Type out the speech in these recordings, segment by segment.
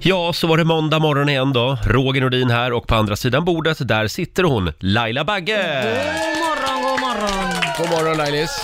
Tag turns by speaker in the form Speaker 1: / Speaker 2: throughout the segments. Speaker 1: Ja, så var det måndag morgon igen då. Roger Nordin här och på andra sidan bordet, där sitter hon, Laila Bagge!
Speaker 2: God morgon, god morgon.
Speaker 3: God morgon Lailis.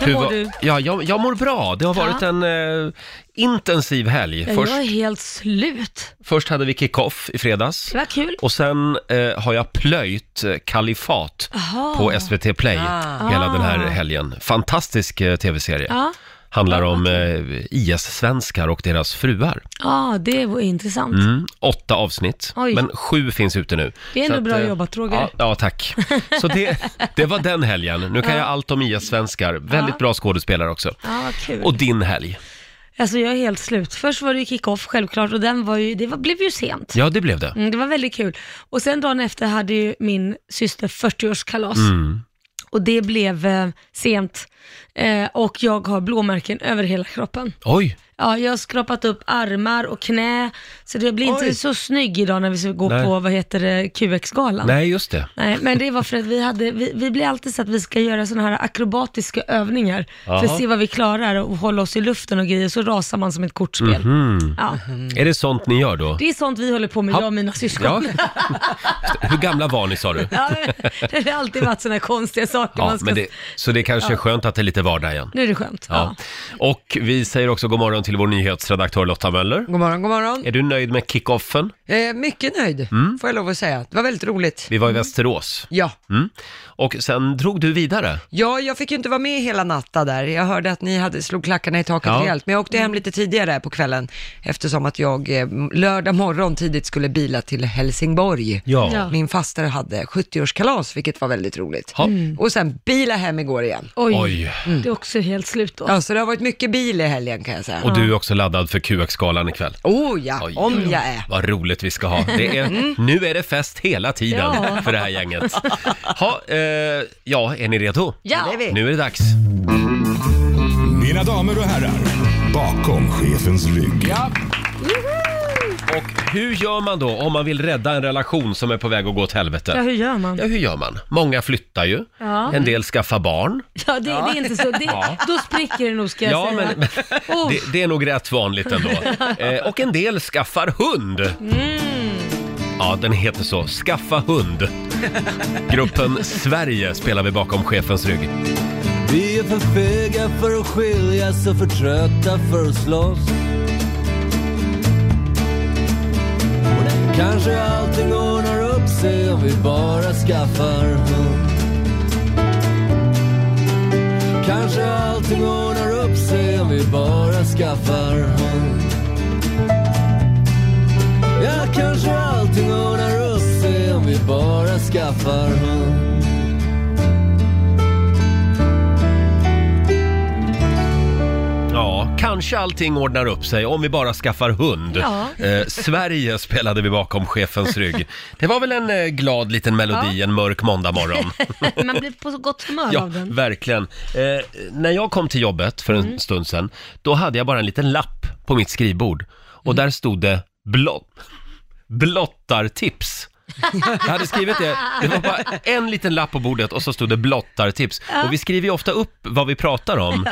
Speaker 2: Hur mår
Speaker 1: va-
Speaker 2: du?
Speaker 1: Ja, jag, jag mår bra. Det har
Speaker 2: Ja.
Speaker 1: varit en eh, intensiv helg.
Speaker 2: Ja,
Speaker 1: Först,
Speaker 2: Jag är helt slut.
Speaker 1: först hade vi kick-off i fredags.
Speaker 2: Det var kul.
Speaker 1: Och sen eh, har jag plöjt eh, Kalifat
Speaker 2: Jaha.
Speaker 1: på SVT Play
Speaker 2: Ah.
Speaker 1: hela
Speaker 2: Ah.
Speaker 1: den här helgen. Fantastisk eh, tv-serie.
Speaker 2: Ja,
Speaker 1: Handlar om eh, IS-svenskar och deras fruar.
Speaker 2: ja det var intressant.
Speaker 1: Mm, åtta avsnitt,
Speaker 2: Oj.
Speaker 1: men sju finns ute nu.
Speaker 2: Det är
Speaker 1: Så
Speaker 2: ändå bra
Speaker 1: eh,
Speaker 2: jobbat, Roger.
Speaker 1: Ja, ja tack. Så det, det var den helgen. Nu kan jag allt om IS-svenskar. Väldigt
Speaker 2: Ja.
Speaker 1: bra skådespelare också.
Speaker 2: Ja, vad kul.
Speaker 1: Och din helg?
Speaker 2: Alltså jag är helt slut. Först var det ju kick-off självklart och den var ju, det var, blev ju sent.
Speaker 1: Ja, det blev det.
Speaker 2: Mm, det var väldigt kul. Och sen dagen efter hade ju min syster 40-årskalas.
Speaker 1: Mm.
Speaker 2: Och det blev eh, sent eh, och jag har blåmärken över hela kroppen.
Speaker 1: Oj!
Speaker 2: Ja, jag har skrapat upp armar och knä, så det blir
Speaker 1: Oj.
Speaker 2: inte så snygg idag när vi ska gå
Speaker 1: Nej.
Speaker 2: på, vad heter det, QX-galan.
Speaker 1: Nej, just det.
Speaker 2: Nej, men det var för att vi hade, vi, vi blir alltid så att vi ska göra sådana här akrobatiska övningar
Speaker 1: Jaha.
Speaker 2: för att se vad vi klarar och hålla oss i luften och grejer, så rasar man som ett kortspel.
Speaker 1: Mhm.
Speaker 2: Ja.
Speaker 1: Är det sånt ni gör då?
Speaker 2: Det är sånt vi håller på med,
Speaker 1: Ja.
Speaker 2: jag och mina
Speaker 1: Ja.
Speaker 2: syskon.
Speaker 1: Hur gamla var ni sa du?
Speaker 2: Ja. det har alltid varit sådana konstiga saker
Speaker 1: Ja,
Speaker 2: man ska...
Speaker 1: men det, så det kanske är
Speaker 2: Ja.
Speaker 1: skönt att det är lite vardag igen.
Speaker 2: Nu är det skönt. Ja.
Speaker 1: Ja. Och vi säger också god morgon till vår nyhetsredaktör Lotta Möller.
Speaker 4: God morgon, god morgon.
Speaker 1: Är du nöjd med kickoffen? Mm.
Speaker 4: Eh, mycket nöjd, får jag lov att säga. Det var väldigt roligt.
Speaker 1: Vi var i Västerås.
Speaker 4: Ja.
Speaker 1: Mm. Och sen drog du vidare.
Speaker 4: ja, jag fick ju inte vara med hela natten där. Jag hörde att ni hade slog klackarna i taket
Speaker 1: Ja.
Speaker 4: rejält, men jag åkte hem lite tidigare på kvällen eftersom att jag eh, lördag morgon tidigt skulle bila till Helsingborg.
Speaker 1: Ja.
Speaker 2: Ja.
Speaker 4: Min faster hade 70-årskalas, vilket var väldigt roligt.
Speaker 1: Ha.
Speaker 4: Och sen bila hem igår igen.
Speaker 2: Mm. Oj, Mm.
Speaker 1: Oj.
Speaker 2: det är också helt slut då.
Speaker 4: Ja, så det har varit mycket bil i helgen kan jag säga.
Speaker 1: Och du är också laddad för QX-galan ikväll.
Speaker 4: Oh ja,
Speaker 1: Oj,
Speaker 4: om
Speaker 1: oj, oj.
Speaker 4: jag är.
Speaker 1: Vad roligt vi ska ha. Det
Speaker 4: Mm.
Speaker 1: är, nu är det fest hela tiden
Speaker 2: Ja.
Speaker 1: för det här gänget. Ha, eh, ja, är ni redo?
Speaker 2: Ja.
Speaker 4: Det är vi.
Speaker 1: Nu är det dags.
Speaker 5: Mina damer och herrar, bakom chefens rygg.
Speaker 1: Och hur gör man då om man vill rädda en relation som är på väg att gå åt
Speaker 2: Ja,
Speaker 1: helvete?
Speaker 2: hur gör man?
Speaker 1: Ja, hur gör man? Många flyttar ju.
Speaker 2: Ja.
Speaker 1: En del skaffar barn.
Speaker 2: Ja, det, det är inte så. Det, Då spricker det nog ska jag
Speaker 1: Ja,
Speaker 2: säga.
Speaker 1: men, men
Speaker 2: Oh,
Speaker 1: det, det är nog rätt vanligt ändå. Eh, och en del skaffar hund.
Speaker 2: Mm.
Speaker 1: Ja, den heter så. Skaffa hund. Gruppen Sverige spelar vi bakom chefens rygg.
Speaker 6: Vi är för fega för att skiljas och för trötta för att slåss. Kanske allting ordnar upp sig om vi bara skaffar hund. Kanske allting ordnar upp sig om vi bara skaffar hund. Ja, kanske allting ordnar upp sig om vi bara skaffar hund.
Speaker 1: Ja, kanske allting ordnar upp sig om vi bara skaffar hund.
Speaker 2: Ja.
Speaker 1: Eh, Sverige spelade vi bakom chefens rygg. Det var väl en eh, glad liten melodi en mörk måndagmorgon.
Speaker 2: man blir på så gott humör
Speaker 1: Ja,
Speaker 2: av den.
Speaker 1: verkligen. Eh, när jag kom till jobbet för en
Speaker 2: Mm.
Speaker 1: stund sedan, då hade jag bara en liten lapp på mitt skrivbord och
Speaker 2: Mm.
Speaker 1: där stod det blott, blottartips. Jag hade skrivit det, det var bara en liten lapp på bordet och så stod det blottartips. Och vi skriver ju ofta upp vad vi pratar om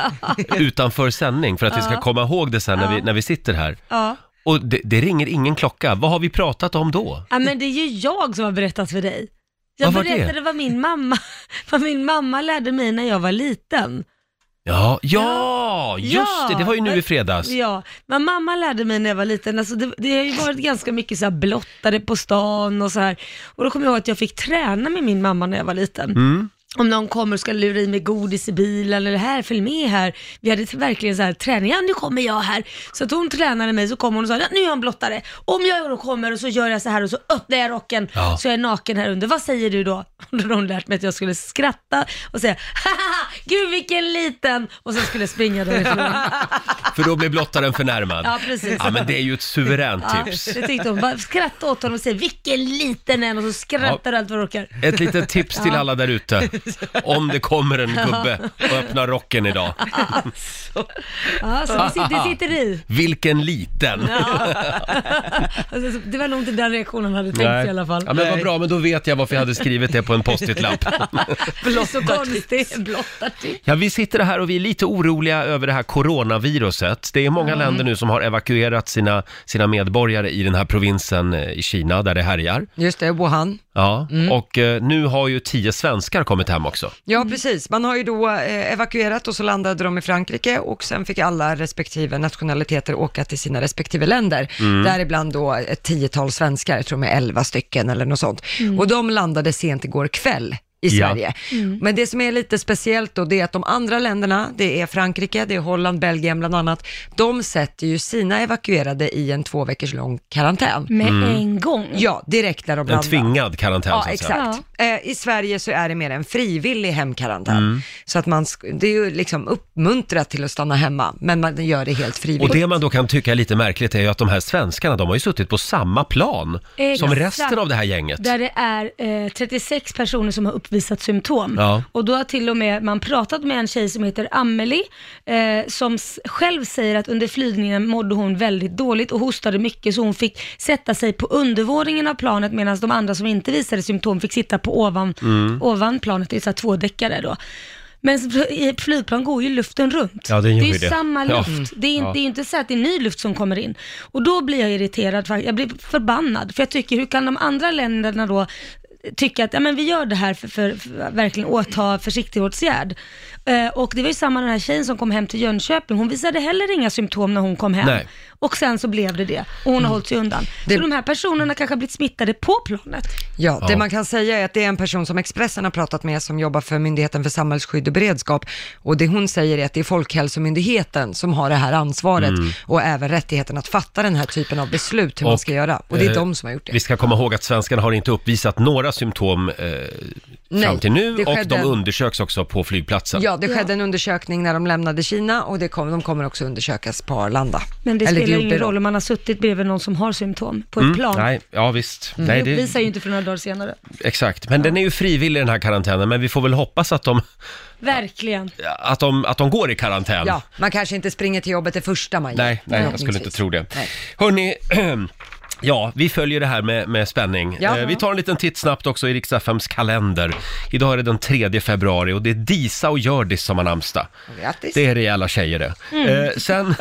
Speaker 1: utanför sändning för att vi ska komma ihåg det sen när vi, när vi sitter här.
Speaker 2: Ja.
Speaker 1: Och det, det ringer ingen klocka, vad har vi pratat om då?
Speaker 2: ja, men det är ju jag som har berättat för dig. Jag
Speaker 1: Vad var det?
Speaker 2: berättade vad min mamma, vad min mamma lärde mig när jag var liten.
Speaker 1: Ja, ja, just det, det var ju nu i fredags.
Speaker 2: Ja, men mamma lärde mig när jag var liten, alltså det, det har ju varit ganska mycket så här blottade på stan och så här. Och då kommer jag ihåg att jag fick träna med min mamma när jag var liten.
Speaker 1: Mm.
Speaker 2: Om någon kommer och ska lura i mig godis i bilen eller här, följ med här. Vi hade verkligen så här träning, ja nu kommer jag här. Så att hon tränade mig, så kom hon och sa, ja, nu är jag en blottare. Om jag då kommer och så gör jag så här och så öppnar jag rocken
Speaker 1: Ja.
Speaker 2: så jag är naken här under. Vad säger du då? Då hade hon lärt mig att jag skulle skratta och säga, haha, gud vilken liten. Och sen skulle jag springa därifrån.
Speaker 1: För då blir blottaren förnärmad.
Speaker 2: Ja, precis.
Speaker 1: Ja, men det är ju ett suveränt tips.
Speaker 2: Ja, det tyckte hon. Bara skratta åt honom och säg vilken liten en och så skrattar du allt vad du orkar.
Speaker 1: Ett litet tips till alla där ute. om det kommer en gubbe och öppnar rocken idag.
Speaker 6: Ja, så det sitter, det sitter i.
Speaker 1: Vilken liten!
Speaker 6: Alltså, det var nog inte den reaktionen han hade tänkt sig i alla fall.
Speaker 1: Ja, men vad bra, men då vet jag varför jag hade skrivit det på en post-it-lapp.
Speaker 6: så konstigt. Blottar till.
Speaker 1: Ja, vi sitter här och vi är lite oroliga över det här coronaviruset. Det är många länder nu som har evakuerat sina, sina medborgare i den här provinsen eh, i Kina där det härjar.
Speaker 4: Just det, Wuhan.
Speaker 1: Ja, och eh, nu har ju tio svenskar kommit hem också.
Speaker 4: Ja,
Speaker 2: Mm.
Speaker 4: precis. Man har ju då eh, evakuerat och så landade de i Frankrike och sen fick alla respektive nationaliteter åka till sina respektive länder.
Speaker 2: Mm.
Speaker 4: Däribland då ett tiotal svenskar, jag tror med elva stycken eller något sånt.
Speaker 2: Mm.
Speaker 4: Och de landade sent igår kväll i
Speaker 1: Ja.
Speaker 4: Sverige. Men det som är lite speciellt då, det är att de andra länderna, det är Frankrike, det är Holland, Belgien bland annat, de sätter ju sina evakuerade i en två veckors lång karantän. Mm.
Speaker 2: Med en gång.
Speaker 4: Ja, direkt när de
Speaker 1: En
Speaker 4: landar.
Speaker 1: tvingad karantän,
Speaker 4: Ja,
Speaker 1: så att säga.
Speaker 4: exakt. Eh, I Sverige så är det mer en frivillig hemkarantän.
Speaker 1: Mm.
Speaker 4: Så att man, sk- det är ju liksom uppmuntrat till att stanna hemma, men man gör det helt frivilligt.
Speaker 1: Och det man då kan tycka är lite märkligt är ju att de här svenskarna, de har ju suttit på samma plan som
Speaker 2: Exakt.
Speaker 1: resten av det här gänget.
Speaker 2: Där det är eh, 36 personer som har uppvisat symptom.
Speaker 1: Ja.
Speaker 2: Och då har till och med man pratat med en tjej som heter Amelie, eh, som s- själv säger att under flygningen mådde hon väldigt dåligt och hostade mycket, så hon fick sätta sig på undervåningen av planet, medan de andra som inte visade symptom fick sitta på ovan,
Speaker 1: Mm.
Speaker 2: ovan planet, det är så här tvådäckare då. Men s- i ett flygplan går ju luften runt.
Speaker 1: Ja, den gör
Speaker 2: det är
Speaker 1: ju
Speaker 2: ju
Speaker 1: det.
Speaker 2: samma
Speaker 1: Ja.
Speaker 2: luft. Det, är, in-
Speaker 1: Ja.
Speaker 2: det är inte så att det är ny luft som kommer in. Och då blir jag irriterad, fakt- jag blir förbannad. För jag tycker, hur kan de andra länderna då tycka att ja, men vi gör det här för, för, för att verkligen åta försiktighetsåtgärd. Eh, och det var ju samma den här tjejen som kom hem till Jönköping, hon visade heller inga symptom när hon kom hem.
Speaker 1: Nej.
Speaker 2: Och sen så blev det det, och hon har hållit sig undan.
Speaker 4: Det-
Speaker 2: Så de här personerna kanske har blivit smittade på planet.
Speaker 4: Ja, det
Speaker 1: Ja.
Speaker 4: man kan säga är att det är en person som Expressen har pratat med som jobbar för Myndigheten för samhällsskydd och beredskap och det hon säger är att det är Folkhälsomyndigheten som har det här ansvaret och även rättigheten att fatta den här typen av beslut hur man
Speaker 1: Mm. Och,
Speaker 4: ska göra och det är
Speaker 1: eh,
Speaker 4: de som har gjort det.
Speaker 1: Vi ska komma ihåg att svenskarna har inte uppvisat några symptom eh, fram
Speaker 4: Nej,
Speaker 1: till nu
Speaker 4: det
Speaker 1: och
Speaker 4: skedde-
Speaker 1: de undersöks också på flygplatsen.
Speaker 4: Ja, det skedde en undersökning när de lämnade Kina och det kom, de kommer också undersökas på Arlanda.
Speaker 2: Men det
Speaker 4: Eller
Speaker 2: spelar
Speaker 4: gjorde
Speaker 2: ingen
Speaker 4: de.
Speaker 2: roll om man har suttit bredvid någon som har symptom på ett plan.
Speaker 1: Mm. Nej, ja visst.
Speaker 4: Mm.
Speaker 2: Det
Speaker 1: Nej, det,
Speaker 2: Mm. uppvisar ju inte för några dagar senare.
Speaker 1: exakt. Men den är ju frivillig den här karantänen, men vi får väl hoppas att de,
Speaker 2: Verkligen.
Speaker 1: att de, att de går i karantän.
Speaker 4: Ja, man kanske inte springer till jobbet det första man gör.
Speaker 1: Nej, nej, jag skulle inte tro det. Hörni, ja, vi följer det här med, med spänning.
Speaker 4: Ja.
Speaker 1: Eh, vi tar en liten titt snabbt också i Riks-FMs kalender. Idag är det den 3 februari och det är Disa och Hjördis som har namnsdag.
Speaker 4: Grattis.
Speaker 1: Det är rejäla tjejer det.
Speaker 7: Mm.
Speaker 1: Eh, sen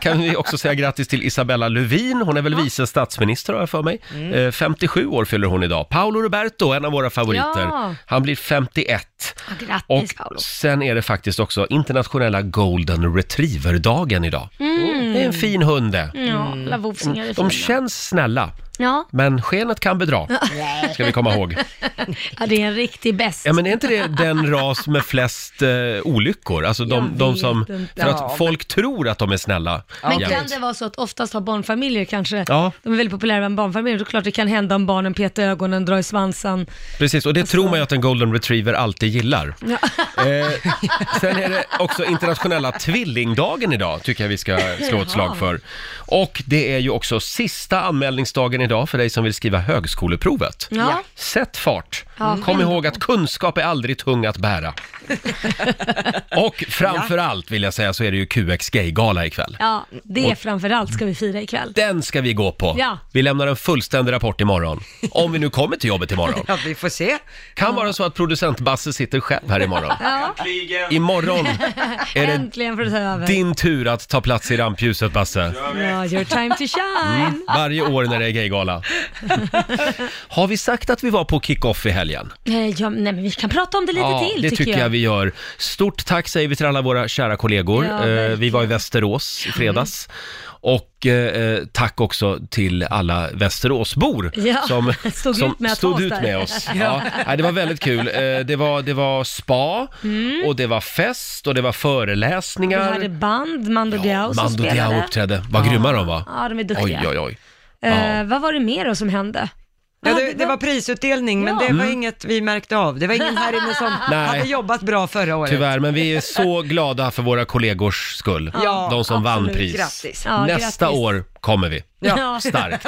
Speaker 1: kan vi också säga grattis till Isabella Lövin. Hon är väl vice statsminister har jag för mig.
Speaker 4: Mm.
Speaker 1: Eh, 57 år fyller hon idag. Paolo Roberto, en av våra favoriter.
Speaker 2: Ja.
Speaker 1: Han blir 51. Och
Speaker 2: Grattis Paolo.
Speaker 1: sen är det faktiskt också internationella golden retriever-dagen idag. Det är en fin hund det.
Speaker 2: Mm.
Speaker 1: Mm.
Speaker 2: Ja, lavovsingar är
Speaker 1: De
Speaker 2: fina.
Speaker 1: känns snälla,
Speaker 2: Ja.
Speaker 1: men skenet kan bedra. Ska vi komma ihåg.
Speaker 2: ja, det är en riktig bäst.
Speaker 1: Ja, men är inte det den ras med flest eh, olyckor? Alltså de,
Speaker 2: Jag
Speaker 1: de
Speaker 2: vet
Speaker 1: som...
Speaker 2: inte.
Speaker 1: För
Speaker 4: Ja,
Speaker 1: att
Speaker 4: men-
Speaker 1: folk tror att de är snälla.
Speaker 2: Men
Speaker 1: jämt.
Speaker 2: kan det vara så att oftast har barnfamiljer kanske,
Speaker 1: Ja.
Speaker 2: de är väldigt populära bland barnfamiljer, då är det klart det kan hända om barnen petar ögonen, drar i svansen.
Speaker 1: Precis, och det tror man ju att en golden retriever alltid gillar.
Speaker 2: Ja.
Speaker 1: Eh, sen är det också internationella tvillingdagen idag, tycker jag vi ska slå ett slag för. Och det är ju också sista anmälningsdagen idag för dig som vill skriva högskoleprovet.
Speaker 2: Ja.
Speaker 1: Sätt fart!
Speaker 2: Ja,
Speaker 1: Kom
Speaker 2: skynda
Speaker 1: ihåg att kunskap är aldrig tung att bära. Och framför allt vill jag säga så är det ju QX Gay-gala ikväll.
Speaker 2: ja, det framförallt ska vi fira ikväll.
Speaker 1: Den ska vi gå på.
Speaker 2: Ja.
Speaker 1: Vi lämnar en fullständig rapport imorgon. Om vi nu kommer till jobbet imorgon.
Speaker 4: Ja, vi får se.
Speaker 1: Kan vara så att producent Basse sitter själv här imorgon.
Speaker 2: Ja,
Speaker 1: Imorgon är det
Speaker 2: äntligen får det ta över.
Speaker 1: din tur att ta plats i rampljuset Basse. Mm.
Speaker 2: Ja, your time to shine.
Speaker 1: Varje år när det är gaygala. Har vi sagt att vi var på kick-off i helgen?
Speaker 2: Eh, Ja, nej, men vi kan prata om det lite till
Speaker 1: det
Speaker 2: tycker jag.
Speaker 1: vi gör. Stort tack säger vi till alla våra kära kollegor.
Speaker 2: Ja,
Speaker 1: Eh, vi
Speaker 2: verkligen. Mm.
Speaker 1: var i Västerås i fredags. Och eh, tack också till alla Västeråsbor
Speaker 2: Ja,
Speaker 1: som
Speaker 2: stod
Speaker 1: som
Speaker 2: ut med att ha
Speaker 1: stod
Speaker 2: oss
Speaker 1: ut
Speaker 2: där.
Speaker 1: med oss. Ja. nej, det var väldigt kul. Eh, det, var, det var spa och det var fest och det var
Speaker 2: Vi
Speaker 1: föreläsningar.
Speaker 2: Mm. hade band, Mando Diao som
Speaker 1: Mando Diao
Speaker 2: spelade.
Speaker 1: uppträdde. Vad grymma de var.
Speaker 2: Ja, de är duktiga.
Speaker 1: Oj, oj, oj.
Speaker 2: Eh,
Speaker 1: Ja.
Speaker 2: vad var det mer då som hände?
Speaker 4: Ja,
Speaker 6: Ja,
Speaker 4: det,
Speaker 6: det
Speaker 4: det var
Speaker 6: var-
Speaker 4: prisutdelning, men
Speaker 6: Ja.
Speaker 4: det var inget vi märkte av. Det var ingen här inne som
Speaker 1: Mm. Nej.
Speaker 4: hade jobbat bra förra året.
Speaker 1: Tyvärr, men vi är så glada för våra kollegors skull.
Speaker 4: Ja,
Speaker 1: De som vann
Speaker 6: absolut.
Speaker 1: pris.
Speaker 4: Grattis.
Speaker 2: Ja,
Speaker 1: Nästa
Speaker 2: grattis.
Speaker 1: år kommer vi.
Speaker 6: Ja.
Speaker 1: Starkt.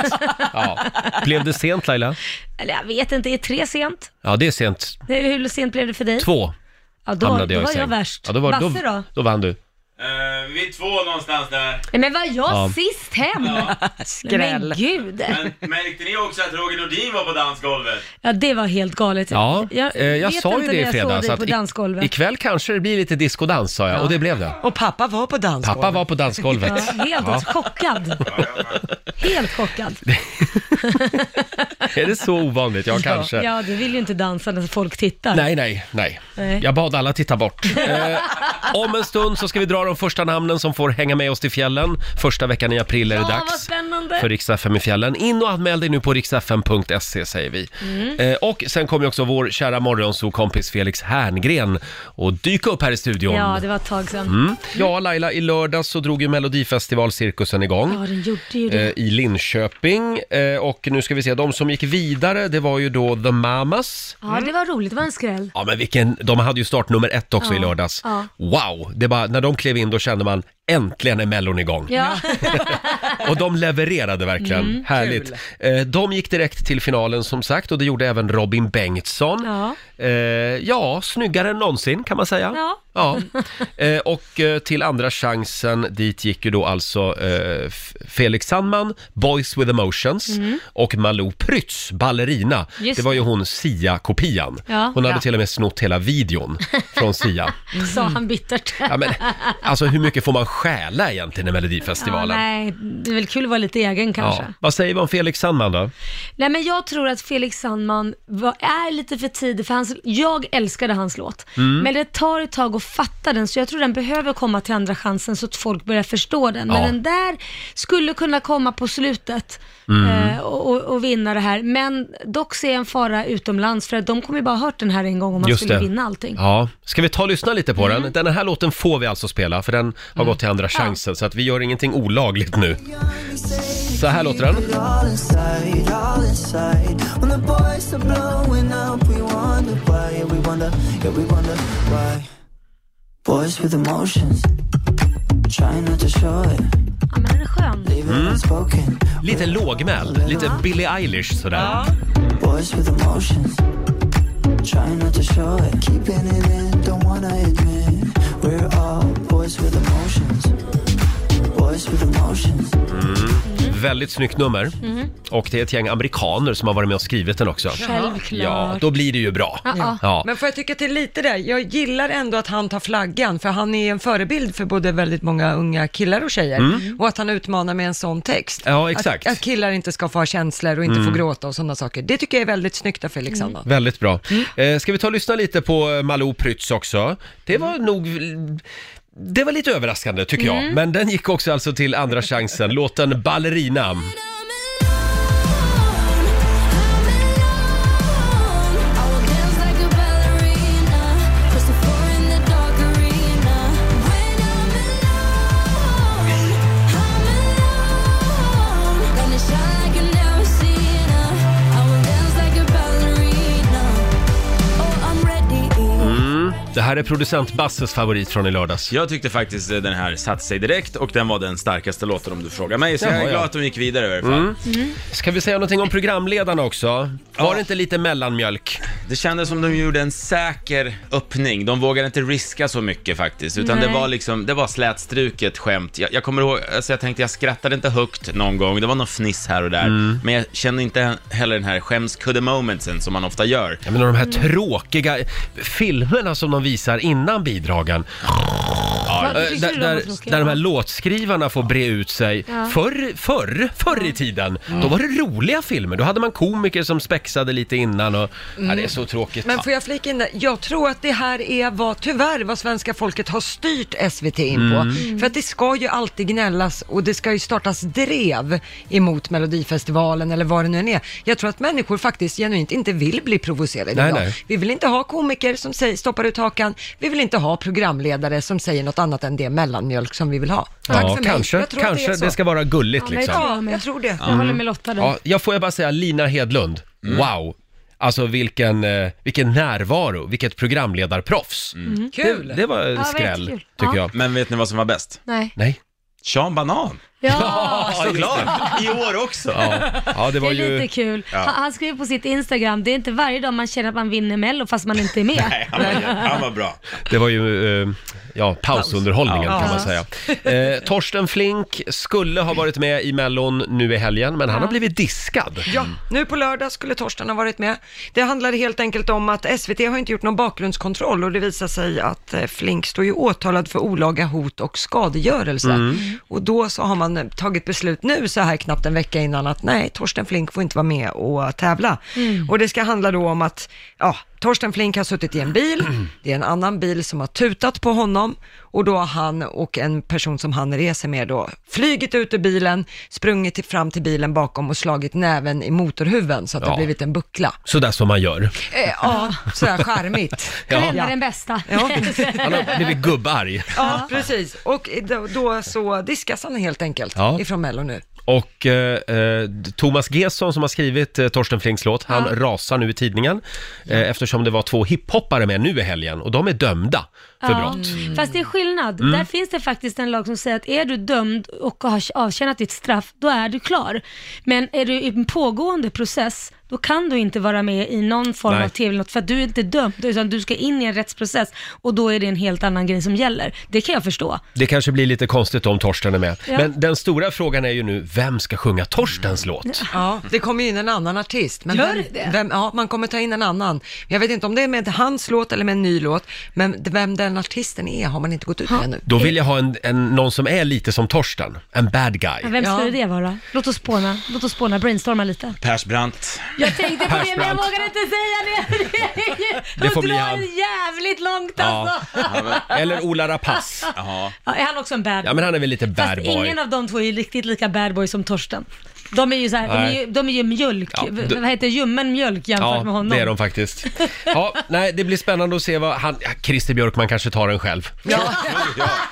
Speaker 1: Ja. Blev det sent Laila?
Speaker 2: Eller jag vet inte, är tre sent?
Speaker 1: Ja, det är sent.
Speaker 2: Det- Hur sent blev det för dig?
Speaker 1: Två
Speaker 2: Ja, då,
Speaker 1: hamnade
Speaker 2: då
Speaker 1: jag i
Speaker 2: var
Speaker 1: säng.
Speaker 2: jag värst.
Speaker 1: Ja, då, var,
Speaker 2: Basse
Speaker 1: då,
Speaker 2: då?
Speaker 1: då vann du.
Speaker 7: Eh, vi är två någonstans där.
Speaker 2: Nej, men var jag
Speaker 1: Ja.
Speaker 2: sist hem?
Speaker 4: Skräll.
Speaker 2: Men gud.
Speaker 7: Men märkte ni också att Roger Nordin var på dansgolvet?
Speaker 2: Ja, det var helt galet.
Speaker 1: Ja, eh, jag
Speaker 2: vet
Speaker 1: sa ju
Speaker 2: inte
Speaker 1: det
Speaker 2: när
Speaker 1: i fredags.
Speaker 2: Jag såg dig på
Speaker 1: i,
Speaker 2: dansgolvet.
Speaker 1: ikväll kanske det blir lite discodans sa jag, och det blev det.
Speaker 4: Och pappa var på dansgolvet.
Speaker 1: Pappa var på dansgolvet.
Speaker 2: Ja, helt chockad. Helt chockad.
Speaker 1: Är det så ovanligt? Ja, kanske.
Speaker 2: Ja, du vill ju inte dansa när folk tittar.
Speaker 1: Nej, nej, nej,
Speaker 2: Nej.
Speaker 1: Jag bad alla titta bort. Eh, om en stund så ska vi dra de första namnen som får hänga med oss till fjällen. Första veckan i april är det
Speaker 2: Ja, vad
Speaker 1: dags
Speaker 2: spännande.
Speaker 1: för Rix FM i fjällen. In och anmäl dig nu på riksfm.se säger vi.
Speaker 2: Mm.
Speaker 1: Eh, och sen kommer ju också vår kära morgonsokompis Felix Herngren och dyka upp här i studion.
Speaker 2: Ja,
Speaker 1: Ja,
Speaker 2: det var ett tag sedan.
Speaker 1: Mm. Laila, i lördags så drog ju Melodifestivalcirkusen igång.
Speaker 2: Ja, den gjorde ju
Speaker 1: eh,
Speaker 2: det.
Speaker 1: i Linköping Eh, och nu ska vi se, de som gick vidare det var ju då The Mamas.
Speaker 2: Ja, det var roligt. Det var en skräll.
Speaker 1: Ja men vilken, de hade ju start nummer ett också
Speaker 2: Ja,
Speaker 1: i lördags.
Speaker 2: ja.
Speaker 1: Wow! Det bara, när de klev in då kände man äntligen är mellon igång.
Speaker 2: Ja,
Speaker 1: Och de levererade verkligen.
Speaker 2: Mm,
Speaker 1: Härligt. Eh, de gick direkt till finalen som sagt och det gjorde även Robin Bengtsson.
Speaker 2: Ja.
Speaker 1: Eh, ja, snyggare än någonsin kan man säga.
Speaker 2: Ja.
Speaker 1: Ja. Eh, och eh, till andra chansen dit gick ju då alltså eh, F- Felix Sandman, Boys with Emotions och Malou Prytz, ballerina.
Speaker 2: Mm. Just
Speaker 1: det var ju hon Sia-kopian.
Speaker 2: Ja.
Speaker 1: hon hade
Speaker 2: Ja.
Speaker 1: till och med snott hela videon från Sia.
Speaker 2: sa han bittert.
Speaker 1: Mm. Ja, men, alltså hur mycket får man stjäla egentligen i Melodifestivalen?
Speaker 2: nej, det är väl kul att vara lite egen kanske.
Speaker 1: Vad säger vi om Felix Sandman då?
Speaker 2: Nej men jag tror att Felix Sandman var, är lite för tidig för hans, jag älskade hans låt.
Speaker 1: Mm.
Speaker 2: Men det tar ett tag att fatta den så jag tror den behöver komma till andra chansen så att folk börjar förstå den. Men
Speaker 1: Ja.
Speaker 2: den där skulle kunna komma på slutet
Speaker 1: Mm.
Speaker 2: eh, och, och, och vinna det här. Men dock ser jag en fara utomlands för att de kommer ju bara ha hört den här en gång om man
Speaker 1: Just
Speaker 2: skulle
Speaker 1: det.
Speaker 2: vinna allting. Mm.
Speaker 1: Ja, ska vi ta och lyssna lite på den? Den här låten får vi alltså spela för den har gått till andra chansen så att vi gör ingenting olagligt nu. Så här låter den.
Speaker 8: Boys with emotions, trying not to show it,
Speaker 2: Ja men den är skön.
Speaker 8: leave it unspoken.
Speaker 1: Mm. Lite lågmäld, lite Billie Eilish sådär.
Speaker 8: Boys with emotions, trying not to show it, keeping it in, don't wanna admit. We're all boys with emotions, boys with emotions.
Speaker 1: Mm. Väldigt snyggt nummer.
Speaker 2: Mm.
Speaker 1: Och det är ett gäng amerikaner som har varit med och skrivit den också.
Speaker 2: Självklart.
Speaker 1: Ja, då blir det ju bra.
Speaker 2: Ja.
Speaker 1: Ja.
Speaker 4: Men får jag tycka till lite där? Jag gillar ändå att han tar flaggan, för han är en förebild för både väldigt många unga killar och tjejer. Och att han utmanar med en sån text.
Speaker 1: Mm. Ja, exakt. Mm.
Speaker 4: Att, att killar inte ska få ha känslor och inte få gråta och sådana saker. Det tycker jag är väldigt snyggt av
Speaker 2: Mm.
Speaker 4: Felix Sandman.
Speaker 1: Väldigt bra.
Speaker 4: Mm.
Speaker 1: Eh, ska vi ta och lyssna lite på eh, Malou Prytz också? Det var
Speaker 4: Mm.
Speaker 1: nog... Det var lite överraskande tycker jag, men den gick också alltså till andra chansen. Låten Ballerina. Mm. Det här är producent Basses favorit från i lördags.
Speaker 7: Jag tyckte faktiskt eh, den här satte sig direkt och den var den starkaste låten om du frågar mig. Så jag
Speaker 1: Jaha,
Speaker 7: är
Speaker 1: ja.
Speaker 7: glad att de gick vidare i alla fall.
Speaker 1: Mm.
Speaker 4: Mm.
Speaker 1: Ska vi säga någonting om programledarna också? Var det inte lite mellanmjölk?
Speaker 7: Det kändes som de gjorde en säker öppning. De vågade inte riska så mycket faktiskt, utan det
Speaker 2: Nej.
Speaker 7: var liksom, det var slätstruket skämt. Jag, jag kommer ihåg, alltså jag tänkte jag skrattade inte högt någon gång, det var någon fniss här och där.
Speaker 1: Mm.
Speaker 7: Men jag kände inte heller den här skämskudde momentsen som man ofta gör.
Speaker 1: Jag menar de här tråkiga filmerna som de visar innan bidragen.
Speaker 2: Vad
Speaker 1: Eh,
Speaker 2: tyckte
Speaker 1: där,
Speaker 2: du de var
Speaker 1: där,
Speaker 2: tråkiga?
Speaker 1: där de här låtskrivarna får bre ut sig. Förr, förr, förr i tiden,
Speaker 4: Mm.
Speaker 1: då var det roliga filmer. Då hade man komiker som spexade lite innan och... Ja, det är så tråkigt.
Speaker 4: Mm. Men får jag flika in där? Jag tror att det här är vad, tyvärr, vad svenska folket har styrt SVT in på.
Speaker 1: Mm.
Speaker 2: Mm.
Speaker 4: För att det ska ju alltid gnällas och det ska ju startas drev emot Melodifestivalen eller vad det nu än är. Jag tror att människor faktiskt genuint inte vill bli provocerade
Speaker 1: Nej,
Speaker 4: idag.
Speaker 1: nej.
Speaker 4: Vi vill inte ha komiker som säger, stoppar ut hakan. Vi vill inte ha programledare som säger något annat än det mellanmjölk som vi vill ha. Tack
Speaker 1: Ja,
Speaker 4: för mig.
Speaker 1: kanske,
Speaker 4: Jag tror att
Speaker 1: kanske
Speaker 4: det är
Speaker 1: det,
Speaker 4: så.
Speaker 1: ska vara gulligt
Speaker 2: men
Speaker 1: liksom.
Speaker 4: Ja, jag tror det.
Speaker 2: Jag håller med Lotta där.
Speaker 1: Mm. Ja, jag får jag bara säga Lina Hedlund, wow! Alltså vilken, eh, vilken närvaro, vilket programledarproffs.
Speaker 4: Kul!
Speaker 1: Det var en
Speaker 2: Mm. Ja,
Speaker 1: skräll,
Speaker 2: väldigt kul.
Speaker 1: tycker
Speaker 2: Ja.
Speaker 1: jag.
Speaker 7: Men vet ni vad som var bäst?
Speaker 2: Nej.
Speaker 1: Nej.
Speaker 7: Sean Banan!
Speaker 2: Ja,
Speaker 7: Såklart! I år också!
Speaker 1: Ja, ja det
Speaker 2: det
Speaker 1: var
Speaker 2: är
Speaker 1: ju...
Speaker 2: lite kul. Han, han skrev på sitt Instagram, det är inte varje dag man känner att man vinner Mello fast man inte är med.
Speaker 7: Nej, han, var, han var bra.
Speaker 1: Det var ju eh, ja, pausunderhållningen
Speaker 7: Ja.
Speaker 1: kan man säga. Eh, Torsten Flink skulle ha varit med i Mellon nu i helgen, men han har blivit diskad.
Speaker 4: Ja, nu på lördag skulle Torsten ha varit med. Det handlade helt enkelt om att SVT har inte gjort någon bakgrundskontroll och det visar sig att eh, Flink står ju åtalad för olaga hot och skadegörelse. Och då så har man eh, tagit beslut nu så här knappt en vecka innan att nej, Torsten Flink får inte vara med och tävla.
Speaker 1: Mm.
Speaker 4: Och det ska handla då om att, ja, Torsten Flink har suttit i en bil, det är en annan bil som har tutat på honom och då har han och en person som han reser med då flugit ut ur bilen, sprungit till- fram till bilen bakom och slagit näven i motorhuven så att
Speaker 1: Ja.
Speaker 4: det blivit en buckla.
Speaker 1: Sådär som man gör.
Speaker 4: Eh, ja, sådär charmigt.
Speaker 2: Det
Speaker 1: Ja.
Speaker 2: hände den bästa.
Speaker 4: Ja.
Speaker 1: Han har blivit gubbarg.
Speaker 4: Ja, precis. Och då, då så diskas han helt enkelt
Speaker 1: Ja.
Speaker 4: ifrån Mello nu.
Speaker 1: Och eh, eh, Thomas Gesson som har skrivit eh, Torsten Flinks låt, han rasar nu i tidningen eh, eftersom det var två hiphoppare med nu i helgen och de är dömda för brott.
Speaker 2: Mm.
Speaker 1: Mm.
Speaker 2: Fast det är skillnad. Där finns det faktiskt en lag som säger att är du dömd och har avtjänat ditt straff, då är du klar. Men är du i en pågående process, då kan du inte vara med i någon form
Speaker 1: Nej.
Speaker 2: av tv eller något, för att du är inte dömd, utan du ska in i en rättsprocess och då är det en helt annan grej som gäller. Det kan jag förstå.
Speaker 1: Det kanske blir lite konstigt om Torsten är med.
Speaker 2: Ja.
Speaker 1: Men den stora frågan är ju nu, vem ska sjunga Torstens låt?
Speaker 4: Ja, det kommer ju in en annan artist. Men
Speaker 2: Gör
Speaker 4: vem,
Speaker 2: det?
Speaker 4: Vem, ja, man kommer ta in en annan. Jag vet inte om det är med hans låt eller med en ny låt, men vem den artisten är har man inte gått ut med ännu.
Speaker 1: Då vill jag ha en, en, någon som är lite som Torsten, en bad guy.
Speaker 2: Men Vem
Speaker 4: Ja.
Speaker 2: skulle det vara? Låt oss spåna, låt oss spåna, brainstorma lite.
Speaker 7: Persbrandt.
Speaker 2: Jag tänkte på det men jag
Speaker 1: Persbrandt.
Speaker 2: vågar inte säga det.
Speaker 1: Det får
Speaker 2: Hon
Speaker 1: bli
Speaker 2: drar
Speaker 1: han.
Speaker 2: jävligt långt
Speaker 1: Ja.
Speaker 2: alltså.
Speaker 1: Eller Ola Rapace.
Speaker 7: Jaha.
Speaker 2: Ja, är han också en bad
Speaker 1: Ja, men han är väl lite bad
Speaker 2: Fast
Speaker 1: boy.
Speaker 2: ingen av de två är ju riktigt lika bad boy som Torsten. De är ju, så här, de är
Speaker 1: Nej.
Speaker 2: ju, de är ju mjölk,
Speaker 1: Ja,
Speaker 2: v-
Speaker 1: du-
Speaker 2: vad heter det? ljummen mjölk jämfört
Speaker 1: Ja,
Speaker 2: med honom.
Speaker 1: det är de faktiskt. Ja, nej, det blir spännande att se vad han... Ja, Christer Björkman kanske tar den själv.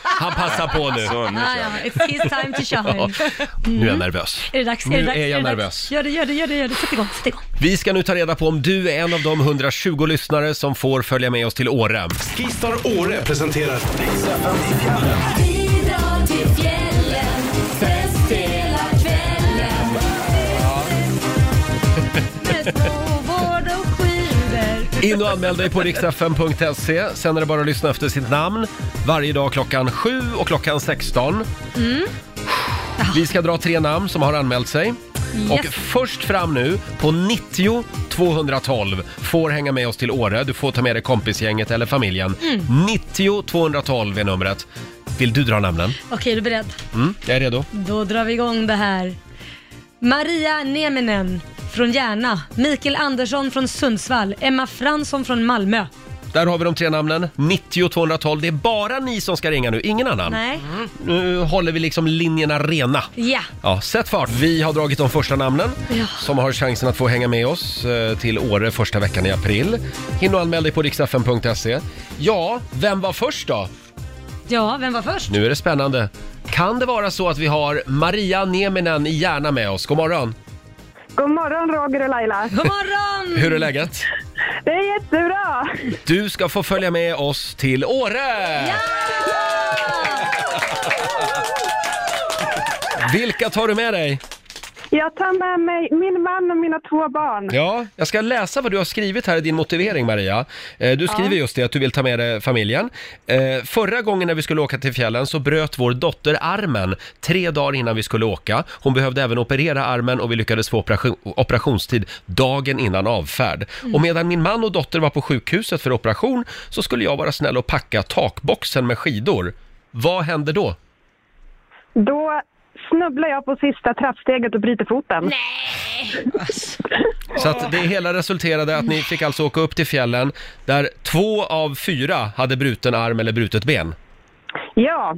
Speaker 1: Han passar på nu.
Speaker 7: Så, nu
Speaker 2: Ah,
Speaker 7: kör
Speaker 2: ja.
Speaker 7: vi.
Speaker 2: It's his time to shine.
Speaker 1: Ja, nu är jag nervös.
Speaker 2: Är det dags?
Speaker 1: Nu
Speaker 2: det dags?
Speaker 1: är jag
Speaker 2: det dags?
Speaker 1: nervös.
Speaker 2: Gör det, gör det, gör det, gör det. Sätt igång, sätt igång.
Speaker 1: Vi ska nu ta reda på om du är en av de 120 lyssnare som får följa med oss till Åre.
Speaker 9: Skistar Åre presenterar
Speaker 1: In och anmäl dig på riksfm.se. Sen är det bara att lyssna efter sitt namn. Varje dag klockan 7 och klockan 16.
Speaker 2: Mm.
Speaker 1: Vi ska dra tre namn som har anmält sig. Och först fram nu på 90 212 får hänga med oss till Åre. Du får ta med dig kompisgänget eller familjen.
Speaker 2: Mm.
Speaker 1: 90 212 är numret. Vill du dra namnen?
Speaker 2: Okej, är du beredd?
Speaker 1: Mm, jag är redo.
Speaker 2: Då drar vi igång det här. Maria Nieminen från Järna, Mikael Andersson från Sundsvall, Emma Fransson från Malmö.
Speaker 1: Där har vi de tre namnen. 90 212. Det är bara ni som ska ringa nu, ingen annan.
Speaker 2: Nej?
Speaker 1: Nu håller vi liksom linjerna rena.
Speaker 2: Mm. Ja.
Speaker 1: Ja, sätt fart. Vi har dragit de första namnen
Speaker 2: Ja.
Speaker 1: som har chansen att få hänga med oss eh, till Åre första veckan i april. Hinner och anmäl dig på riksfn.se. Ja, vem var först då?
Speaker 2: Ja, vem var först?
Speaker 1: Nu är det spännande. Kan det vara så att vi har Maria Nieminen i Järna med oss? God morgon.
Speaker 10: God morgon Roger och Laila.
Speaker 2: God morgon!
Speaker 1: Hur är läget?
Speaker 10: Det är jättebra.
Speaker 1: Du ska få följa med oss till Åre! Vilka tar du med dig?
Speaker 10: Jag tar med mig min man och mina två barn.
Speaker 1: Ja, jag ska läsa vad du har skrivit här i din motivering Maria. Eh, Du skriver just det att du vill ta med dig familjen. Eh, Förra gången när vi skulle åka till fjällen så bröt vår dotter armen tre dagar innan vi skulle åka. Hon behövde även operera armen och vi lyckades få operation, operationstid dagen innan avfärd. Och medan min man och dotter var på sjukhuset för operation så skulle jag vara snäll och packa takboxen med skidor. Vad hände då?
Speaker 10: Då snubblar jag på sista trappsteget och bryter foten.
Speaker 1: Så att det hela resulterade att ni fick alltså åka upp till fjällen där två av fyra hade bruten arm eller brutet ben.
Speaker 10: Ja.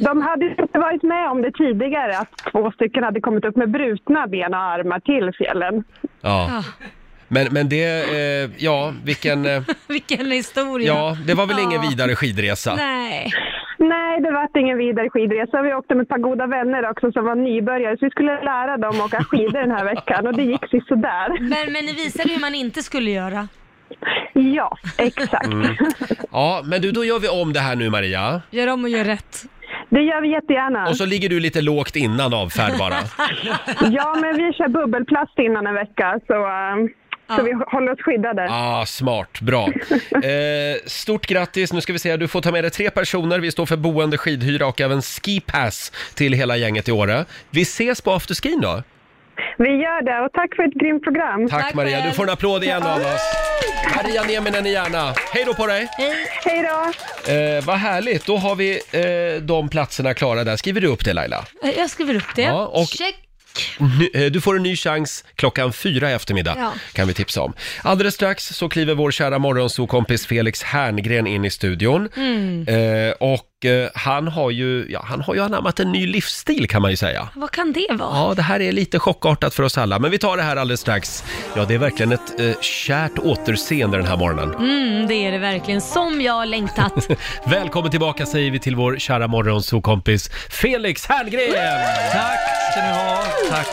Speaker 10: De hade ju inte varit med om det tidigare
Speaker 2: Ah.
Speaker 10: att två stycken hade kommit upp med brutna ben och armar till fjällen.
Speaker 1: Ja. Men, men det, eh, ja, vilken, eh,
Speaker 2: Vilken historia.
Speaker 1: ja, det var väl ingen
Speaker 2: Ja.
Speaker 1: vidare skidresa.
Speaker 2: Nej.
Speaker 10: Nej, det vart ingen vidare skidresa. Vi åkte med ett par goda vänner också som var nybörjare, så vi skulle lära dem att åka skidor den här veckan och det gick sådär.
Speaker 2: Men, men ni visade hur man inte skulle göra.
Speaker 10: Ja, exakt.
Speaker 1: Mm. Ja, men du, då gör vi om det här nu Maria.
Speaker 2: Gör om och gör rätt.
Speaker 10: Det gör vi jättegärna.
Speaker 1: Och så ligger du lite lågt innan avfärd bara.
Speaker 10: Ja, men vi kör bubbelplast innan en vecka, så, ehm, så vi håller oss skyddade.
Speaker 1: Ah, smart, bra. Eh, stort grattis, nu ska vi se, du får ta med dig tre personer. Vi står för boende, skidhyra och även skipass till hela gänget i Åre. Vi ses på afterskin då.
Speaker 10: Vi gör det, och tack för ett grymt program.
Speaker 1: Tack,
Speaker 2: Tack
Speaker 1: Maria,
Speaker 2: själv.
Speaker 1: du får en applåd igen av oss. Maria Nieminen i Järna, hej då på dig!
Speaker 10: Hej då!
Speaker 1: Eh, vad härligt, då har vi eh, de platserna klara där. Skriver du upp det Laila?
Speaker 2: Eh, Jag skriver upp det.
Speaker 1: Ja, och-
Speaker 2: Check.
Speaker 1: Nu- eh, Du får en ny chans klockan fyra i eftermiddag,
Speaker 2: Ja.
Speaker 1: kan vi tipsa om. Alldeles strax så kliver vår kära morgonsokompis Felix Herngren in i studion.
Speaker 2: Mm.
Speaker 1: Eh, och eh, han har, ju, ja, han har ju anammat en ny livsstil kan man ju säga.
Speaker 2: Vad kan det vara?
Speaker 1: Ja, det här är lite chockartat för oss alla, men vi tar det här alldeles strax. Ja, det är verkligen ett eh, kärt återseende den här morgonen.
Speaker 2: Mm, det är det verkligen. Som jag har längtat.
Speaker 1: Välkommen tillbaka säger vi till vår kära morgonsokompis Felix Herngren!
Speaker 11: Tack ska ni ha. Tack.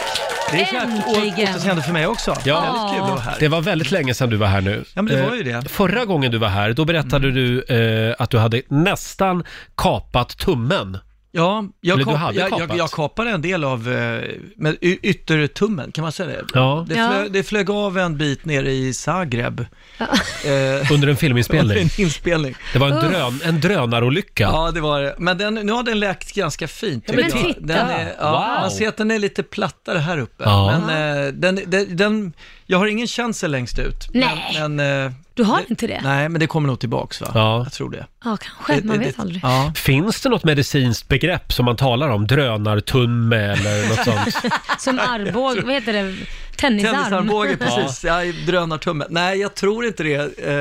Speaker 11: Det är kärt å-
Speaker 2: Äntligen.
Speaker 11: återseende för mig också.
Speaker 1: Ja.
Speaker 11: Väldigt kul att vara här.
Speaker 1: Det var väldigt länge sedan du var här nu.
Speaker 11: Ja, men det
Speaker 1: Eh,
Speaker 11: var ju det. Mm.
Speaker 1: Förra gången du var här, då berättade du eh, att du hade nästan kapat tummen.
Speaker 11: Ja, jag,
Speaker 1: Eller du
Speaker 11: kap-
Speaker 1: hade
Speaker 11: jag,
Speaker 1: kapat.
Speaker 11: jag, jag kapade en del av eh, med y- yttertummen, kan man säga det?
Speaker 1: Ja.
Speaker 11: Det,
Speaker 2: Ja.
Speaker 11: flög, det flög av en bit nere i Zagreb. Eh,
Speaker 1: Under en
Speaker 11: under
Speaker 1: filminspelning.
Speaker 11: en inspelning.
Speaker 1: Det var en, drön, en drönarolycka.
Speaker 11: Ja, det var det. Men den, nu har den läkt ganska fint. tycker
Speaker 2: men
Speaker 11: jag.
Speaker 2: titta.
Speaker 11: Den är, ja,
Speaker 1: Wow.
Speaker 11: Man ser att den är lite plattare här uppe.
Speaker 1: Ja.
Speaker 11: Men eh, den, den, den, jag har ingen känsel längst ut.
Speaker 2: Nej.
Speaker 11: Men, men, eh,
Speaker 2: Du har inte det?
Speaker 11: nej, men det kommer nog tillbaks va?
Speaker 1: Ja.
Speaker 11: Jag tror det.
Speaker 2: Ja, kanske. Man
Speaker 11: Det- det-
Speaker 2: vet aldrig.
Speaker 11: Ja.
Speaker 1: Finns det något medicinskt begrepp som man talar om? Drönartumme eller något sånt?
Speaker 2: Som armbåge, vad heter det? Tennisarm.
Speaker 11: Tennisarmbåge, precis. Ja. Drönartumme. Nej, jag tror inte det. Eh,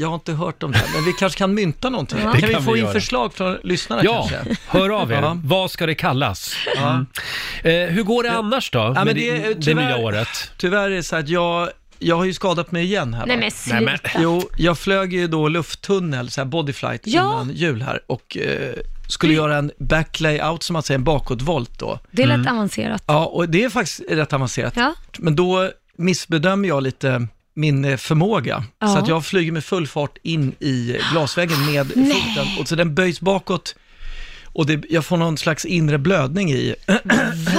Speaker 11: jag har inte hört om det. Men vi kanske kan mynta någonting.
Speaker 1: Det
Speaker 11: Kan,
Speaker 1: kan
Speaker 11: vi få
Speaker 1: vi
Speaker 11: in
Speaker 1: göra.
Speaker 11: förslag från lyssnarna
Speaker 1: Ja,
Speaker 11: kanske?
Speaker 1: hör av er.
Speaker 11: Ja.
Speaker 1: Vad ska det kallas?
Speaker 11: Ja.
Speaker 1: Eh, hur går det annars då,
Speaker 11: men
Speaker 1: med
Speaker 11: det är
Speaker 1: det, det
Speaker 11: tyvärr-
Speaker 1: nya året?
Speaker 11: Tyvärr är det så att jag, jag har ju skadat mig igen här. va?
Speaker 2: Nej men sluta.
Speaker 1: men-
Speaker 11: Jo, jag flög ju då lufttunnel, så här bodyflight,
Speaker 2: Ja.
Speaker 11: innan jul här och eh, skulle göra en backlayout, som man säger, en bakåtvolt då.
Speaker 2: Det lät
Speaker 1: Mm.
Speaker 2: avancerat.
Speaker 11: Ja, och det är faktiskt rätt avancerat.
Speaker 2: Ja.
Speaker 11: Men då missbedömer jag lite min eh, förmåga.
Speaker 2: Ja.
Speaker 11: Så att jag flyger med full fart in i glasväggen med foten. Och så den böjs bakåt och det, jag får någon slags inre blödning i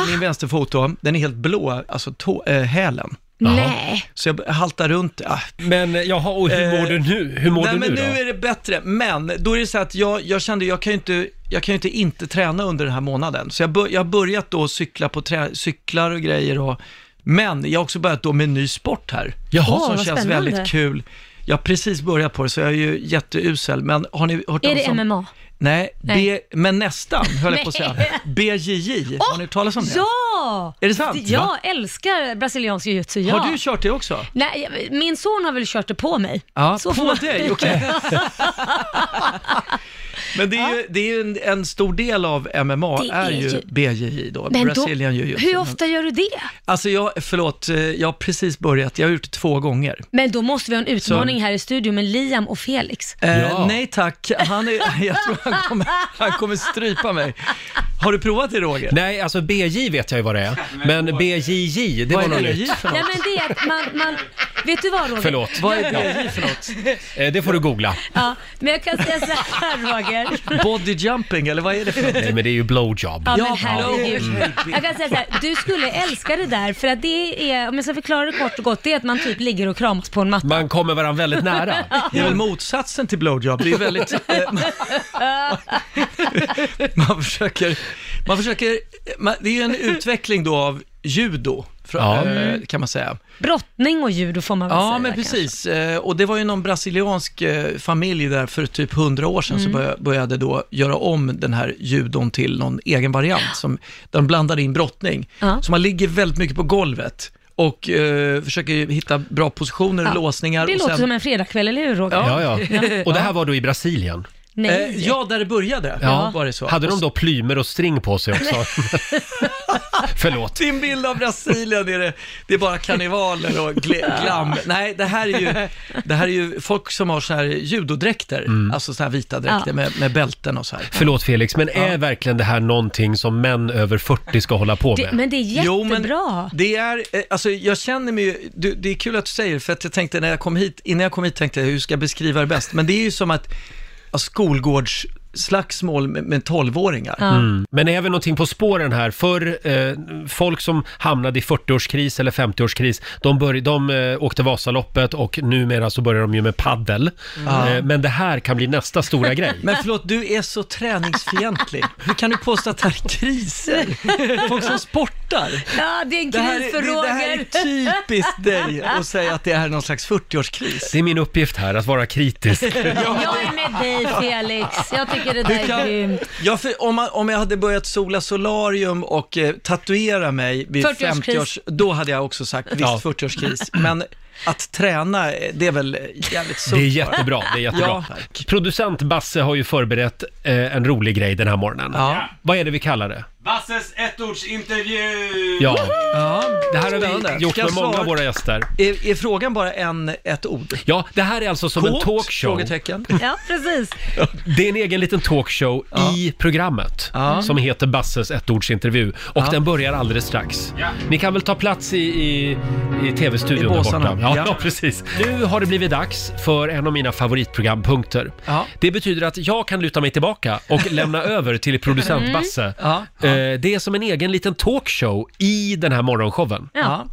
Speaker 11: min vänsterfot då. Den är helt blå, alltså tå, eh, hälen.
Speaker 2: Nej.
Speaker 11: Så jag haltar runt. Ah,
Speaker 1: Men eh, jaha, och hur
Speaker 11: Eh,
Speaker 1: mår du nu? Hur mår
Speaker 11: Nej,
Speaker 1: du
Speaker 11: men
Speaker 1: nu,
Speaker 11: nu
Speaker 1: då?
Speaker 11: är det bättre. Men då är det så att jag, jag kände, jag kan ju inte, jag kan ju inte inte träna under den här månaden. Så jag, bör, jag har börjat då cykla på trä, cyklar och grejer och, men jag har också börjat då med en ny sport här.
Speaker 1: Jaha.
Speaker 11: som
Speaker 2: Åh, vad
Speaker 11: känns
Speaker 2: spännande.
Speaker 11: väldigt kul. Jag har precis börjat på det, så jag är ju jätteusel. Men har ni hört
Speaker 2: Är
Speaker 11: talas
Speaker 2: det
Speaker 11: om...
Speaker 2: MMA?
Speaker 11: Nej,
Speaker 2: Nej.
Speaker 11: B, men nästan, höll jag på att säga. BJJ, har ni hört talas om det?
Speaker 2: Ja!
Speaker 11: Är det sant?
Speaker 2: Jag
Speaker 11: Va?
Speaker 2: älskar brasiliansk jiu-jitsu, ja.
Speaker 11: Har du kört det också?
Speaker 2: Nej, min son har väl kört det på mig.
Speaker 11: Ja,
Speaker 2: Så får
Speaker 11: på
Speaker 2: man-
Speaker 11: dig, okej. Men det är ju, det är ju en, en stor del av MMA
Speaker 2: Det
Speaker 11: är,
Speaker 2: är
Speaker 11: ju
Speaker 2: ju-
Speaker 11: BJJ då,
Speaker 2: Men då,
Speaker 11: Brazilian Jiu-Jitsu.
Speaker 2: hur ofta gör du det?
Speaker 11: Alltså jag, förlåt, eh, jag har precis börjat, jag har gjort det två gånger.
Speaker 2: Men då måste vi ha en utmaning här i studion med Liam och Felix.
Speaker 11: Eh,
Speaker 1: Ja.
Speaker 11: Nej tack, han är, jag tror han kommer, han kommer strypa mig. Har du provat det Roger?
Speaker 1: Nej, alltså BJ vet jag ju vad det är. Men BJJ, det
Speaker 11: Vad
Speaker 1: var
Speaker 11: är
Speaker 1: något
Speaker 11: BJJ
Speaker 1: nytt.
Speaker 11: för
Speaker 2: Nej
Speaker 11: något?
Speaker 2: men det är att man, man vet du vad Roger?
Speaker 1: Förlåt,
Speaker 11: Vad är BJJ för något?
Speaker 1: eh, det får du googla.
Speaker 2: Ja, men jag kan säga så här Roger.
Speaker 11: Body jumping eller vad är det för något?
Speaker 1: Nej, men det är ju blowjob.
Speaker 2: Ja, men
Speaker 11: Ja,
Speaker 2: herregud.
Speaker 11: blowjob.
Speaker 2: Jag kan säga så här, du skulle älska det där för att det är, om jag ska förklara det kort och gott, det är att man typ ligger och kramas på en matta.
Speaker 1: Man kommer varandra väldigt nära.
Speaker 11: Det är väl motsatsen till blowjob. Det är väldigt... eh, man, man försöker... Man försöker man, det är ju en utveckling då av judo, för,
Speaker 1: Ja.
Speaker 11: eh,
Speaker 2: Mm.
Speaker 11: kan man säga.
Speaker 2: Brottning och judo får man väl säga.
Speaker 11: Ja, men
Speaker 2: kanske.
Speaker 11: precis. Eh, Och det var ju någon brasiliansk eh, familj där för typ hundra år
Speaker 2: Mm.
Speaker 11: sedan så börja- började då göra om den här judon till någon egen variant, som, där de blandade in brottning.
Speaker 2: Ja.
Speaker 11: Så man ligger väldigt mycket på golvet och eh, försöker hitta bra positioner och låsningar.
Speaker 2: Det
Speaker 11: och
Speaker 2: låter
Speaker 11: sen,
Speaker 2: som en fredagkväll, eller hur Roger?
Speaker 1: Ja, ja. Och det här var då i Brasilien.
Speaker 6: Nej.
Speaker 11: Eh, ja, där det började
Speaker 1: Ja.
Speaker 11: var det så.
Speaker 1: Hade
Speaker 11: Och
Speaker 1: de
Speaker 11: så-
Speaker 1: då plymer och string på sig också? Förlåt.
Speaker 11: Din bild av Brasilien är det, det är bara karnevaler och gle- glam. Nej, det här är ju, det här är ju folk som har så här judodräkter, alltså så här vita dräkter
Speaker 6: Ja.
Speaker 11: med, med bälten och så här.
Speaker 1: Mm. Förlåt Felix, men är verkligen det här någonting som män över 40 ska hålla på
Speaker 6: Det,
Speaker 1: med?
Speaker 6: men det är jättebra.
Speaker 11: det är, eh, alltså jag känner mig ju, du, det är kul att du säger det, för att jag tänkte när jag kom hit, innan jag kom hit tänkte jag hur ska jag beskriva det bäst? Men det är ju som att ja, skolgårdsslagsmål med, med tolvåringar.
Speaker 1: Mm. Men är vi någonting på spåren här? För eh, folk som hamnade i 40-årskris eller 50-årskris, de, börj- de eh, åkte Vasaloppet och numera så börjar de ju med paddel.
Speaker 11: Mm.
Speaker 1: Eh, men det här kan bli nästa stora grej.
Speaker 11: Men förlåt, du är så träningsfientlig. Hur kan du påstå att det här är kriser? Folk som sportar.
Speaker 6: Ja, det är en
Speaker 11: Det här,
Speaker 6: kris
Speaker 11: är-
Speaker 6: för
Speaker 11: det, det här är
Speaker 6: Roger.
Speaker 11: typiskt dig att säga att det här är någon slags 40-årskris.
Speaker 1: Det är min uppgift här, att vara kritisk.
Speaker 6: Jag är med dig Felix. Jag tycker det
Speaker 11: Du
Speaker 6: där är
Speaker 11: kan-
Speaker 6: grymt.
Speaker 11: Ja, för om, man, om jag hade börjat sola solarium och eh, tatuera mig vid
Speaker 6: 40-årskris.
Speaker 11: 50-års... Då hade jag också sagt visst
Speaker 1: Ja.
Speaker 11: 40-årskris. Men att träna, eh, det är väl jävligt sunt.
Speaker 1: Det är
Speaker 11: bara.
Speaker 1: jättebra, det är jättebra.
Speaker 11: Ja, tack.
Speaker 1: Producent Basse har ju förberett eh, en rolig grej den här morgonen.
Speaker 11: Ja.
Speaker 1: Vad är det vi kallar det?
Speaker 7: Basses ettordsintervju!
Speaker 1: Ja,
Speaker 11: Ja,
Speaker 1: det här har
Speaker 11: Spännande.
Speaker 1: vi gjort
Speaker 11: Ska
Speaker 1: med
Speaker 11: jag
Speaker 1: många
Speaker 11: svara?
Speaker 1: av våra gäster.
Speaker 11: Är, är frågan bara en, ett ord?
Speaker 1: Ja, det här är alltså som en
Speaker 11: Kåt?
Speaker 1: talkshow.
Speaker 11: Frågetecken.
Speaker 6: Ja, precis.
Speaker 1: Det är en egen liten talkshow i programmet
Speaker 11: Ja.
Speaker 1: som heter Basses ettordsintervju och den börjar alldeles strax. Ni kan väl ta plats i, i, i
Speaker 11: I
Speaker 1: tv-studion där
Speaker 11: båsarna.
Speaker 1: borta? Ja,
Speaker 11: Ja.
Speaker 1: ja, precis. Nu har det blivit dags för en av mina favoritprogrampunkter.
Speaker 11: Ja.
Speaker 1: Det betyder att jag kan luta mig tillbaka och lämna över till producent Basse.
Speaker 11: Mm. Ja,
Speaker 1: Eh, Det är som en egen liten talkshow i den här morgonshowen.
Speaker 11: Ja.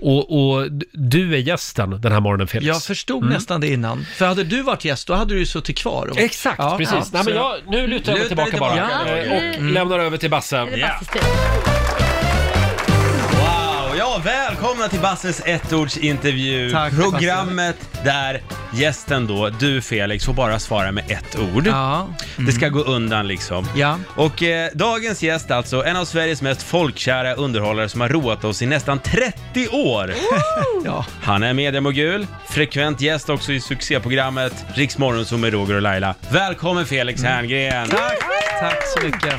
Speaker 1: Och, och d- du är gästen den här morgonen, Felix. Mm.
Speaker 11: Jag förstod
Speaker 7: Mm.
Speaker 11: nästan det innan. För hade du varit gäst, då hade du ju suttit kvar. Och...
Speaker 1: Exakt,
Speaker 11: Ja,
Speaker 1: precis.
Speaker 11: ja. Mm.
Speaker 1: Nej, men
Speaker 11: Så-
Speaker 1: jag, nu lutar jag mig
Speaker 7: Luta dig
Speaker 1: tillbaka bara
Speaker 7: tillbaka,
Speaker 1: Eh,
Speaker 7: Roger.
Speaker 1: och
Speaker 11: Mm.
Speaker 1: lämnar över till Basse.
Speaker 6: Basses tur.
Speaker 7: Wow! Ja, välkomna till Basses ettordsintervju.
Speaker 11: Tack,
Speaker 7: Programmet där gästen då, du Felix, får bara svara med ett ord.
Speaker 11: Ja. Mm.
Speaker 7: Det ska gå undan liksom.
Speaker 11: Ja.
Speaker 7: Och eh, dagens gäst alltså, en av Sveriges mest folkkära underhållare som har roat oss i nästan 30 år.
Speaker 11: ja.
Speaker 7: Han är mediamogul, frekvent gäst också i succéprogrammet Riks Morgonzoo med Roger och Laila. Välkommen Felix Herngren!
Speaker 11: Mm. Tack, tack så mycket.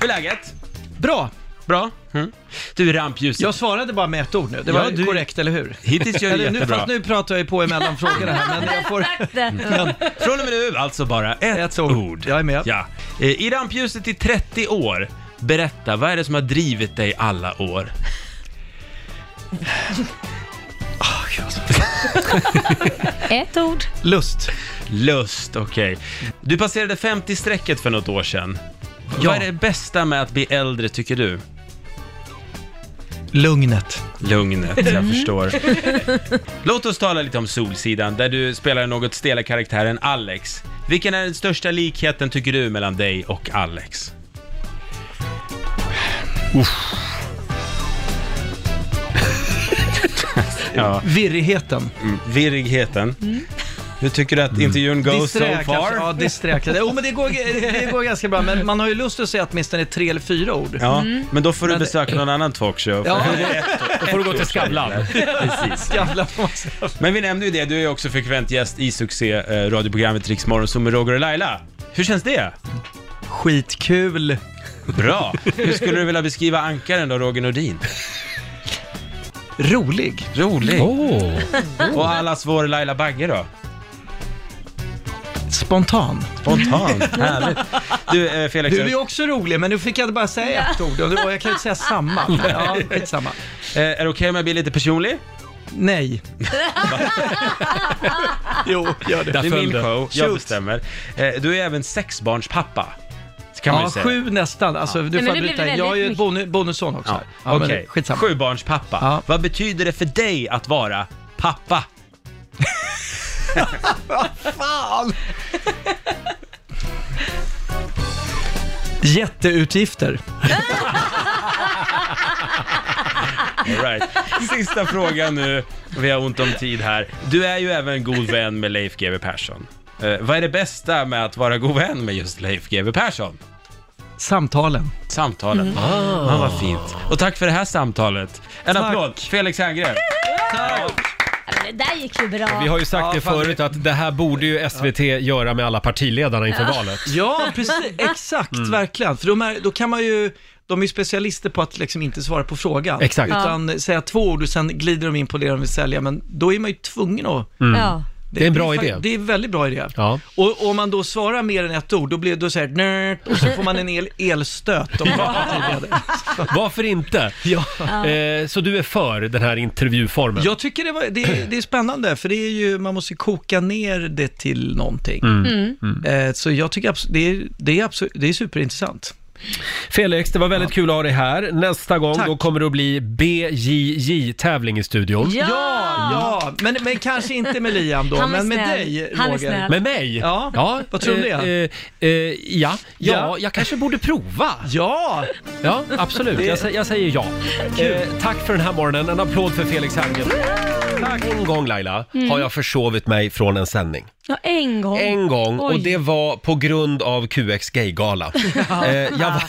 Speaker 7: Hur är läget?
Speaker 11: Bra.
Speaker 7: Bra? Mm. Du, rampljuset.
Speaker 11: Jag svarade bara med ett ord nu. Det
Speaker 7: Ja,
Speaker 11: var
Speaker 7: du-
Speaker 11: korrekt, eller hur?
Speaker 7: Hittills gör du
Speaker 11: Eller, nu,
Speaker 7: jättebra. Mm.
Speaker 11: fast nu pratar jag ju på emellan frågorna här, men jag får...
Speaker 6: Exakt
Speaker 1: Mm.
Speaker 6: det.
Speaker 7: Från och med nu alltså bara ett,
Speaker 11: Ett ord.
Speaker 7: ord.
Speaker 11: Jag är med.
Speaker 7: Ja. Eh, I rampljuset i 30 år, berätta, vad är det som har drivit dig alla år?
Speaker 6: Ett ord.
Speaker 11: Lust.
Speaker 7: Lust, okej. Du passerade 50-strecket för något år sedan.
Speaker 11: Ja.
Speaker 7: Vad är det bästa med att bli äldre, tycker du?
Speaker 11: Lugnet.
Speaker 7: Lugnet,
Speaker 11: Mm.
Speaker 7: jag förstår. Låt oss tala lite om Solsidan, där du spelar den något stela karaktären Alex. Vilken är den största likheten, tycker du, mellan dig och Alex? Uff. ja. Mm,
Speaker 11: Virrigheten. Mm.
Speaker 7: Virrigheten. Hur tycker du att intervjun goes so
Speaker 11: Disträ
Speaker 7: far?
Speaker 11: kanske. Ja, disträ kanske. Jo, men det går, det går ganska bra. Men man har ju lust att säga åtminstone tre eller fyra ord.
Speaker 7: Ja, men då får du
Speaker 11: Mm. Men-
Speaker 7: besöka någon annan talkshow.
Speaker 11: Ja.
Speaker 1: Då får du gå till Skavlan.
Speaker 7: Precis.
Speaker 11: Jävlar får man säga.
Speaker 7: Men vi nämnde ju det, du är ju också frekvent gäst i eh, succé-radioprogrammet Rix Morgonzoo med Roger och Laila. Hur känns det?
Speaker 11: Skitkul.
Speaker 7: Bra! Hur skulle du vilja beskriva ankaren då, Roger Nordin?
Speaker 11: Rolig.
Speaker 7: Rolig!
Speaker 1: Åh,
Speaker 7: Och allas vår Laila Bagge då?
Speaker 11: Spontan.
Speaker 7: Spontant, härligt. Du eh, Felix,
Speaker 11: Du är ju också rolig, men nu fick jag bara säga ett ord. Och det var- jag kan ju inte säga samma. Men, ja, skitsamma.
Speaker 7: eh, är det okej om jag blir lite personlig?
Speaker 11: Nej. jo, gör det.
Speaker 1: där
Speaker 7: Det är
Speaker 1: föll
Speaker 7: min
Speaker 1: det.
Speaker 7: show, jag
Speaker 11: Shoot.
Speaker 7: bestämmer. Eh, du är även sexbarnspappa. Kan man
Speaker 11: Ja,
Speaker 7: ju säga.
Speaker 11: sju nästan. Alltså, nu
Speaker 6: men
Speaker 11: får
Speaker 6: nu
Speaker 11: jag
Speaker 6: blir det
Speaker 11: bryta in. Jag är ju
Speaker 6: väldigt
Speaker 11: bonu- bonusson också.
Speaker 7: Ja,
Speaker 11: här. Ja, men
Speaker 7: Okej,
Speaker 11: Skitsamma.
Speaker 7: sjubarnspappa.
Speaker 11: Ja.
Speaker 7: Vad betyder det för dig att vara pappa?
Speaker 11: Fan! Jätteutgifter.
Speaker 7: All right. Sista frågan nu, vi har ont om tid här. Du är ju även god vän med Leif GW Persson. Eh, vad är det bästa med att vara god vän med just Leif GW Persson?
Speaker 11: Samtalen.
Speaker 7: Samtalen. Ah, vad fint. Och tack för det här samtalet. En applåd, Felix Herngren.
Speaker 6: Ja,
Speaker 2: det där gick ju bra.
Speaker 1: Vi har ju sagt
Speaker 11: Ja,
Speaker 1: det
Speaker 11: fan,
Speaker 1: förut
Speaker 11: det-
Speaker 1: att det här borde ju SVT göra med alla partiledarna inför valet. Mm.
Speaker 11: Ja, precis. Exakt, verkligen. För de är, då kan man ju, de är ju specialister på att liksom inte svara på frågan.
Speaker 1: Exakt.
Speaker 11: Utan säga två ord och sen glider de in på det de vill sälja. Men då är man ju tvungen att...
Speaker 2: Ja.
Speaker 1: Mm. Det är en bra
Speaker 11: fakt-
Speaker 1: idé.
Speaker 11: Det är en väldigt bra idé.
Speaker 1: Ja.
Speaker 11: Och och om man då svarar mer än ett ord, då blir det så här nerd, och så får man en el, elstöt. Om man ja.
Speaker 1: Varför inte? Eh, så du är för den här intervjuformen?
Speaker 11: Jag tycker det, var, det, det är spännande, för det är ju, man måste ju koka ner det till någonting.
Speaker 1: Mm.
Speaker 10: Mm.
Speaker 11: Eh, Så jag tycker abs- det är, det, är absolut, det är superintressant.
Speaker 1: Felix, det var väldigt kul att ha dig här. Nästa gång
Speaker 11: Tack.
Speaker 1: då kommer det att bli BJJ-tävling i studion.
Speaker 2: Ja!
Speaker 11: Ja, men, men kanske inte med Liam då,
Speaker 2: Han är
Speaker 11: men med
Speaker 2: snäll.
Speaker 11: dig
Speaker 2: Han är
Speaker 11: Roger.
Speaker 2: snäll.
Speaker 1: Med mig?
Speaker 11: Ja. Vad tror du om det?
Speaker 1: Eh, eh, eh, ja. ja,
Speaker 11: Ja.
Speaker 1: jag kanske borde prova.
Speaker 11: Ja,
Speaker 1: Ja, absolut. Jag, sä- jag säger ja. Eh, tack för den här morgonen. En applåd för Felix Herngren. En gång Laila har jag försovit mig från en sändning.
Speaker 2: ja, en gång.
Speaker 1: En gång och
Speaker 2: Oj.
Speaker 1: det var på grund av QX Gaygala. eh, jag, va-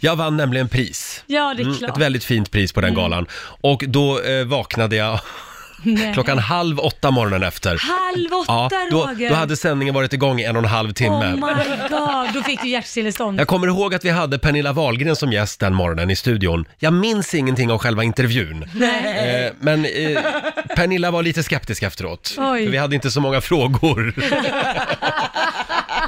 Speaker 1: jag vann nämligen pris. Mm,
Speaker 2: Ja, det är
Speaker 1: Ett
Speaker 2: klart. Mm.
Speaker 1: väldigt fint pris på den galan. Och då eh, vaknade jag
Speaker 2: Nej.
Speaker 1: klockan halv åtta morgonen efter.
Speaker 2: Halv åtta,
Speaker 1: Ja, då,
Speaker 2: Roger.
Speaker 1: då hade sändningen varit igång i en och en halv
Speaker 2: Oh
Speaker 1: timme.
Speaker 2: my god, då fick du hjärtstillestånd.
Speaker 1: Jag kommer ihåg att vi hade Pernilla Wahlgren som gäst den morgonen i studion. Jag minns ingenting av själva intervjun. Eh, men eh, Pernilla var lite skeptisk efteråt.
Speaker 2: Oj.
Speaker 1: För vi hade inte så många frågor.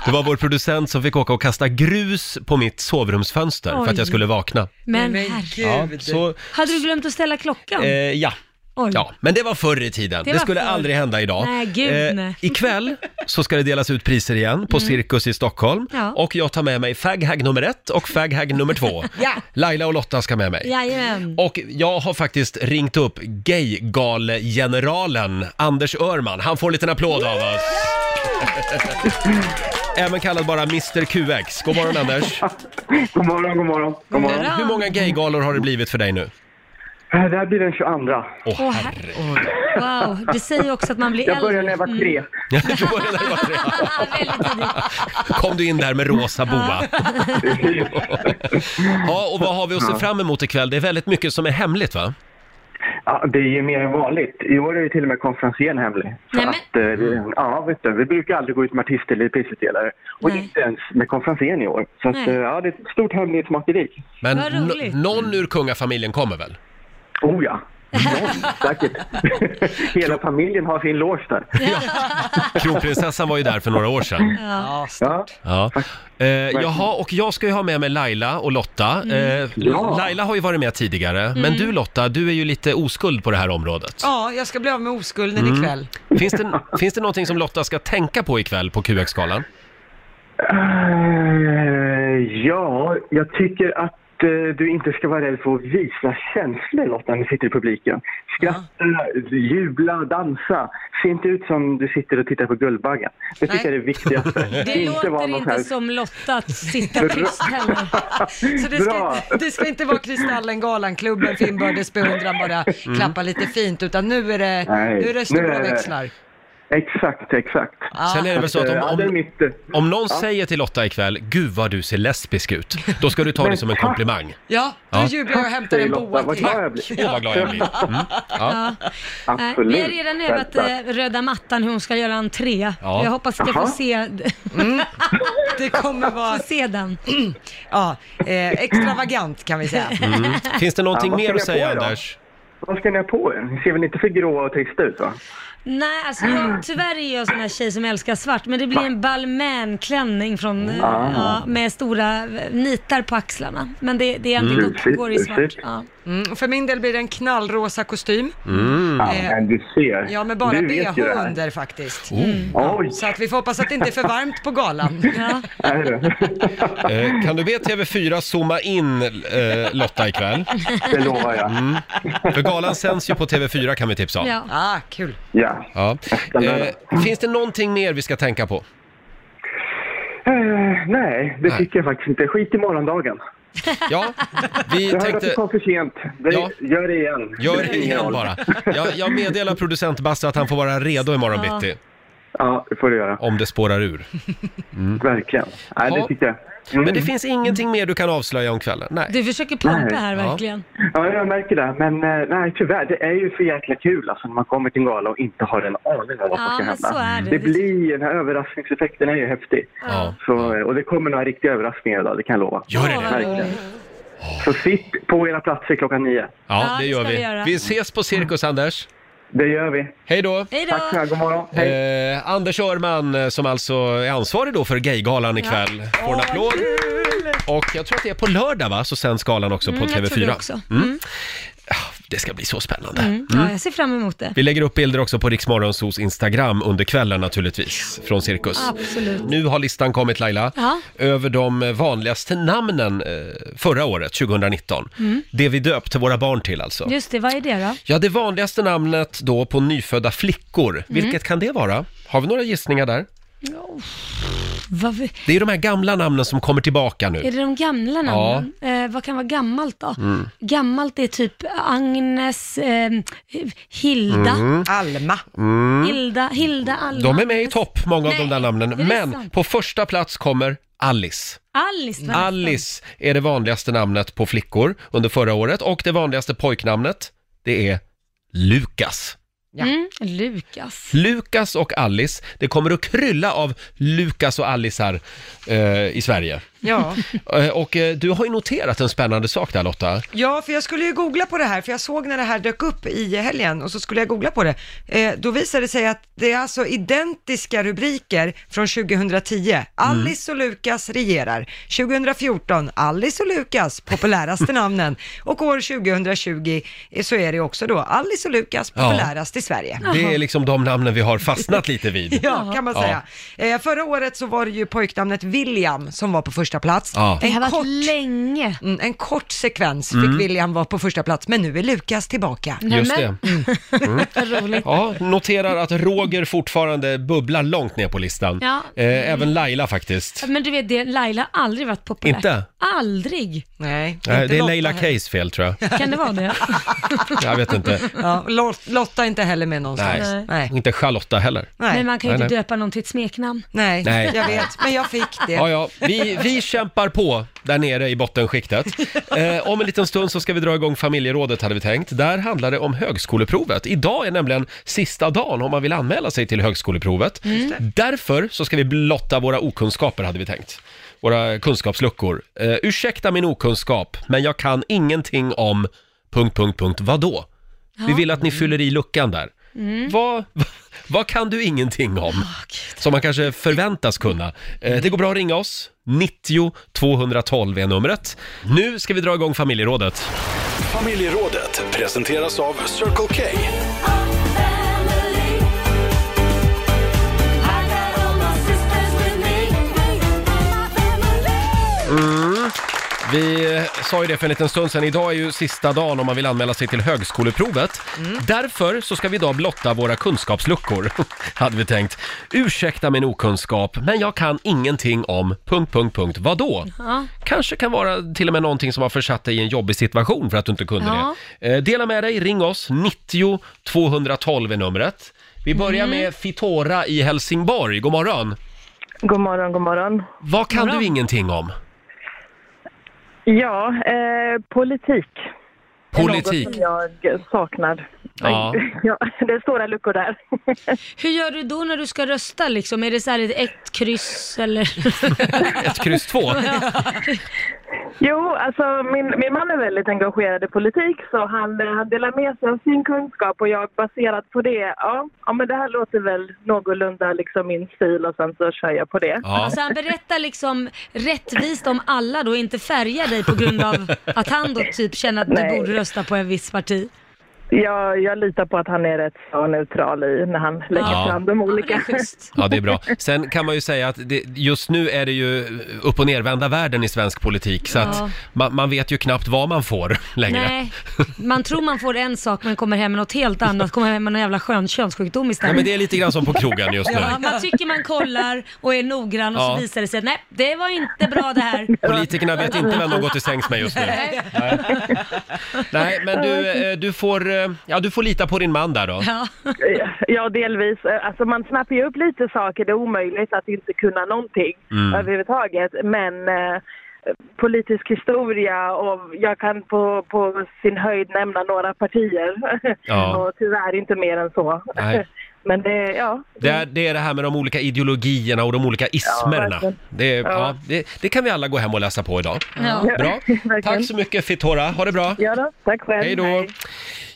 Speaker 1: Det var vår producent som fick åka och kasta grus på mitt sovrumsfönster för att
Speaker 2: Oj.
Speaker 1: jag skulle vakna.
Speaker 2: Men herregud.
Speaker 1: Ja, så,
Speaker 2: Hade du glömt att ställa klockan?
Speaker 1: eh, ja.
Speaker 2: Oj.
Speaker 1: ja, men det var förr i tiden. Det,
Speaker 2: Det var
Speaker 1: skulle
Speaker 2: förr.
Speaker 1: aldrig hända idag.
Speaker 2: Nej, gud, nej. Mm.
Speaker 1: ikväll så ska det delas ut priser igen på Cirkus i Stockholm.
Speaker 2: Ja.
Speaker 1: Och jag tar med mig faghag nummer ett och faghag nummer två.
Speaker 2: Ja.
Speaker 1: Laila och Lotta ska med mig.
Speaker 2: Jajamän.
Speaker 1: Och jag har faktiskt ringt upp gaygalegeneralen Anders Örman. Han får en liten applåd av oss. Även kallad bara Mr QX. God morgon Anders.
Speaker 9: God morgon, god morgon. God morgon.
Speaker 2: Bra.
Speaker 1: Hur många gaygalor har det blivit för dig nu?
Speaker 9: Eh, Det här blir den 22.
Speaker 1: Åh
Speaker 2: Åh,
Speaker 1: herre.
Speaker 2: herre. Wow, det säger också att man blir Mm.
Speaker 9: Jag
Speaker 2: äldre.
Speaker 9: började när jag var tre.
Speaker 1: Du började när du var tre.
Speaker 2: Ah, väldigt tidigt.
Speaker 1: Kom du in där med rosa boa. Ja, och vad har vi att se fram emot ikväll? Det är väldigt mycket som är hemligt va?
Speaker 9: Ja, det är ju mer än vanligt. I år är ju till och med konferensen hemlig. Så
Speaker 2: Nej, men-
Speaker 9: att, eh, vi- ja, vet du, vi brukar aldrig gå ut med artister eller prisutdelare. Och
Speaker 2: Nej.
Speaker 9: inte ens med konferensen i år. Så att,
Speaker 2: Nej.
Speaker 9: eh, ja, det är ett stort hemlighetsmakeri.
Speaker 1: Men
Speaker 2: Vad
Speaker 1: no-
Speaker 2: roligt.
Speaker 1: någon ur kungafamiljen kommer väl?
Speaker 9: Oh ja. Någon, säkert. Hela familjen har sin loge där.
Speaker 1: Kronprinsessan var ju där för några år sedan.
Speaker 9: Ja.
Speaker 1: Ja. Eh, jaha, och jag ska ju ha med mig Laila och Lotta.
Speaker 4: Mm.
Speaker 1: Eh,
Speaker 9: Ja.
Speaker 1: Laila har ju varit med tidigare, men du Lotta, du är ju lite oskuld på det här området.
Speaker 4: Ja, jag ska bli av med oskulden
Speaker 1: Mm.
Speaker 4: ikväll.
Speaker 1: Finns, det, finns det någonting som Lotta ska tänka på ikväll på QX-galan?
Speaker 9: Eh, ja, jag tycker att eh, du inte ska vara rädd för att visa känslor Lotta när du sitter i publiken. Skratta, jubla, dansa. Se inte ut som du sitter och tittar på Guldbaggen. Det tycker jag är det viktigaste.
Speaker 2: Det låter inte som Lotta att sitta tyst heller.
Speaker 4: Så det ska,
Speaker 9: Bra.
Speaker 4: det ska inte vara Kristallengalan-klubben för inbördes beundran bara
Speaker 1: Mm.
Speaker 4: klappa lite fint, utan nu är det,
Speaker 9: Nej,
Speaker 4: nu är det
Speaker 9: nu
Speaker 4: stora
Speaker 9: är det-
Speaker 4: växlar.
Speaker 9: Exakt, exakt.
Speaker 1: Sen är det väl så att
Speaker 9: Eh, ja,
Speaker 1: om,
Speaker 9: det är
Speaker 1: om,
Speaker 9: mitt... eh,
Speaker 1: om någon säger till Lotta ikväll, gud vad du ser lesbisk ut, då ska du ta det som en komplimang.
Speaker 4: Ja, då
Speaker 1: Ja.
Speaker 4: jublar jag och hämtar
Speaker 9: Säger
Speaker 4: en
Speaker 9: Lotta,
Speaker 4: boa
Speaker 9: vad
Speaker 4: till.
Speaker 9: glad jag blir.
Speaker 1: Åh vad glad jag blir. Mm. Ja.
Speaker 2: Ja. Nej,
Speaker 9: Absolut.
Speaker 2: Vi har redan övat
Speaker 9: Självklart.
Speaker 2: eh, röda mattan hur hon ska göra entré.
Speaker 1: Ja. Mm.
Speaker 2: Jag hoppas att jag får
Speaker 9: Jaha.
Speaker 2: se,
Speaker 4: Det kommer vara
Speaker 2: får se den.
Speaker 4: ja, eh, extravagant kan vi säga.
Speaker 1: Mm. Finns det någonting
Speaker 9: Ja, vad
Speaker 1: mer
Speaker 9: ska
Speaker 1: att
Speaker 9: jag
Speaker 1: säga
Speaker 9: på då?
Speaker 1: Anders?
Speaker 9: Vad ska ni ha på er? Ni ser väl inte för gråa och trista ut va?
Speaker 2: Nej, alltså jag, tyvärr är jag sån här tjej som älskar svart, men det blir en Balmain-klänning från, eh,
Speaker 9: Ah.
Speaker 2: ja, med stora eh, nitar på axlarna. Men det, det är alltid
Speaker 9: Mm.
Speaker 2: gott, det går i svart.
Speaker 9: Precis.
Speaker 2: Ja.
Speaker 4: Mm, för min del blir det en knallrosa kostym.
Speaker 2: Mm.
Speaker 9: Mm. Ja,
Speaker 4: Eh,
Speaker 9: men du ser.
Speaker 4: Ja, med bara
Speaker 9: du vet
Speaker 4: bh
Speaker 9: ju det här. Mm.
Speaker 4: under faktiskt.
Speaker 9: Oj,
Speaker 4: Så att vi får hoppas att det inte är för varmt på galan.
Speaker 9: är det?
Speaker 1: Eh, kan du be TV4 zooma in eh, Lotta ikväll? Mm.
Speaker 9: Det lovar jag.
Speaker 1: För galan sänds ju på TV4 kan vi tipsa om.
Speaker 2: Ja.
Speaker 4: Ah, kul.
Speaker 9: Ja.
Speaker 1: Ja.
Speaker 9: Spännande.
Speaker 1: Eh, finns det någonting mer vi ska tänka på?
Speaker 9: Eh, nej, det
Speaker 1: Nej.
Speaker 9: tycker jag faktiskt inte. Skit i morgondagen.
Speaker 1: Ja, vi
Speaker 9: Jag hörde att
Speaker 1: tänkte...
Speaker 9: du kom för sent. Det,
Speaker 1: Ja.
Speaker 9: Gör det igen.
Speaker 1: Gör
Speaker 9: spelar
Speaker 1: det
Speaker 9: ingen
Speaker 1: igen
Speaker 9: roll.
Speaker 1: bara. Jag, jag meddelar producent Basse att han får vara redo imorgon
Speaker 2: Ja.
Speaker 1: bitti.
Speaker 9: Ja, det får du göra.
Speaker 1: om det spårar ur. Mm.
Speaker 9: Verkligen. Nej,
Speaker 1: Ja.
Speaker 9: det tycker jag. Mm.
Speaker 1: Men det finns ingenting mer du kan avslöja om kvällen? Nej.
Speaker 2: Du försöker pumpa
Speaker 9: Nej.
Speaker 2: här
Speaker 1: Ja.
Speaker 2: verkligen.
Speaker 9: Ja, jag märker det. Men eh, nej, tyvärr, det är ju för jäkla kul alltså, när man kommer till en gala och inte har en aning om vad som
Speaker 2: Ja,
Speaker 9: ska
Speaker 2: men
Speaker 9: hända.
Speaker 2: så är det.
Speaker 9: det blir, den här överraskningseffekten är ju häftig.
Speaker 1: Ja.
Speaker 9: Så, eh, och det kommer några riktiga överraskningar idag, det kan jag lova.
Speaker 1: Gör det det?
Speaker 9: Verkligen. Så sitt på era platser klockan nio.
Speaker 1: Ja,
Speaker 2: Ja,
Speaker 1: det
Speaker 2: det
Speaker 1: gör
Speaker 2: ska vi
Speaker 1: vi.
Speaker 2: göra.
Speaker 1: Vi ses på Cirkus, Anders.
Speaker 9: Det gör vi.
Speaker 1: Hej då!
Speaker 2: Hej då!
Speaker 9: Tack så mycket, god morgon. Hej.
Speaker 1: Eh, Anders Örman, eh, som alltså är ansvarig då för Gaygalan ikväll, får en applåd. Och jag tror att det är på lördag va, så sänds galan också på
Speaker 2: Mm, jag tror
Speaker 1: TV4.
Speaker 2: det också.
Speaker 1: Det ska bli så spännande. Mm.
Speaker 2: Ja, jag ser fram emot det.
Speaker 1: Vi lägger upp bilder också på Riksmorgonsos Instagram under kvällen naturligtvis, från Cirkus.
Speaker 2: Absolut.
Speaker 1: Nu har listan kommit Laila,
Speaker 2: Ja.
Speaker 1: över de vanligaste namnen eh, förra året, 2019. Det vi döpte våra barn till alltså.
Speaker 2: Mm. Just det, vad är det då?
Speaker 1: Ja, det vanligaste namnet då på nyfödda flickor,
Speaker 2: Mm.
Speaker 1: vilket kan det vara? Har vi några gissningar där?
Speaker 2: Vad, vi-
Speaker 1: Det är de här gamla namnen som kommer tillbaka nu.
Speaker 2: är det de gamla namnen? Eh, vad kan vara gammalt då?
Speaker 4: Mm.
Speaker 2: Gammalt är typ Agnes, eh, Hilda,
Speaker 4: Mm. Alma. Mm.
Speaker 2: Hilda, Hilda, Alma.
Speaker 1: Mm. De är med i topp, många av de
Speaker 2: Nej,
Speaker 1: där namnen.
Speaker 2: är det
Speaker 1: Men
Speaker 2: sant?
Speaker 1: på första plats kommer Alice.
Speaker 2: Alice. vad är det?
Speaker 1: Alice är det vanligaste namnet på flickor under förra året och det vanligaste pojknamnet, det är Lukas.
Speaker 4: Ja.
Speaker 2: Mm, Lukas.
Speaker 1: Lukas och Alice, det kommer att krylla av Lukas och Alicear eh, i Sverige.
Speaker 4: Ja.
Speaker 1: Eh, och eh, du har ju noterat en spännande sak där Lotta.
Speaker 4: ja, för jag skulle ju googla på det här, för jag såg när det här dök upp i helgen och så skulle jag googla på det. Eh, då visade det sig att det är alltså identiska rubriker från 2010. Alice och Lukas regerar. 2014, Alice och Lukas, populäraste namnen. Och år 2020 eh, så är det också då Alice och Lukas,
Speaker 1: Ja.
Speaker 4: populärast i Sverige.
Speaker 1: Det är liksom de namnen vi har fastnat lite vid.
Speaker 4: Ja, kan man säga. Eh, förra året så var det ju pojknamnet William som var på första plats.
Speaker 1: Ja. Mm.
Speaker 2: Det har
Speaker 4: En,
Speaker 2: varit
Speaker 4: kort,
Speaker 2: länge.
Speaker 4: mm, en kort sekvens fick William vara på första plats, men nu är Lukas tillbaka. Mm.
Speaker 1: Just det.
Speaker 2: Nämen. Vad roligt.
Speaker 1: Mm. Ja, noterar att Roger fortfarande bubblar långt ner på listan.
Speaker 2: Ja.
Speaker 1: Eh, även Laila faktiskt.
Speaker 2: Men du vet det, Laila har aldrig varit populär.
Speaker 1: Inte?
Speaker 2: Aldrig.
Speaker 4: Nej,
Speaker 1: Nej,
Speaker 4: inte
Speaker 1: Eh, det är
Speaker 4: Lotta
Speaker 1: Leila
Speaker 4: heller.
Speaker 1: Kays fel tror jag.
Speaker 2: Kan det vara det?
Speaker 1: Jag vet inte.
Speaker 4: Ja, Lot- Lotta är inte heller med någonstans.
Speaker 1: Nej.
Speaker 4: Nej.
Speaker 1: Och Inte Charlotta heller.
Speaker 2: Men
Speaker 4: Nej.
Speaker 2: man kan ju
Speaker 1: Nej,
Speaker 2: inte döpa någon till ett smeknamn.
Speaker 4: Nej.
Speaker 1: Nej.
Speaker 4: jag vet, men jag fick det.
Speaker 1: Ja, ja. Vi, vi kämpar på där nere i bottenskiktet. Eh, om en liten stund så ska vi dra igång familjerådet hade vi tänkt. Där handlar det om högskoleprovet. Idag är nämligen sista dagen om man vill anmäla sig till högskoleprovet. Därför så ska vi blotta våra okunskaper hade vi tänkt. Våra kunskapsluckor. Eh, ursäkta min okunskap, men jag kan ingenting om... Punkt, punkt, punkt. Vadå? Vi vill att ni fyller i luckan där. Vad, vad kan du ingenting om? som man kanske förväntas kunna. Eh, Det går bra att ringa oss. 90 212 är numret. Nu ska vi dra igång familjerådet.
Speaker 12: Familjerådet presenteras av Circle K.
Speaker 1: Vi eh, sa ju det för en liten stund sedan. Idag är ju sista dagen om man vill anmäla sig till högskoleprovet. Därför så ska vi idag blotta våra kunskapsluckor, hade vi tänkt. Ursäkta min okunskap, men jag kan ingenting om... Punkt, punkt, punkt. Vadå?
Speaker 2: Ja.
Speaker 1: Kanske kan vara till och med någonting som har försatt dig i en jobbig situation för att du inte kunde
Speaker 2: Ja.
Speaker 1: det. Eh, Dela med dig, ring oss, 90 212 är numret. Vi börjar
Speaker 2: Mm.
Speaker 1: med Fitora i Helsingborg, god morgon.
Speaker 10: God morgon, god morgon.
Speaker 1: Vad kan du ingenting om?
Speaker 10: Ja, eh, politik.
Speaker 1: Politik.
Speaker 10: Något som jag saknar.
Speaker 1: Ja.
Speaker 10: ja, det är stora luckor där.
Speaker 2: Hur gör du då när du ska rösta liksom? Är det så här ett- ett kryss eller?
Speaker 1: Ett kryss två.
Speaker 10: Jo, alltså min, min man är väldigt engagerad i politik så han, eh, han delar med sig av sin kunskap och jag baserat på det, ja, ja men det här låter väl någorlunda liksom min stil och sen så kör jag på det.
Speaker 1: Ja.
Speaker 2: Alltså han berättar liksom rättvist om alla då, inte färgar dig på grund av att han då typ känner att du
Speaker 10: Nej.
Speaker 2: borde rösta på en viss parti.
Speaker 10: Jag, jag litar på att han är rätt så neutral i när han lägger
Speaker 1: Ja.
Speaker 10: fram de
Speaker 2: Ja, men det är
Speaker 10: olika.
Speaker 2: schysst.
Speaker 1: Ja, det är bra. Sen kan man ju säga att det, just nu är det ju upp och nervända världen i svensk politik, så att
Speaker 2: Ja.
Speaker 1: man, man vet ju knappt vad man får längre.
Speaker 2: Nej, man tror man får en sak men kommer hem med något helt annat, kommer hem med någon jävla skön könssjukdom
Speaker 1: Ja,
Speaker 2: istället.
Speaker 1: men det är lite grann som på krogen just nu.
Speaker 2: Ja, man tycker man kollar och är noggrann och
Speaker 1: Ja.
Speaker 2: så visar det sig att nej, det var inte bra det här.
Speaker 1: Politikerna vet inte vem de går till sängs med just nu. Nej, Nej men du, eh, du får eh, eh, ja du får lita på din man där då.
Speaker 2: Ja.
Speaker 10: Ja, delvis. Eh, Alltså man snappar ju upp lite saker. Det är omöjligt att inte kunna någonting
Speaker 1: Mm.
Speaker 10: överhuvudtaget. Men eh, politisk historia och jag kan på, på sin höjd nämna några partier.
Speaker 1: Ja.
Speaker 10: och tyvärr inte mer än så.
Speaker 1: Nej.
Speaker 10: Men det, ja.
Speaker 1: Det är, det är det här med de olika ideologierna och de olika ismerna.
Speaker 10: verkligen.
Speaker 1: det, är- ja, det, det kan vi alla gå hem och läsa på idag.
Speaker 2: Ja.
Speaker 1: Bra.
Speaker 10: Verkligen.
Speaker 1: Tack så mycket Fittora, ha det bra.
Speaker 10: Ja då, tack själv.
Speaker 1: Hej då!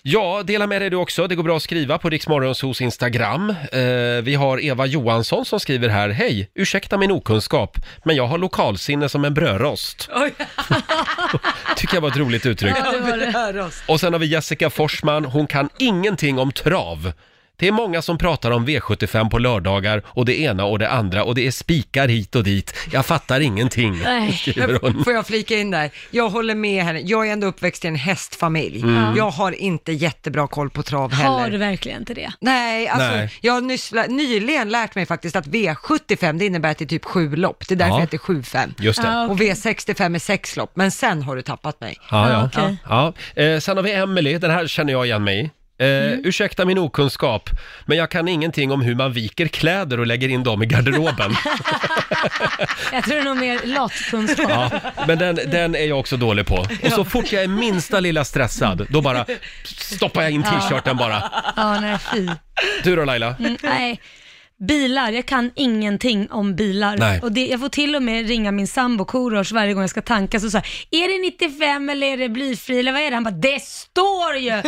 Speaker 1: Ja, dela med dig du också. Det går bra att skriva på Riksmorgonsos Instagram. Eh, vi har Eva Johansson som skriver här. Hej! Ursäkta min okunskap, men jag har lokalsinne som en brödrost. Tycker jag var ett roligt uttryck. Och sen har vi Jessica Forsman. Hon kan ingenting om trav. Det är många som pratar om V75 på lördagar och det ena och det andra och det är spikar hit och dit. Jag fattar ingenting,
Speaker 2: Nej.
Speaker 1: skriver
Speaker 4: Men
Speaker 1: hon.
Speaker 4: får jag flika in där? Jag håller med henne. Jag är ändå uppväxt i en hästfamilj.
Speaker 1: Mm.
Speaker 4: Mm. Jag har inte jättebra koll på trav heller.
Speaker 2: Har du verkligen inte det?
Speaker 4: Nej, alltså
Speaker 1: Nej.
Speaker 4: jag har nyss, lä- nyligen lärt mig faktiskt att V75 det innebär att det är typ sju lopp. Det är därför
Speaker 1: Ja.
Speaker 4: jag heter 75.
Speaker 1: Just det.
Speaker 4: Och V65 är sex lopp, men sen har du tappat mig.
Speaker 1: Ja, ja.
Speaker 2: okej.
Speaker 1: ja. Eh, sen har vi Emily, den här känner jag igen mig i. Eh, Ursäkta min okunskap, men jag kan ingenting om hur man viker kläder och lägger in dem i garderoben.
Speaker 2: Jag tror det är nog mer latkunskap.
Speaker 1: ja, men den, den är jag också dålig på. Och så fort jag är minsta lilla stressad, då bara stoppar jag in t-shirten bara.
Speaker 2: Ja, nej fy.
Speaker 1: Du då Laila?
Speaker 2: Mm, nej. Bilar, jag kan ingenting om bilar.
Speaker 1: Nej.
Speaker 2: Och det, jag får till och med ringa min sambo Korosh varje gång jag ska tanka så säger är det 95 eller är det blyfri eller vad är det? Han bara, det står ju! ja,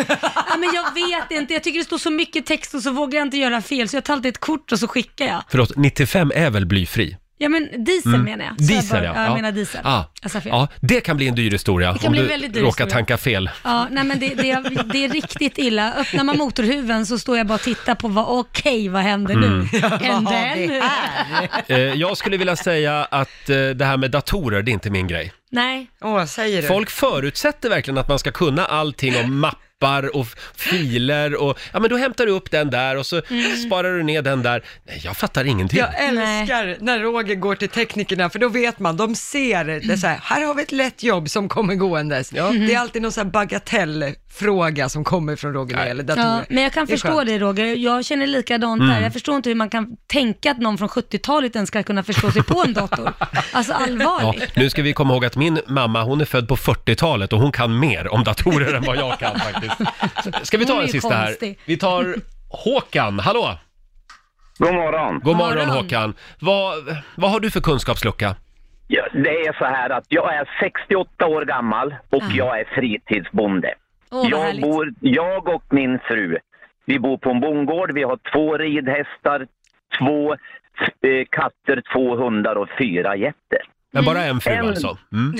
Speaker 2: men jag vet inte, jag tycker det står så mycket text och så vågar jag inte göra fel så jag tar alltid ett kort och så skickar jag.
Speaker 1: Förlåt, 95 är väl blyfri?
Speaker 2: Ja men diesel menar jag. Så jag
Speaker 1: Mm. Diesel
Speaker 2: bara,
Speaker 1: ja.
Speaker 2: Jag menar diesel.
Speaker 1: Ah.
Speaker 2: Jag sa fel.
Speaker 1: Ja, det kan bli en dyr historia
Speaker 2: kan
Speaker 1: om
Speaker 2: bli
Speaker 1: du
Speaker 2: en väldigt dyr
Speaker 1: råkar
Speaker 2: historia.
Speaker 1: tanka fel.
Speaker 2: Ja, nej men det, det, är- det är riktigt illa. Öppnar man motorhuven så står jag bara och tittar på vad, okej vad händer nu?
Speaker 1: Mm.
Speaker 4: Ja,
Speaker 2: Händer
Speaker 4: det
Speaker 2: nu?
Speaker 4: här.
Speaker 1: Eh, jag skulle vilja säga att eh, det här med datorer, det är inte min grej.
Speaker 2: Nej,
Speaker 4: Åh, säger du?
Speaker 1: Folk förutsätter verkligen att man ska kunna allting om mappar och f- filer och ja men då hämtar du upp den där och så
Speaker 2: Mm.
Speaker 1: sparar du ner den där. Nej, jag fattar ingenting.
Speaker 4: Jag älskar när Roger går till teknikerna, för då vet man, de ser det så här, här har vi ett lätt jobb som kommer gåendes. Det är alltid någon så här bagatellfråga som kommer från Roger när det gäller datorer.
Speaker 2: ja, men jag kan
Speaker 4: Det är
Speaker 2: förstå
Speaker 4: skönt.
Speaker 2: dig Roger. Jag känner likadant
Speaker 1: Mm.
Speaker 2: där. Jag förstår inte hur man kan tänka att någon från 70-talet ens ska kunna förstå sig på en dator. Alltså
Speaker 1: Ja,
Speaker 2: allvarligt.
Speaker 1: nu ska vi komma ihåg att min mamma, hon är född på 40-talet och hon kan mer om datorer än vad jag kan faktiskt. Så, Ska vi ta
Speaker 2: Hon är
Speaker 1: en
Speaker 2: ju
Speaker 1: sista här?
Speaker 2: konstig.
Speaker 1: Vi tar Håkan, hallå!
Speaker 9: God morgon.
Speaker 1: God morgon,
Speaker 2: morgon.
Speaker 1: Håkan. Vad, vad har du för kunskapslucka?
Speaker 9: Ja, det är så här att jag är 68 år gammal och jag är fritidsbonde.
Speaker 2: Ah. Åh, vad
Speaker 9: jag,
Speaker 2: härligt.
Speaker 9: bor, jag och min fru, vi bor på en bondgård. Vi har två ridhästar, två eh, katter, två hundar och fyra getter.
Speaker 1: Men bara en fru
Speaker 9: En-
Speaker 1: alltså? Mm.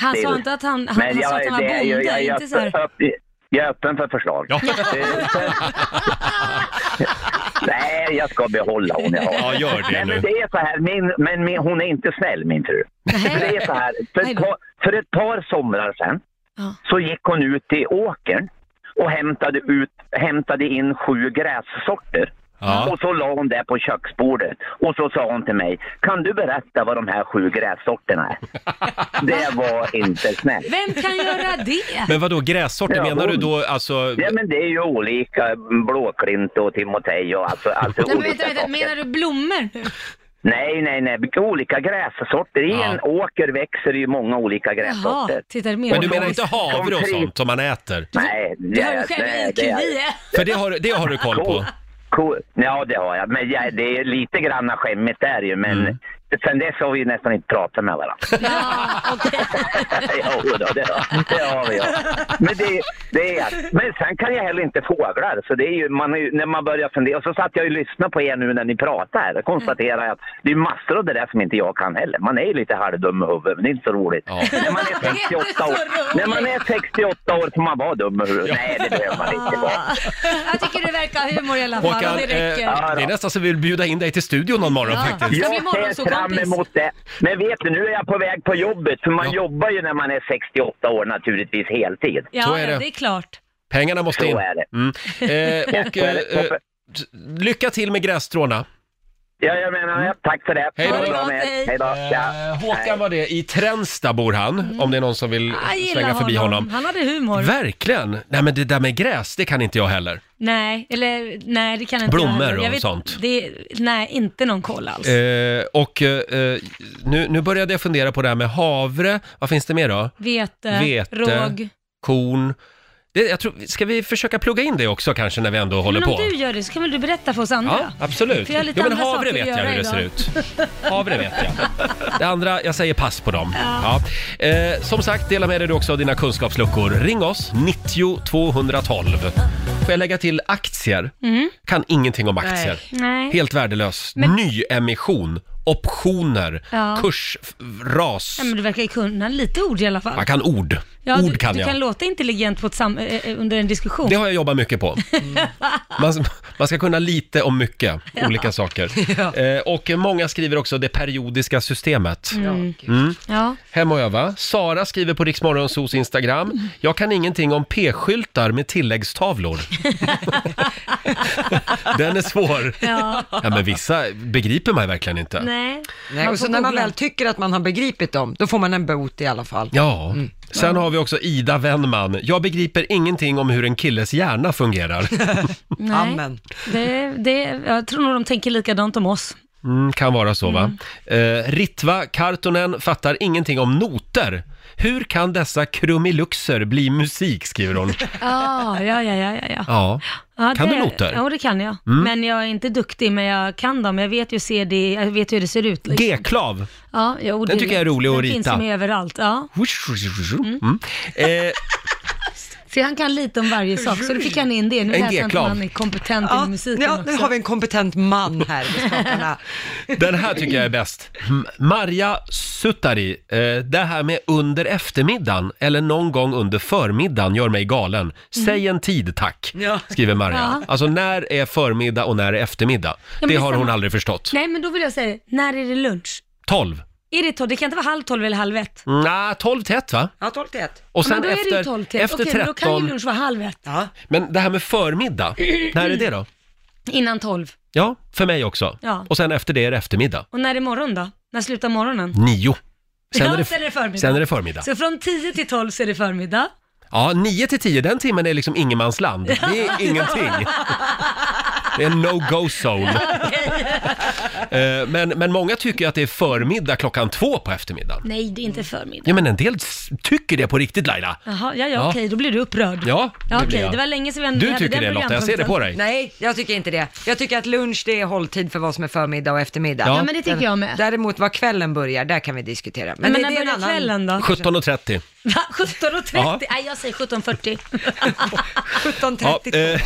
Speaker 2: Han
Speaker 9: det är-
Speaker 2: sa inte att han, han, han, sa att han var
Speaker 9: det är ju-
Speaker 2: bonde,
Speaker 9: jag, är
Speaker 2: inte så här.
Speaker 9: öppen- öpp- jag är öppen för förslag.
Speaker 1: Ja.
Speaker 9: Eh, sen- Nej, jag ska behålla hon jag har.
Speaker 1: Ja, gör det
Speaker 9: Nej,
Speaker 1: nu.
Speaker 9: men det är så här, min, men min, hon är inte snäll min fru. För det är så här, för,
Speaker 2: Nej
Speaker 9: ett
Speaker 2: då.
Speaker 9: par, för ett par somrar sedan
Speaker 2: Ja.
Speaker 9: så gick hon ut i åkern och hämtade, ut, hämtade in sju grässorter.
Speaker 1: Ja.
Speaker 9: Och så la hon det på köksbordet och så sa hon till mig, kan du berätta vad de här sju grässorterna är? det var inte snällt.
Speaker 2: Vem kan göra det?
Speaker 1: Men vad då grässorter,
Speaker 9: Ja,
Speaker 1: menar du
Speaker 9: hon-
Speaker 1: då alltså?
Speaker 9: Ja men det är ju olika, blåklint och timotej och alltså, alltså
Speaker 2: Nej, men
Speaker 9: olika
Speaker 2: vänta, vänta,
Speaker 9: saker.
Speaker 2: menar du blommor nu?
Speaker 9: Nej, nej, nej, olika grässorter. I
Speaker 1: Ja.
Speaker 9: en åker växer det ju många olika
Speaker 2: Jaha,
Speaker 9: grässorter.
Speaker 2: titta det menar
Speaker 1: Men du menar
Speaker 2: jag.
Speaker 1: inte havre och sånt som man äter?
Speaker 9: Nej,
Speaker 2: Du hör ju
Speaker 9: det-
Speaker 2: själv
Speaker 9: nej,
Speaker 2: IQ
Speaker 9: det är-
Speaker 2: vi är.
Speaker 1: För det har, det har du koll på?
Speaker 9: Cool. Cool. Ja, det har jag. Men jag, det är lite granna skämmigt där ju, men
Speaker 1: Mm.
Speaker 9: sen dess har vi ju nästan inte pratat med varandra.
Speaker 2: Ja, okej.
Speaker 9: jo, då, det, har, det har vi. Ja. Men, det, det är, men sen kan jag heller inte fåglar. Så det är ju, man är ju, när man börjar fundera, och så satt jag och lyssnade på er nu när ni pratade här. Jag konstaterar att det är massor av det där som inte jag kan heller. Man är ju lite halvdum i huvudet, men det är inte så roligt.
Speaker 1: Ja.
Speaker 9: Men När, man är 68 år, när man är 68 år får man vara dum i huvudet. Nej, det behöver man inte vara.
Speaker 2: Jag tycker du verkar ha humor i alla fall
Speaker 1: Håkan,
Speaker 2: och det
Speaker 1: eh,
Speaker 2: räcker.
Speaker 1: det är nästan så vi vill bjuda in dig till studion någon morgon
Speaker 2: Ja.
Speaker 1: faktiskt.
Speaker 2: Ska
Speaker 9: Jag
Speaker 2: bli
Speaker 9: ser fram
Speaker 2: morgonsåkompis.
Speaker 9: emot det. Men vet du, nu är jag på väg på jobbet, för man
Speaker 1: Ja.
Speaker 9: jobbar ju när man är 68 år naturligtvis heltid.
Speaker 2: ja,
Speaker 1: så är
Speaker 2: ja,
Speaker 1: det.
Speaker 2: det är klart.
Speaker 1: Pengarna måste in.
Speaker 9: Så är det.
Speaker 1: Mm. Eh, och,
Speaker 9: Så är
Speaker 1: eh,
Speaker 9: det.
Speaker 1: eh, lycka till med grässtråna.
Speaker 13: Ja, jag menar, ja, tack för det.
Speaker 1: Hej då.
Speaker 13: Ha det bra med er. Hej då. Ja.
Speaker 1: Eh, Håkan var det, i Tränsta bor han, om det är någon som vill
Speaker 2: Mm. Ah, Jag gillar
Speaker 1: svänga förbi honom.
Speaker 2: Han hade humor.
Speaker 1: Verkligen! Nej men det där med gräs, det kan inte jag heller.
Speaker 2: nej, eller nej det kan inte
Speaker 1: Blommor
Speaker 2: jag heller.
Speaker 1: och
Speaker 2: jag vet-
Speaker 1: sånt.
Speaker 2: Det, nej, inte någon koll alls.
Speaker 1: Eh, och eh, eh, nu, nu började jag fundera på det här med havre, vad finns det mer då?
Speaker 2: Vete,
Speaker 1: vete,
Speaker 2: råg.
Speaker 1: Korn. Det, jag tror, ska vi försöka plugga in det också kanske när vi ändå håller
Speaker 2: Men om
Speaker 1: på?
Speaker 2: du gör det så kan väl du berätta för oss
Speaker 1: Ja,
Speaker 2: andra?
Speaker 1: absolut.
Speaker 2: För jag har lite
Speaker 1: Jo, men
Speaker 2: andra
Speaker 1: havre
Speaker 2: saker
Speaker 1: vet
Speaker 2: att
Speaker 1: jag
Speaker 2: göra
Speaker 1: hur det ser
Speaker 2: idag.
Speaker 1: ut. Havre vet jag. Det andra, jag säger pass på dem. Ja. Eh, som sagt, dela med dig du också av dina kunskapsluckor. Ring oss, 90 212. Får jag lägga till aktier? Kan ingenting om aktier.
Speaker 2: Mm. Nej.
Speaker 1: Helt värdelös. Nyemission, optioner,
Speaker 2: Ja.
Speaker 1: kurs, f- ras.
Speaker 2: Ja, men du verkar ju kunna lite ord i alla fall.
Speaker 1: Jag kan ord.
Speaker 2: Ja,
Speaker 1: ord
Speaker 2: du,
Speaker 1: kan
Speaker 2: du
Speaker 1: jag.
Speaker 2: kan låta intelligent på ett sam- eh, eh, under en diskussion.
Speaker 1: Det har jag jobbat mycket på. Man, man ska kunna lite om mycket, olika saker. Eh, och många skriver också det periodiska systemet.
Speaker 2: Mm.
Speaker 1: Mm.
Speaker 2: Ja.
Speaker 1: Hem och öva. Sara skriver på Riksmorgonsos Instagram. Jag kan ingenting om p-skyltar med tilläggstavlor. Den är svår.
Speaker 2: Ja.
Speaker 1: Ja, men vissa begriper man verkligen inte.
Speaker 2: Nej.
Speaker 4: Nej,
Speaker 2: Man
Speaker 4: och så
Speaker 2: får
Speaker 4: när man
Speaker 2: googla.
Speaker 4: väl tycker att man har begripit dem, då får man en bot i alla fall.
Speaker 1: Ja,
Speaker 2: Mm.
Speaker 1: sen har vi också Ida Wennman. Jag begriper ingenting om hur en killes hjärna fungerar.
Speaker 2: Nej.
Speaker 4: Amen.
Speaker 2: Det, det, jag tror nog de tänker likadant om oss.
Speaker 1: Mm, kan vara så va?
Speaker 2: Mm.
Speaker 1: Eh, Ritva Kartonen fattar ingenting om noter. Hur kan dessa krumiluxer bli musik, skriver hon.
Speaker 2: Ah, ja, ja, ja, ja, ja.
Speaker 1: Ja,
Speaker 2: ja
Speaker 1: Kan
Speaker 2: det,
Speaker 1: du noter? Mm.
Speaker 2: Ja, det kan jag. Men jag är inte duktig, men jag kan dem. Jag vet ju, se det, jag vet hur det ser ut. liksom.
Speaker 1: G-klav.
Speaker 2: Ja, jo, det
Speaker 1: Den tycker jag är rolig att
Speaker 2: Den finns
Speaker 1: rita.
Speaker 2: ju med överallt. Ja.
Speaker 1: Mm. Eh,
Speaker 2: Så han kan lite om varje sak, så då fick han in det. Nu
Speaker 1: En
Speaker 2: lät han som
Speaker 1: G-klav.
Speaker 2: han är kompetent
Speaker 4: Ja,
Speaker 2: i musiken
Speaker 4: ja,
Speaker 2: också.
Speaker 4: nu har vi en kompetent man här vid skaparna.
Speaker 1: den här tycker jag är bäst. M- Marja Suttari. Eh, det här med under eftermiddagen eller någon gång under förmiddagen gör mig galen. Säg en tid tack,
Speaker 4: Ja.
Speaker 1: skriver Marja.
Speaker 2: Mm. Ja.
Speaker 1: Alltså när är förmiddag och när är eftermiddag?
Speaker 2: men
Speaker 1: Det
Speaker 2: det är
Speaker 1: har hon
Speaker 2: samma.
Speaker 1: aldrig förstått.
Speaker 2: Nej, men då vill jag säga, när är det lunch?
Speaker 1: 12.
Speaker 2: Är det tolv? Det kan inte vara halv tolv eller halv ett?
Speaker 1: Nej, 12 till 1 va?
Speaker 4: Ja, 12 till 1.
Speaker 1: Och sen
Speaker 2: men då är det
Speaker 1: efter,
Speaker 2: ju tolv till.
Speaker 1: efter
Speaker 2: Okej, men då kan
Speaker 1: 13,
Speaker 2: ju lunch vara halv ett.
Speaker 4: Ja.
Speaker 1: men det här med förmiddag, när är det då?
Speaker 2: Innan tolv.
Speaker 1: Ja, för mig också.
Speaker 2: Ja.
Speaker 1: Och sen efter det är det eftermiddag,
Speaker 2: Och när är morgon då? När slutar morgonen?
Speaker 1: nio. Sen,
Speaker 2: Ja,
Speaker 1: är, det,
Speaker 2: sen är det förmiddag.
Speaker 1: sen är det förmiddag.
Speaker 2: Så från 10 till 12 så är det förmiddag.
Speaker 1: Ja, nio till tio, den timmen är liksom ingenmansland. Det är ingenting. Det är en no-go zone. Eh, men, men många tycker ju att det är förmiddag klockan två på eftermiddagen.
Speaker 2: Nej, det är inte förmiddag.
Speaker 1: Ja, men en del s- tycker det på riktigt Laila.
Speaker 2: Jaha, ja, ja,
Speaker 1: Ja.
Speaker 2: okej, då blir du upprörd.
Speaker 1: Ja, det
Speaker 2: ja okej,
Speaker 1: blir jag.
Speaker 2: det var länge sedan vi hade
Speaker 1: Du
Speaker 2: hade
Speaker 1: tycker
Speaker 2: den
Speaker 1: det Lotta, jag ser det på
Speaker 2: programpunkten.
Speaker 1: dig.
Speaker 4: Nej, jag tycker inte det. Jag tycker att lunch det är hålltid för vad som är förmiddag och eftermiddag.
Speaker 1: Ja.
Speaker 2: Ja, men det tycker jag med.
Speaker 4: Däremot var kvällen börjar, där kan vi diskutera.
Speaker 2: Men,
Speaker 4: det,
Speaker 2: när
Speaker 4: det är en
Speaker 2: börjar
Speaker 4: annan-
Speaker 2: kvällen då?
Speaker 1: 17.30.
Speaker 2: Va, 17.30?
Speaker 1: Ja.
Speaker 2: Nej, jag säger 17.40.
Speaker 4: 17.32.
Speaker 1: Ja, eh,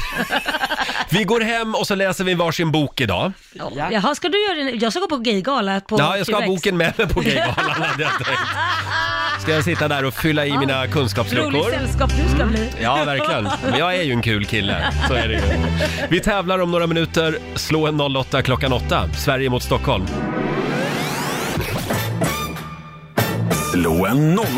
Speaker 1: vi går hem och så läser vi varsin bok idag.
Speaker 4: Ja.
Speaker 2: Jaha, ska du göra det? nu? Jag ska gå på gaygala på
Speaker 1: Ja, jag ska ha
Speaker 2: Tillväxt.
Speaker 1: boken med mig på Gaygalan hade jag tänkt. Ska jag sitta där och fylla i mina
Speaker 2: Roligt
Speaker 1: kunskapsluckor?
Speaker 2: sällskap du ska bli.
Speaker 1: Ja, verkligen. Men jag är ju en kul kille, så är det ju. Vi tävlar om några minuter. Slå en 08 klockan 8. Sverige mot Stockholm.
Speaker 12: Slå en 08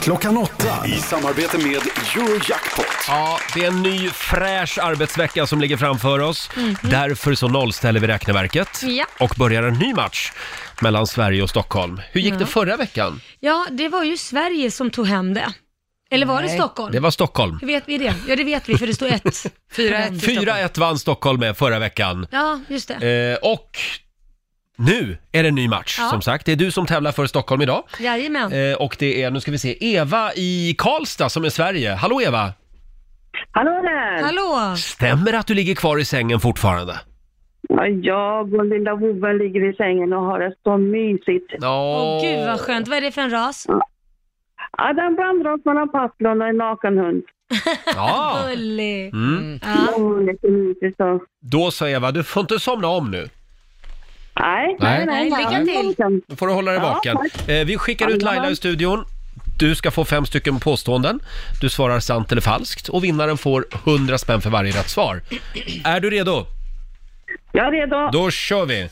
Speaker 12: klockan 8 i samarbete med Eurojackpot.
Speaker 1: Ja, det är en ny fräsch arbetsvecka som ligger framför oss. Därför så nollställer vi räkneverket
Speaker 2: Mhm. Ja.
Speaker 1: och börjar en ny match mellan Sverige och Stockholm. Hur gick det förra veckan?
Speaker 2: Ja, det var ju Sverige som tog hem det. Eller var det Stockholm?
Speaker 1: Det var Stockholm.
Speaker 2: Hur vet vi det? Ja, det vet vi för det står 1. 4-1.
Speaker 1: 4-1 vann Stockholm med förra veckan.
Speaker 2: Ja, just det.
Speaker 1: Eh, och nu är det en ny match,
Speaker 2: Ja.
Speaker 1: som sagt. Det är du som tävlar för Stockholm idag.
Speaker 2: Jajamän.
Speaker 1: Eh, och det är, nu ska vi se, Eva i Karlstad som är Sverige. Hallå Eva!
Speaker 10: Hallå där!
Speaker 2: Hallå!
Speaker 1: Stämmer det att du ligger kvar i sängen fortfarande?
Speaker 10: Ja, jag och lilla vovven ligger i sängen och har det så mysigt.
Speaker 1: Ja.
Speaker 2: Åh gud vad skönt. Vad är det för en ras?
Speaker 10: Ja, den blandar oss mellan passlon och en nakenhund.
Speaker 1: Ja.
Speaker 2: Gullig.
Speaker 1: Mm.
Speaker 2: Ja.
Speaker 10: Åh, det är så mysigt så.
Speaker 1: Då sa Eva, du får inte somna om nu.
Speaker 10: Nej,
Speaker 1: Nej.
Speaker 10: nej, nej.
Speaker 2: Nej, lycka till.
Speaker 1: Nu får du hålla dig
Speaker 10: Ja,
Speaker 1: vaken.
Speaker 10: tack.
Speaker 1: Eh, vi skickar ut Laila i studion. Du ska få fem stycken påståenden. Du svarar sant eller falskt och vinnaren får 100 spänn för varje rätt svar. Är du redo?
Speaker 10: Jag är redo.
Speaker 1: Då kör vi!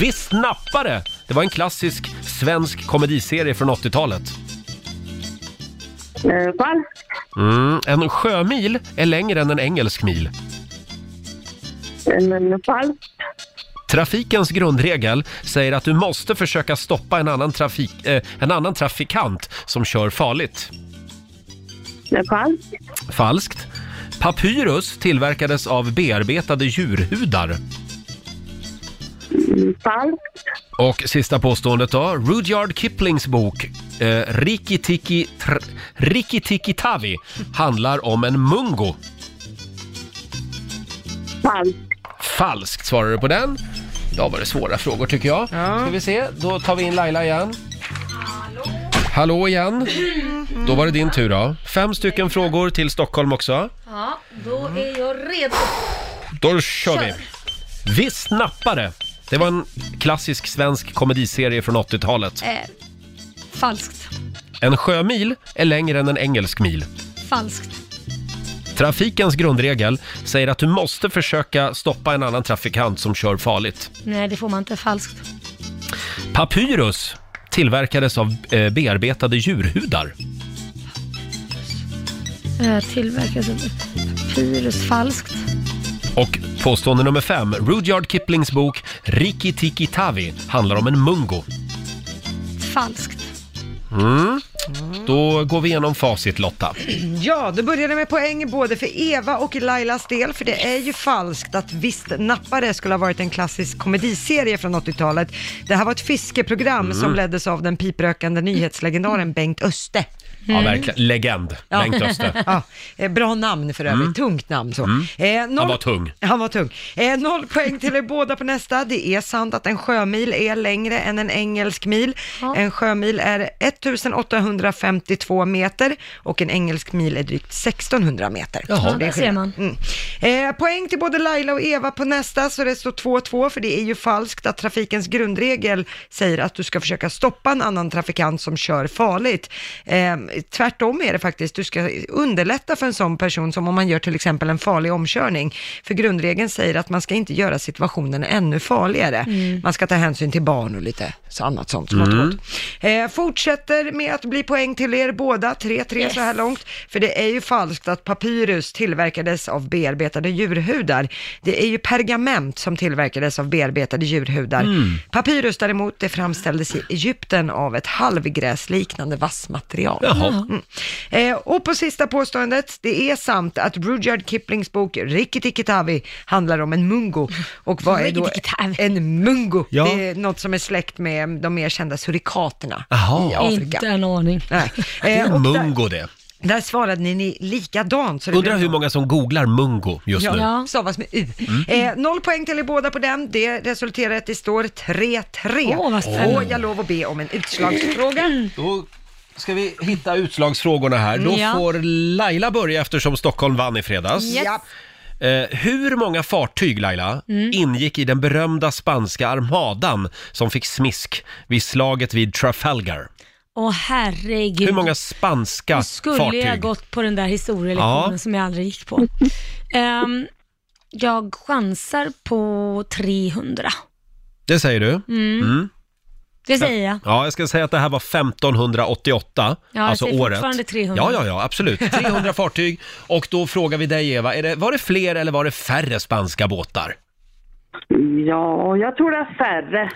Speaker 1: Viss nappare! Det var en klassisk svensk komediserie från 80-talet.
Speaker 10: Eh, falskt.
Speaker 1: Mm, en sjömil är längre än en engelsk mil.
Speaker 10: Eh, falskt.
Speaker 1: Trafikens grundregel säger att du måste försöka stoppa en annan, trafik, eh, en annan trafikant som kör farligt.
Speaker 10: Det är falskt.
Speaker 1: Falskt. Papyrus tillverkades av bearbetade djurhudar.
Speaker 10: Mm, Falskt.
Speaker 1: Och sista påståendet då. Rudyard Kiplings bok eh, Rikki Tikki Tr- Rikki Tikki Tavi handlar om en mungo.
Speaker 10: Falskt.
Speaker 1: Falskt svarar du på den. Ja, var det svåra frågor tycker jag. Ska vi se, då tar vi in Laila igen. Hallå igen. Då var det din tur då. Fem stycken frågor till Stockholm också.
Speaker 2: Ja, då är jag redo.
Speaker 1: Då kör vi.
Speaker 2: Kör.
Speaker 1: Viss nappare. Det var en klassisk svensk komediserie från 80-talet.
Speaker 2: Eh, falskt.
Speaker 1: En sjömil är längre än en engelsk mil.
Speaker 2: Falskt.
Speaker 1: Trafikens grundregel säger att du måste försöka stoppa en annan trafikant som kör farligt.
Speaker 2: Nej, det får man inte. Falskt.
Speaker 1: Papyrus tillverkades av eh, bearbetade djurhudar.
Speaker 2: Eh, tillverkas av papyrus. Falskt.
Speaker 1: Och påstående nummer fem, Rudyard Kiplings bok Rikki Tikki Tavi handlar om en mungo.
Speaker 2: Falskt.
Speaker 1: Mm. Då går vi igenom facit Lotta.
Speaker 4: Ja, det började med poäng både för Eva och Lailas del, för det är ju falskt att Visst nappare skulle ha varit en klassisk komediserie från 80-talet. Det här var ett fiskeprogram
Speaker 1: Mm.
Speaker 4: som leddes av den piprökande nyhetslegendaren Bengt Öste.
Speaker 1: Ja, verkligen. Legend.
Speaker 2: Mm.
Speaker 1: Bengt Mm. Öster.
Speaker 4: Mm. Ja, eh, bra namn för övrigt, tungt namn så. Eh, noll-
Speaker 1: Han var tung.
Speaker 4: Han var tung. Eh, noll poäng till er båda på nästa. Det är sant att en sjömil är längre än en engelsk mil. En sjömil är 1852 meter och en engelsk mil är drygt 1600 meter.
Speaker 1: Jaha.
Speaker 4: Så det är
Speaker 2: Där ser
Speaker 4: skillnad.
Speaker 2: man.
Speaker 4: Mm. Eh, poäng till både Laila och Eva på nästa, så det står 2-2, för det är ju falskt att trafikens grundregel säger att du ska försöka stoppa en annan trafikant som kör farligt. Eh, tvärtom är det faktiskt, du ska underlätta för en sån person som om man gör till exempel en farlig omkörning, för grundregeln säger att man ska inte göra situationen ännu farligare. Man ska ta hänsyn till barn och lite så annat sånt. Mm. Eh, fortsätter med att bli poäng till er båda, 3-3 så här långt, för det är ju falskt att papyrus tillverkades av bearbetade djurhudar. Det är ju pergament som tillverkades av bearbetade djurhudar.
Speaker 10: Mm.
Speaker 2: Mm.
Speaker 4: Papyrus däremot, det framställdes i Egypten av ett halvgräsliknande vassmaterial.
Speaker 1: Jaha.
Speaker 4: Mm. Eh, och på sista påståendet, det är sant att Rudyard Kiplings bok Rikki Tikki Tavi handlar om en mungo. Och vad är då
Speaker 2: Rikki Tikki Tavi.
Speaker 4: en mungo?
Speaker 1: Ja.
Speaker 4: Det är något som är släkt med de mer kända surikaterna
Speaker 1: Jaha.
Speaker 4: i Afrika.
Speaker 2: Inte en aning.
Speaker 4: Nej.
Speaker 1: Det
Speaker 4: Eh,
Speaker 1: är
Speaker 4: och där,
Speaker 1: mungo det.
Speaker 4: där svarade ni, ni likadant. Så det
Speaker 1: Undrar
Speaker 4: blev-
Speaker 1: hur många som googlar mungo just nu. Mm.
Speaker 2: Ja.
Speaker 4: Stavas med U. Eh, noll poäng till er båda på den. Det resulterar i att det står 3-3.
Speaker 2: Åh, vad spännande.
Speaker 4: och jag lov att be om en utslagsfråga.
Speaker 1: Då ska vi hitta utslagsfrågorna här. Då
Speaker 2: Ja.
Speaker 1: får Laila börja eftersom Stockholm vann i fredags.
Speaker 4: Ja.
Speaker 1: Eh, hur många fartyg, Laila,
Speaker 2: Mm.
Speaker 1: ingick i den berömda spanska armadan som fick smisk vid slaget vid Trafalgar?
Speaker 2: Åh herregud.
Speaker 1: Hur många spanska
Speaker 2: Då skulle
Speaker 1: fartyg?
Speaker 2: jag gått på den där historielektionen
Speaker 1: Ja.
Speaker 2: som jag aldrig gick på. Ehm, jag chansar på 300.
Speaker 1: Det säger du?
Speaker 2: Mm.
Speaker 1: Mm.
Speaker 2: Det säger jag.
Speaker 1: Ja, jag ska säga att det här var 1588,
Speaker 2: Ja, jag
Speaker 1: alltså
Speaker 2: säger
Speaker 1: året.
Speaker 2: fortfarande 300.
Speaker 1: Ja, ja, ja, absolut. 300 fartyg. Och då frågar vi dig, Eva, är det, var det fler eller var det färre spanska båtar?
Speaker 10: Ja, jag tror det är färre.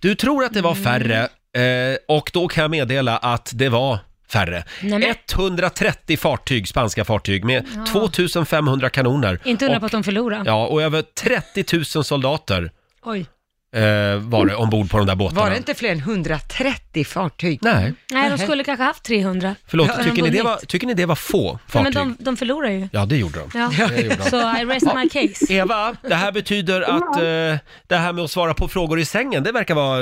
Speaker 1: Du tror att det
Speaker 2: Mm.
Speaker 1: var färre eh, och då kan jag meddela att det var färre.
Speaker 2: Nej, men-
Speaker 1: 130 fartyg, spanska fartyg med 2500 kanoner.
Speaker 2: Inte undra på
Speaker 1: och,
Speaker 2: att de förlorar.
Speaker 1: Ja, och över 30 000 soldater
Speaker 2: Oj.
Speaker 1: eh, var det ombord på de där båtarna.
Speaker 4: Var det inte fler än 130 fartyg?
Speaker 1: Nej,
Speaker 2: Nej, de skulle kanske haft 300.
Speaker 1: förlåt.
Speaker 2: Hade de
Speaker 1: tycker, ni det
Speaker 2: vunnit?
Speaker 1: var, tycker ni det var få
Speaker 2: Nej,
Speaker 1: fartyg?
Speaker 2: men de, de förlorar ju.
Speaker 1: Ja, det gjorde de.
Speaker 2: Ja. Så I rest my case.
Speaker 1: Eva, det här betyder att eh, det här med att svara på frågor i sängen, det verkar vara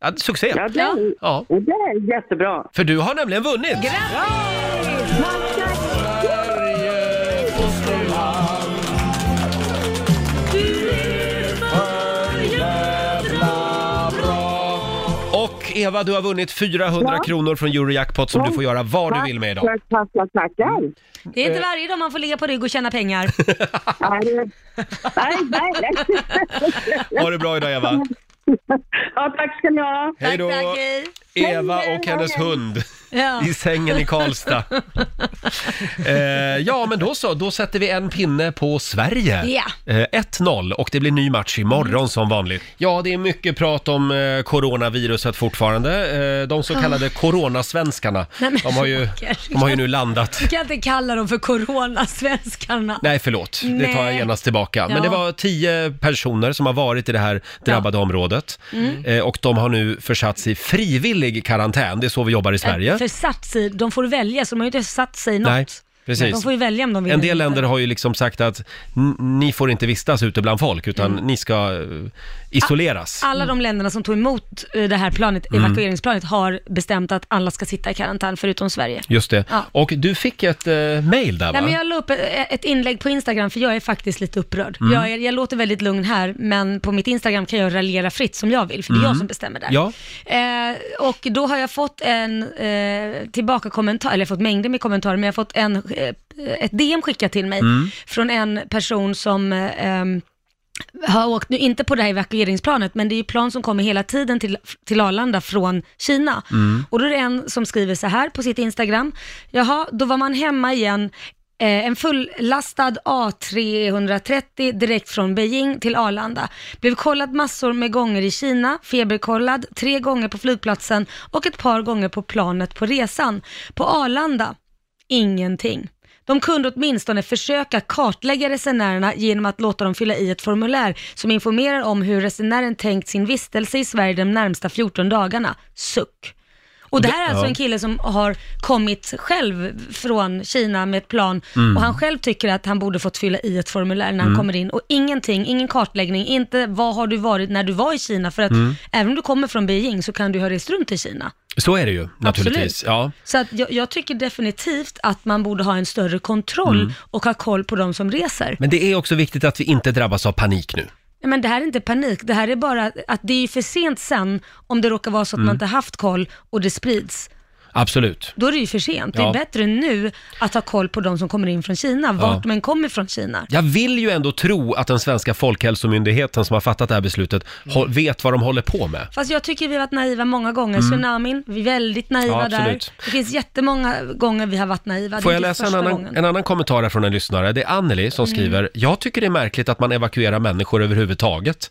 Speaker 1: ja, succé.
Speaker 10: Ja, det, är-
Speaker 1: Ja.
Speaker 10: det är jättebra.
Speaker 1: För du har nämligen vunnit! Och Eva, du har vunnit 400 kronor från Eurojackpot som du får göra vad du vill med idag. Mm.
Speaker 10: Tack, tack, tack, tackar.
Speaker 2: Det är inte varje dag man får ligga på rygg och tjäna pengar.
Speaker 10: Ja, det- Eh. Nej, nej, nej.
Speaker 1: Ha det bra idag Eva!
Speaker 10: Ja, tack ska ni ha.
Speaker 1: Hej då!
Speaker 2: Tack, tack, hej.
Speaker 1: Eva och hennes hund
Speaker 2: Ja.
Speaker 1: i sängen i Karlstad. eh, ja, men då så. Då sätter vi en pinne på Sverige.
Speaker 2: Ja.
Speaker 1: Eh, 1-0 och det blir ny match imorgon som vanligt. Ja, det är mycket prat om eh, coronaviruset fortfarande. Eh, de så kallade coronasvenskarna,
Speaker 2: Nej, men
Speaker 1: de har, ju,
Speaker 2: Roger.
Speaker 1: de har ju nu landat.
Speaker 2: Du kan inte kalla dem för coronasvenskarna.
Speaker 1: Nej, förlåt. Det tar jag
Speaker 2: Nej.
Speaker 1: genast tillbaka. Men
Speaker 2: Ja.
Speaker 1: det var tio personer som har varit i det här drabbade området.
Speaker 2: Mm.
Speaker 1: Eh, och de har nu försatts i frivillig karantän. Det är så vi jobbar i Sverige.
Speaker 2: Eh, För satt sig, de får välja, så de har ju inte satt sig i något.
Speaker 1: Nej, precis.
Speaker 2: De får ju välja om de vill.
Speaker 1: En del
Speaker 2: eller inte.
Speaker 1: länder har ju liksom sagt att n- ni får inte vistas ute bland folk utan ni ska eh, isoleras.
Speaker 2: Mm. Alla de länderna som tog emot eh, det här planet,
Speaker 1: Mm.
Speaker 2: evakueringsplanet, har bestämt att alla ska sitta i karantän förutom Sverige.
Speaker 1: Just det.
Speaker 2: Ja.
Speaker 1: Och du fick ett eh, mail där va?
Speaker 2: Nej, men jag la upp ett ett inlägg på Instagram för jag är faktiskt lite upprörd.
Speaker 1: Mm.
Speaker 2: Jag, är, jag låter väldigt lugn här, men på mitt Instagram kan jag raljera fritt som jag vill, för det är jag
Speaker 1: Mm.
Speaker 2: som bestämmer där.
Speaker 1: Ja.
Speaker 2: Eh, och då har jag fått en eh, tillbaka kommentar, eller jag har fått mängder med kommentarer, men jag har fått en, eh, ett DM skickat till mig
Speaker 9: Mm.
Speaker 2: från en person som eh, ehm, har åkt, nu inte på det här evakueringsplanet, men det är ju plan som kommer hela tiden till, till Arlanda från Kina.
Speaker 9: Mm.
Speaker 2: Och då är det en som skriver så här på sitt Instagram. Jaha, då var man hemma igen. Eh, en fullastad A330 direkt från Beijing till Arlanda. Blev kollad massor med gånger i Kina, feberkollad tre gånger på flygplatsen och ett par gånger på planet på resan. På Arlanda, ingenting. De kunde åtminstone försöka kartlägga resenärerna genom att låta dem fylla i ett formulär som informerar om hur resenären tänkt sin vistelse i Sverige de närmsta 14 dagarna. Suck. Och det här är
Speaker 9: Det-
Speaker 2: alltså
Speaker 9: ja.
Speaker 2: en kille som har kommit själv från Kina med ett plan
Speaker 9: Mm.
Speaker 2: och han själv tycker att han borde fått fylla i ett formulär när han
Speaker 9: Mm.
Speaker 2: kommer in och ingenting, ingen kartläggning, inte vad har du varit när du var i Kina för att
Speaker 1: Mm.
Speaker 2: även om du kommer från Beijing så kan du ha rest runt i Kina.
Speaker 1: Så är det ju naturligtvis.
Speaker 2: Absolut.
Speaker 1: Ja.
Speaker 2: Så att jag, jag tycker definitivt att man borde ha en större kontroll
Speaker 1: Mm.
Speaker 2: och ha koll på de som reser.
Speaker 1: Men det är också viktigt att vi inte drabbas av panik nu.
Speaker 2: Nej, Men det här är inte panik, det här är bara att det är ju för sent sen om det råkar vara så att
Speaker 1: Mm.
Speaker 2: man inte haft koll och det sprids.
Speaker 1: Absolut.
Speaker 2: Då är det ju för sent.
Speaker 1: Ja.
Speaker 2: Det är bättre nu att ha koll på de som kommer in från Kina, vart
Speaker 1: Ja.
Speaker 2: de än kommer från Kina.
Speaker 1: Jag vill ju ändå tro att den svenska folkhälsomyndigheten som har fattat det här beslutet
Speaker 2: Mm.
Speaker 1: hå- vet vad de håller på med.
Speaker 2: Fast jag tycker vi har varit naiva många gånger.
Speaker 1: Mm.
Speaker 2: Tsunamin, vi är väldigt naiva
Speaker 1: Ja,
Speaker 2: där.
Speaker 1: absolut.
Speaker 2: Det finns jättemånga gånger vi har varit naiva. Det
Speaker 1: Får
Speaker 2: är
Speaker 1: jag
Speaker 2: inte
Speaker 1: läsa en
Speaker 2: första
Speaker 1: annan,
Speaker 2: gången.
Speaker 1: en annan kommentar här från en lyssnare? Det är Anneli som
Speaker 2: Mm.
Speaker 1: skriver, jag tycker det är märkligt att man evakuerar människor överhuvudtaget.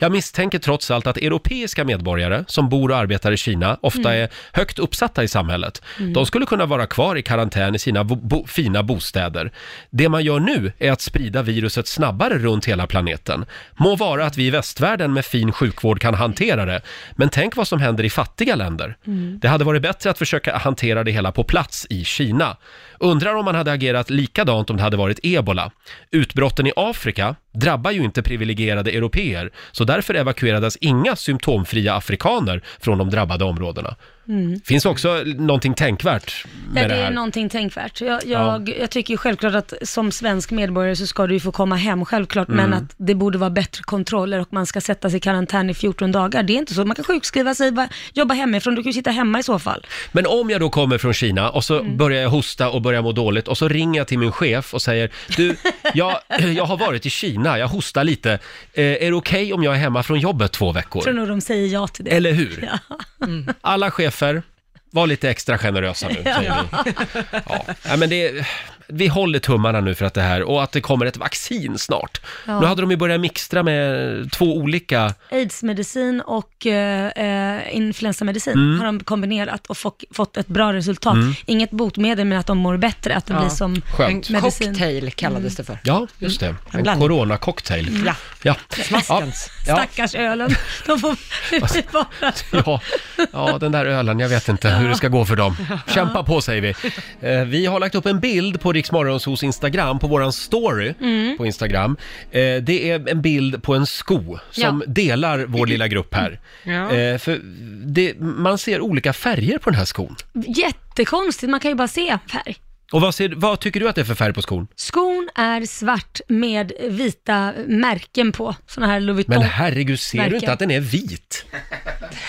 Speaker 1: Jag misstänker trots allt att europeiska medborgare som bor och arbetar i Kina ofta
Speaker 7: Mm.
Speaker 1: är högt uppsatta i samhället.
Speaker 7: Mm.
Speaker 1: De skulle kunna vara kvar i karantän i sina bo bo fina bostäder. Det man gör nu är att sprida viruset snabbare runt hela planeten. Må vara att vi i västvärlden med fin sjukvård kan hantera det, men tänk vad som händer i fattiga länder.
Speaker 7: Mm.
Speaker 1: Det hade varit bättre att försöka hantera det hela på plats i Kina. Undrar om man hade agerat likadant om det hade varit ebola. Utbrotten i Afrika drabbar ju inte privilegierade européer, så därför evakuerades inga symptomfria afrikaner från de drabbade områdena.
Speaker 2: Mm.
Speaker 1: Finns också någonting tänkvärt med
Speaker 2: Ja,
Speaker 1: det,
Speaker 2: det är
Speaker 1: här.
Speaker 2: någonting tänkvärt. Jag,
Speaker 1: Ja.
Speaker 2: jag, jag tycker ju självklart att som svensk medborgare så ska du ju få komma hem, självklart, men
Speaker 1: Mm.
Speaker 2: att det borde vara bättre kontroller och man ska sätta sig i karantän i 14 dagar. Det är inte så. Man kan sjukskriva sig, bara jobba hemifrån, du kan ju sitta hemma i så fall.
Speaker 1: Men om jag då kommer från Kina och
Speaker 2: Mm.
Speaker 1: så börjar jag hosta och börjar må dåligt och så ringer jag till min chef och säger du, jag, jag har varit i Kina, jag hostar lite. Eh, är det okej om jag är hemma från jobbet två veckor?
Speaker 2: Tror nog de säger ja till det.
Speaker 1: Eller hur?
Speaker 2: Ja.
Speaker 1: Alla chefer, var lite extra generösa nu, säger vi. Ja, men det, vi håller tummarna nu för att det här, och att det kommer ett vaccin snart.
Speaker 2: Ja.
Speaker 1: Nu hade de ju börjat mixtra med två olika...
Speaker 2: Aidsmedicin och eh, eh, influensamedicin
Speaker 1: Mm.
Speaker 2: har de kombinerat och fått, fått ett bra resultat.
Speaker 1: Mm.
Speaker 2: Inget botemedel, men att de mår bättre, att det
Speaker 4: Ja.
Speaker 2: blir som
Speaker 1: Skönt.
Speaker 4: En
Speaker 2: medicin. Mm.
Speaker 4: cocktail kallades det för.
Speaker 1: Ja, just det. En
Speaker 4: blandning.
Speaker 1: coronacocktail.
Speaker 4: Ja.
Speaker 1: Ja.
Speaker 4: Smaskens.
Speaker 1: Ja.
Speaker 2: Stackars ölen. De får det blir bara...
Speaker 1: Ja. ja, den där ölen, jag vet inte hur det ska gå för dem. Kämpa på säger vi. Eh, Vi har lagt upp en bild på Riksmorgons hos Instagram, på våran story
Speaker 7: Mm.
Speaker 1: på Instagram. Eh, Det är en bild på en sko som
Speaker 7: Ja.
Speaker 1: delar vår lilla grupp här.
Speaker 2: Ja.
Speaker 1: Eh, För det, man ser olika färger på den här skon.
Speaker 2: Jättekonstigt, man kan ju bara se färg.
Speaker 1: Och vad, ser, vad tycker du att det är för färg på skon?
Speaker 2: Skon är svart med vita märken på, sådana här Louis Vuitton.
Speaker 1: Men herregud, ser du
Speaker 2: Märken.
Speaker 1: inte att den är vit?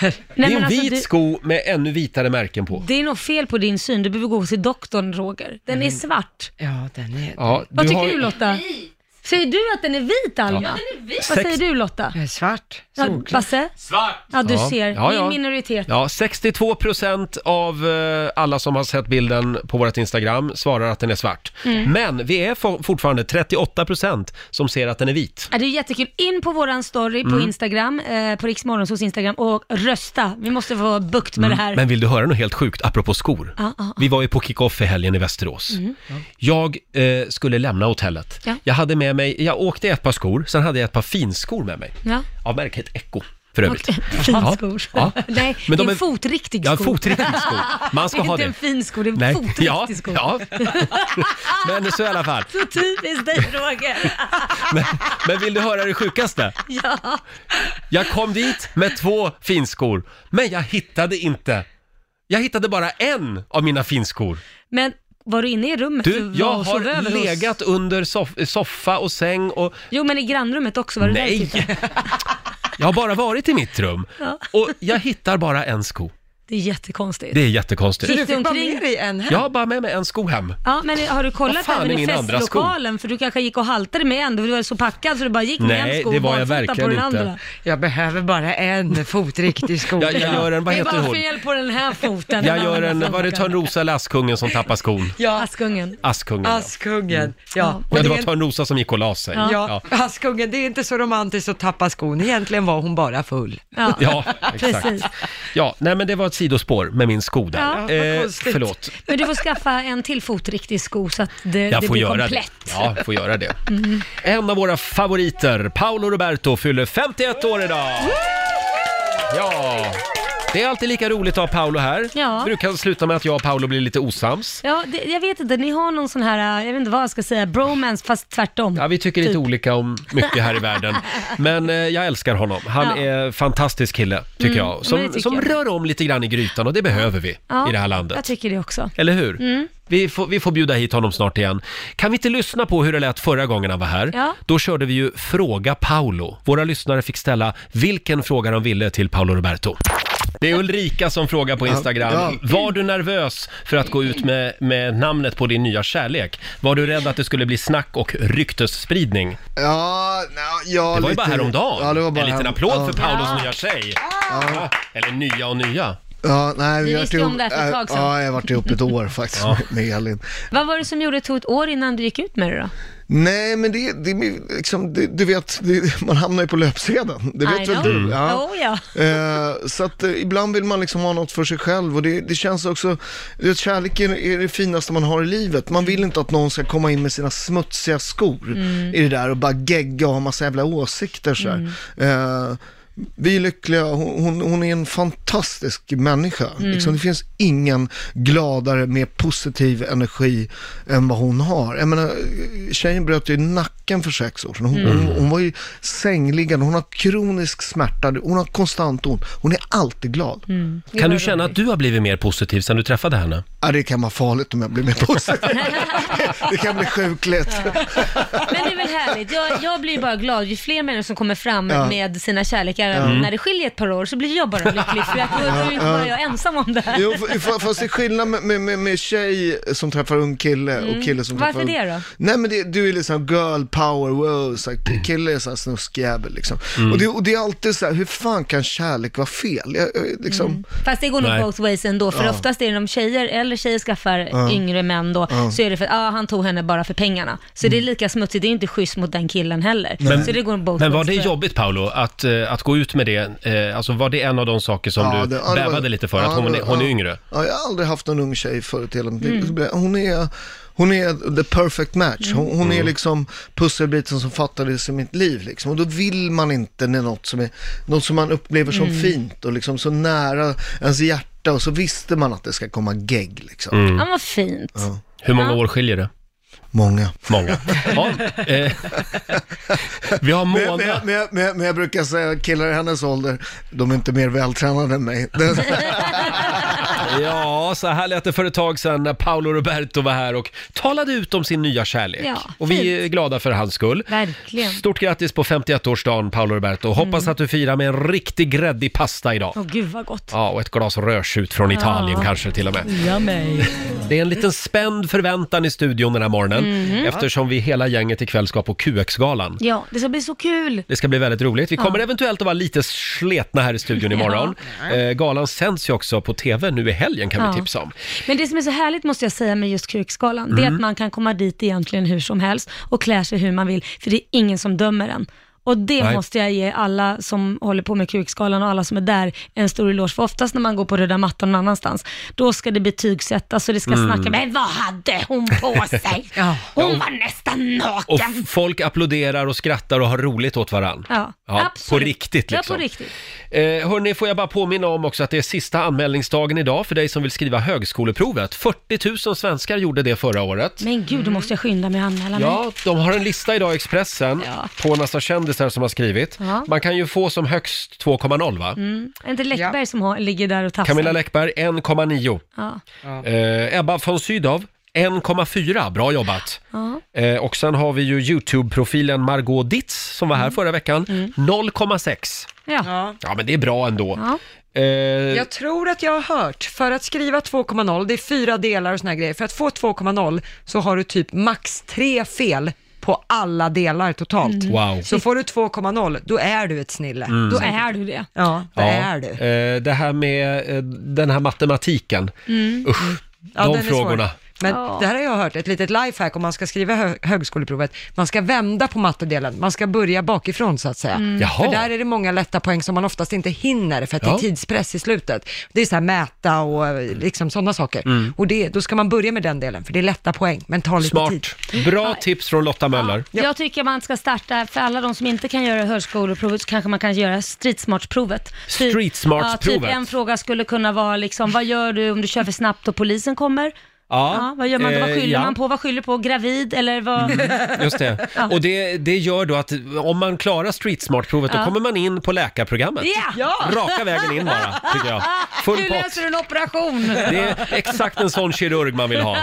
Speaker 2: Nej,
Speaker 1: det är
Speaker 2: men
Speaker 1: en
Speaker 2: alltså,
Speaker 1: vit
Speaker 2: du-
Speaker 1: sko med ännu vitare märken på.
Speaker 2: Det är nog fel på din syn, du behöver gå till doktorn Roger. Den
Speaker 4: Mm.
Speaker 2: är svart.
Speaker 4: Ja, den är...
Speaker 1: Ja,
Speaker 2: Vad
Speaker 1: du
Speaker 2: tycker
Speaker 1: har-
Speaker 2: du Lotta? Säger du att den är vit Alma?
Speaker 1: Ja.
Speaker 2: den är Vad
Speaker 1: Sex-
Speaker 2: säger du Lotta?
Speaker 4: Eh, Svart,
Speaker 2: Ja,
Speaker 4: solklart.
Speaker 2: Basse?
Speaker 7: Svart!
Speaker 2: Ja, du
Speaker 1: Ja.
Speaker 2: ser.
Speaker 1: Ja,
Speaker 2: Vi är
Speaker 1: ja.
Speaker 2: en minoritet.
Speaker 1: Ja, 62 procent av eh, alla som har sett bilden på vårt Instagram svarar att den är svart.
Speaker 2: Mm.
Speaker 1: Men vi är for- fortfarande 38 procent som ser att den är vit.
Speaker 2: Ja, det är jättekul. In på våran story
Speaker 1: Mm.
Speaker 2: på Instagram, eh, på Riksmorgonsos Instagram och rösta. Vi måste få bukt med det här.
Speaker 1: Mm. Men vill du höra något helt sjukt apropå skor?
Speaker 2: Ja, ja, Mm. ja.
Speaker 1: Vi var ju på kick-off i helgen i Västerås. Jag eh, skulle lämna hotellet.
Speaker 2: Ja.
Speaker 1: Jag hade med mig, jag åkte i ett par skor, sen hade jag ett par finskor med mig.
Speaker 2: Ja.
Speaker 1: Av märket Echo, för övrigt.
Speaker 2: Okej, Finskor.
Speaker 1: Ja, ja.
Speaker 2: Nej,
Speaker 1: Men
Speaker 2: det
Speaker 1: de
Speaker 2: är
Speaker 1: är-
Speaker 2: en fotriktig sko.
Speaker 1: Ja, fotriktig sko. Man ska
Speaker 2: det är
Speaker 1: ha
Speaker 2: inte
Speaker 1: det.
Speaker 2: en fin sko, det är en
Speaker 1: Nej.
Speaker 2: fotriktig
Speaker 1: Ja,
Speaker 2: sko.
Speaker 1: ja. Men så i alla fall.
Speaker 2: Så typiskt dig Roger.
Speaker 1: Men, men vill du höra det sjukaste?
Speaker 2: Ja.
Speaker 1: Jag kom dit med två finskor, men jag hittade inte. Jag hittade bara en av mina finskor.
Speaker 2: Men var du inne i rummet
Speaker 1: Du, jag
Speaker 2: var och sov
Speaker 1: har
Speaker 2: över hos?
Speaker 1: legat under soff- soffa och säng och
Speaker 2: Jo, men i grannrummet också var du där och
Speaker 1: nej.
Speaker 2: tittade.
Speaker 1: Jag har bara varit i mitt rum
Speaker 2: Ja.
Speaker 1: och jag hittar bara en sko.
Speaker 2: Det är jättekonstigt.
Speaker 1: Det är jättekonstigt.
Speaker 2: Gick
Speaker 4: Du
Speaker 2: du
Speaker 4: fick bara
Speaker 2: omkring?
Speaker 4: med dig en här.
Speaker 1: Jag har bara med mig en sko hem.
Speaker 2: Ja, men har du
Speaker 1: Vad
Speaker 2: kollat
Speaker 1: fan
Speaker 2: även
Speaker 1: är
Speaker 2: i
Speaker 1: min andra
Speaker 2: festlokalen? För du kanske gick och haltade med en, du var så packad så du bara gick med en
Speaker 1: Nej,
Speaker 2: sko
Speaker 1: det
Speaker 2: och
Speaker 1: var jag
Speaker 2: barfota på
Speaker 1: verkligen
Speaker 2: den
Speaker 1: inte.
Speaker 2: andra.
Speaker 4: Jag behöver bara en fotriktig sko.
Speaker 1: Jag, jag gör en, vad
Speaker 2: det
Speaker 1: heter
Speaker 2: var
Speaker 1: hon?
Speaker 2: fel på den här foten.
Speaker 1: Jag gör
Speaker 2: Den
Speaker 1: en,
Speaker 2: andra
Speaker 1: var det
Speaker 2: foten.
Speaker 1: Törnrosa eller Askungen som tappar skon?
Speaker 4: Ja,
Speaker 2: Askungen.
Speaker 1: Askungen. ja.
Speaker 4: Askungen. Ja,
Speaker 1: Ja,
Speaker 4: och
Speaker 1: det
Speaker 4: det
Speaker 1: var
Speaker 4: är,
Speaker 1: Törnrosa som gick och la sig.
Speaker 4: ja, Askungen, det är inte så romantiskt att tappa skon. Egentligen var hon bara full.
Speaker 2: Ja.
Speaker 1: Ja, exakt.
Speaker 2: Precis.
Speaker 1: Ja, nej men det var ett sidospår med min sko där.
Speaker 2: Ja,
Speaker 4: vad
Speaker 1: eh,
Speaker 4: konstigt.
Speaker 1: förlåt.
Speaker 2: Men du får skaffa en till fotriktig sko så att det,
Speaker 1: Jag
Speaker 2: det
Speaker 1: får
Speaker 2: blir
Speaker 1: göra
Speaker 2: komplett. Mm.
Speaker 1: det. Ja, jag får göra det. En av våra favoriter, Paolo Roberto, fyller 51 år idag. Ja. Det är alltid lika roligt att ha Paolo här.
Speaker 2: Ja.
Speaker 1: Brukar sluta med att jag och Paolo blir lite osams.
Speaker 2: Ja, det, jag vet inte, ni har någon sån här, eh, jag vet inte vad jag ska säga, bromance fast tvärtom.
Speaker 1: Ja, vi tycker
Speaker 2: Typ.
Speaker 1: lite olika om mycket här i världen. Men eh, jag älskar honom. Han
Speaker 2: Ja. Mm.
Speaker 1: är en fantastisk kille, tycker jag. Som,
Speaker 2: men det tycker
Speaker 1: som
Speaker 2: jag.
Speaker 1: rör om lite grann i grytan och det behöver vi
Speaker 2: Ja,
Speaker 1: i det här landet.
Speaker 2: Jag tycker Mm. det också.
Speaker 1: Eller hur? Vi, får, vi får bjuda hit honom snart igen. Kan vi inte lyssna på hur det lät förra gången han var här?
Speaker 2: Ja.
Speaker 1: Då körde vi ju Fråga Paolo. Våra lyssnare fick ställa vilken fråga de ville till Paolo Roberto. Det är Ulrika som frågar på Instagram.
Speaker 14: Ja.
Speaker 1: Var du nervös för att gå ut med, med namnet på din nya kärlek? Var du rädd att det skulle bli snack och ryktesspridning?
Speaker 14: Ja, na, ja,
Speaker 1: Det var ju
Speaker 14: lite-
Speaker 1: bara häromdagen.
Speaker 14: Ja, det var bara
Speaker 1: en liten
Speaker 14: härom-
Speaker 1: applåd
Speaker 14: ja.
Speaker 1: för Paulos nya tjej. Ja. Eller nya och nya.
Speaker 14: Ja, nej,
Speaker 2: Vi
Speaker 14: har
Speaker 2: visste
Speaker 14: varit
Speaker 2: ju om
Speaker 14: ihop-
Speaker 2: det här för ett
Speaker 14: äh,
Speaker 2: tag sedan.
Speaker 14: Ja, jag har varit ihop ett år faktiskt med Elin.
Speaker 2: Vad var det som gjorde att det tog ett år innan du gick ut med det då?
Speaker 14: Nej, men det, det är liksom, det, du vet, det, man hamnar ju på löpsedeln. Det
Speaker 2: I
Speaker 14: vet väl
Speaker 2: know.
Speaker 14: du?
Speaker 2: Oh, ja.
Speaker 14: Eh, så att eh, ibland vill man liksom ha något för sig själv och det, det känns också, du vet, kärleken är det finaste man har i livet. Man vill inte att någon ska komma in med sina smutsiga skor
Speaker 2: Mm.
Speaker 14: i det där och bara gegga och ha massa jävla åsikter så här.
Speaker 2: Mm.
Speaker 14: Eh, vi är lyckliga, hon, hon- hon är en fantastisk människa. Liksom, det finns ingen gladare, mer positiv energi än vad hon har. Jag menar, tjejen bröt ju nacken för sex år sedan. Hon, hon, hon var ju sängliggande, hon har kronisk smärta, hon har konstant ont. Hon är alltid glad.
Speaker 1: Kan du känna att du har blivit mer positiv sen du träffade henne?
Speaker 14: Ja, det kan vara farligt om jag blir mer positiv. det kan bli sjukligt.
Speaker 2: Men det är väl härligt. Jag, jag blir ju bara glad. Ju fler människor som kommer fram
Speaker 14: Ja.
Speaker 2: med sina kärlekar när det skiljer ett par år så blir jag bara lycklig. För att då är ju inte bara jag ensam om det här.
Speaker 14: Jo, f- f- fast det är skillnad med, med, med, med tjej som träffar ung kille och kille som
Speaker 2: Mm. Varför
Speaker 14: träffar ung-
Speaker 2: det då?
Speaker 14: Nej men det, du är liksom girl power, wow, så här, kille är såhär snuskjävel liksom. Och, det, och det är alltid så här, hur fan kan kärlek vara fel? Jag, jag, liksom,
Speaker 2: Mm. Fast det går nog
Speaker 1: Nej.
Speaker 2: both ways ändå, för oftast är det om tjejer, eller tjejer skaffar yngre män då, så är det för att ah, han tog henne bara för pengarna. Så det är
Speaker 14: Mm.
Speaker 2: lika smutsigt, det är inte schysst mot den killen heller. så det går both
Speaker 1: Men var
Speaker 2: ways.
Speaker 1: det
Speaker 2: tror jag.
Speaker 1: jobbigt Paolo, att, eh, att gå ut med det? Eh, alltså var det en av de saker som
Speaker 14: Ja,
Speaker 1: du
Speaker 14: det- ja, det var-
Speaker 1: bävade lite för?
Speaker 14: ja,
Speaker 1: att hon,
Speaker 14: det-
Speaker 1: är- hon är
Speaker 14: ja.
Speaker 1: yngre?
Speaker 14: Ja, jag har aldrig haft någon ung tjej förut i hela mitt liv. Så blev- Hon är, hon är the perfect match. Hon, hon
Speaker 1: Mm.
Speaker 14: är liksom pusselbiten som fattades i mitt liv. Liksom. Och då vill man inte när något som, är, något som man upplever som fint och liksom så nära ens hjärta och så visste man att det ska komma gegg. Liksom.
Speaker 2: Mm.
Speaker 1: Mm.
Speaker 2: Ja, vad fint.
Speaker 1: Hur många år skiljer det?
Speaker 14: Många.
Speaker 1: Många. Ja, eh, vi har
Speaker 14: Men, men,
Speaker 1: Mona.
Speaker 14: men, men, men, jag brukar säga killar i hennes ålder, de är inte mer vältränade än mig. Det-
Speaker 1: Ja, Ja, så här lät det för ett tag sedan när Paolo Roberto var här och talade ut om sin nya kärlek.
Speaker 2: Ja,
Speaker 1: och vi är glada för hans skull.
Speaker 2: Verkligen. Mm.
Speaker 1: Stort grattis på 51-årsdagen Paolo Roberto. Hoppas att du firar med en riktig gräddig pasta idag.
Speaker 2: Åh gud vad gott.
Speaker 1: Ja, och ett glas rödtjut från Italien
Speaker 2: Oh. Ja.
Speaker 1: kanske till och med.
Speaker 2: Yummy.
Speaker 1: Det är en liten spänd förväntan i studion den här morgonen
Speaker 2: Mhm.
Speaker 1: eftersom vi hela gänget ikväll ska på QX-galan.
Speaker 2: Ja, det ska bli så kul.
Speaker 1: Det ska bli väldigt roligt. Vi kommer
Speaker 2: Ja.
Speaker 1: eventuellt att vara lite sletna här i studion imorgon.
Speaker 2: Ja.
Speaker 1: Eh, galan sänds ju också på TV nu i helgen kan
Speaker 2: Ja.
Speaker 1: vi tipsa om.
Speaker 2: Men det som är så härligt måste jag säga med just Krukskalan, det är
Speaker 1: Mm.
Speaker 2: att man kan komma dit egentligen hur som helst och klä sig hur man vill, för det är ingen som dömer en. Och det
Speaker 15: Nej.
Speaker 2: måste jag ge alla som håller på med Krukskalan och alla som är där en stor eloge, för oftast när man går på röda mattan någon annanstans, då ska det betygsättas och det ska
Speaker 1: Mm.
Speaker 2: snacka, men vad hade hon på sig? Hon var nästan
Speaker 1: Och
Speaker 2: naken.
Speaker 1: f- folk applåderar och skrattar och har roligt åt varann.
Speaker 2: Ja,
Speaker 1: på
Speaker 2: absolut.
Speaker 1: riktigt liksom.
Speaker 2: Ja, på riktigt.
Speaker 1: Eh, hörni, får jag bara påminna om också att det är sista anmälningsdagen idag för dig som vill skriva högskoleprovet. 40 000 svenskar gjorde det förra året.
Speaker 2: Men gud, då måste jag skynda mig och anmäla mig.
Speaker 1: Mm. Ja, de har en lista idag i Expressen på en massa kändisar som har skrivit.
Speaker 2: Ja.
Speaker 1: Man kan ju få som högst 2,0 va?
Speaker 2: Mm. Är inte Läckberg som har, ligger där och tafsar?
Speaker 1: Camilla Läckberg 1,9.
Speaker 2: Ja.
Speaker 1: Eh, Ebba von Sydow 1,4. Bra jobbat!
Speaker 2: Ja.
Speaker 1: Eh, och sen har vi ju YouTube-profilen Margot Ditz som var här
Speaker 4: Mm.
Speaker 1: förra veckan. 0,6.
Speaker 2: Ja.
Speaker 1: Ja, men det är bra ändå. Eh,
Speaker 4: Jag tror att jag har hört, för att skriva 2,0, det är fyra delar och såna här grejer, för att få 2,0 så har du typ max tre fel på alla delar totalt.
Speaker 1: Mm. Wow.
Speaker 4: Så får du 2,0, då är du ett snille.
Speaker 1: Mm. Då
Speaker 2: är du det.
Speaker 4: Ja,
Speaker 1: ja,
Speaker 4: då är du.
Speaker 1: Eh, det här med eh, den här matematiken.
Speaker 4: Mm.
Speaker 1: Usch,
Speaker 4: Ja, den
Speaker 1: de
Speaker 4: är
Speaker 1: frågorna.
Speaker 4: svår. Men
Speaker 1: Ja.
Speaker 4: det här har jag hört, ett litet lifehack om man ska skriva hö- högskoleprovet. Man ska vända på mattedelen, man ska börja bakifrån så att säga.
Speaker 1: Mm. Jaha.
Speaker 4: För där är det många lätta poäng som man oftast inte hinner för att det
Speaker 1: Ja.
Speaker 4: är tidspress i slutet. Det är så här mäta och eh, liksom sådana saker.
Speaker 1: Mm.
Speaker 4: Och det, då ska man börja med den delen, för det är lätta poäng, men tar lite tid.
Speaker 1: Smart. Bra tips från Lotta Möller.
Speaker 2: Jag tycker man ska starta, för alla de som inte kan göra högskoleprovet så kanske man kan göra streetsmartsprovet. Typ-
Speaker 1: Streetsmartsprovet.
Speaker 2: Ja, typ en fråga skulle kunna vara liksom, vad gör du om du kör för snabbt och polisen kommer?
Speaker 1: Ja.
Speaker 2: vad gör man då? Vad
Speaker 1: Eh,
Speaker 2: skyller
Speaker 1: ja. Mm,
Speaker 2: man på? Vad skyller på? Gravid eller vad?
Speaker 1: Just det.
Speaker 2: Ja.
Speaker 1: Och det, det gör då att om man klarar streetsmart-provet
Speaker 2: Ja.
Speaker 1: då kommer man in på läkarprogrammet.
Speaker 2: Ja. Ja.
Speaker 1: Raka vägen in bara, tycker jag. Full
Speaker 2: Hur
Speaker 1: pott.
Speaker 2: löser du en operation?
Speaker 1: Det är exakt en sån kirurg man vill ha.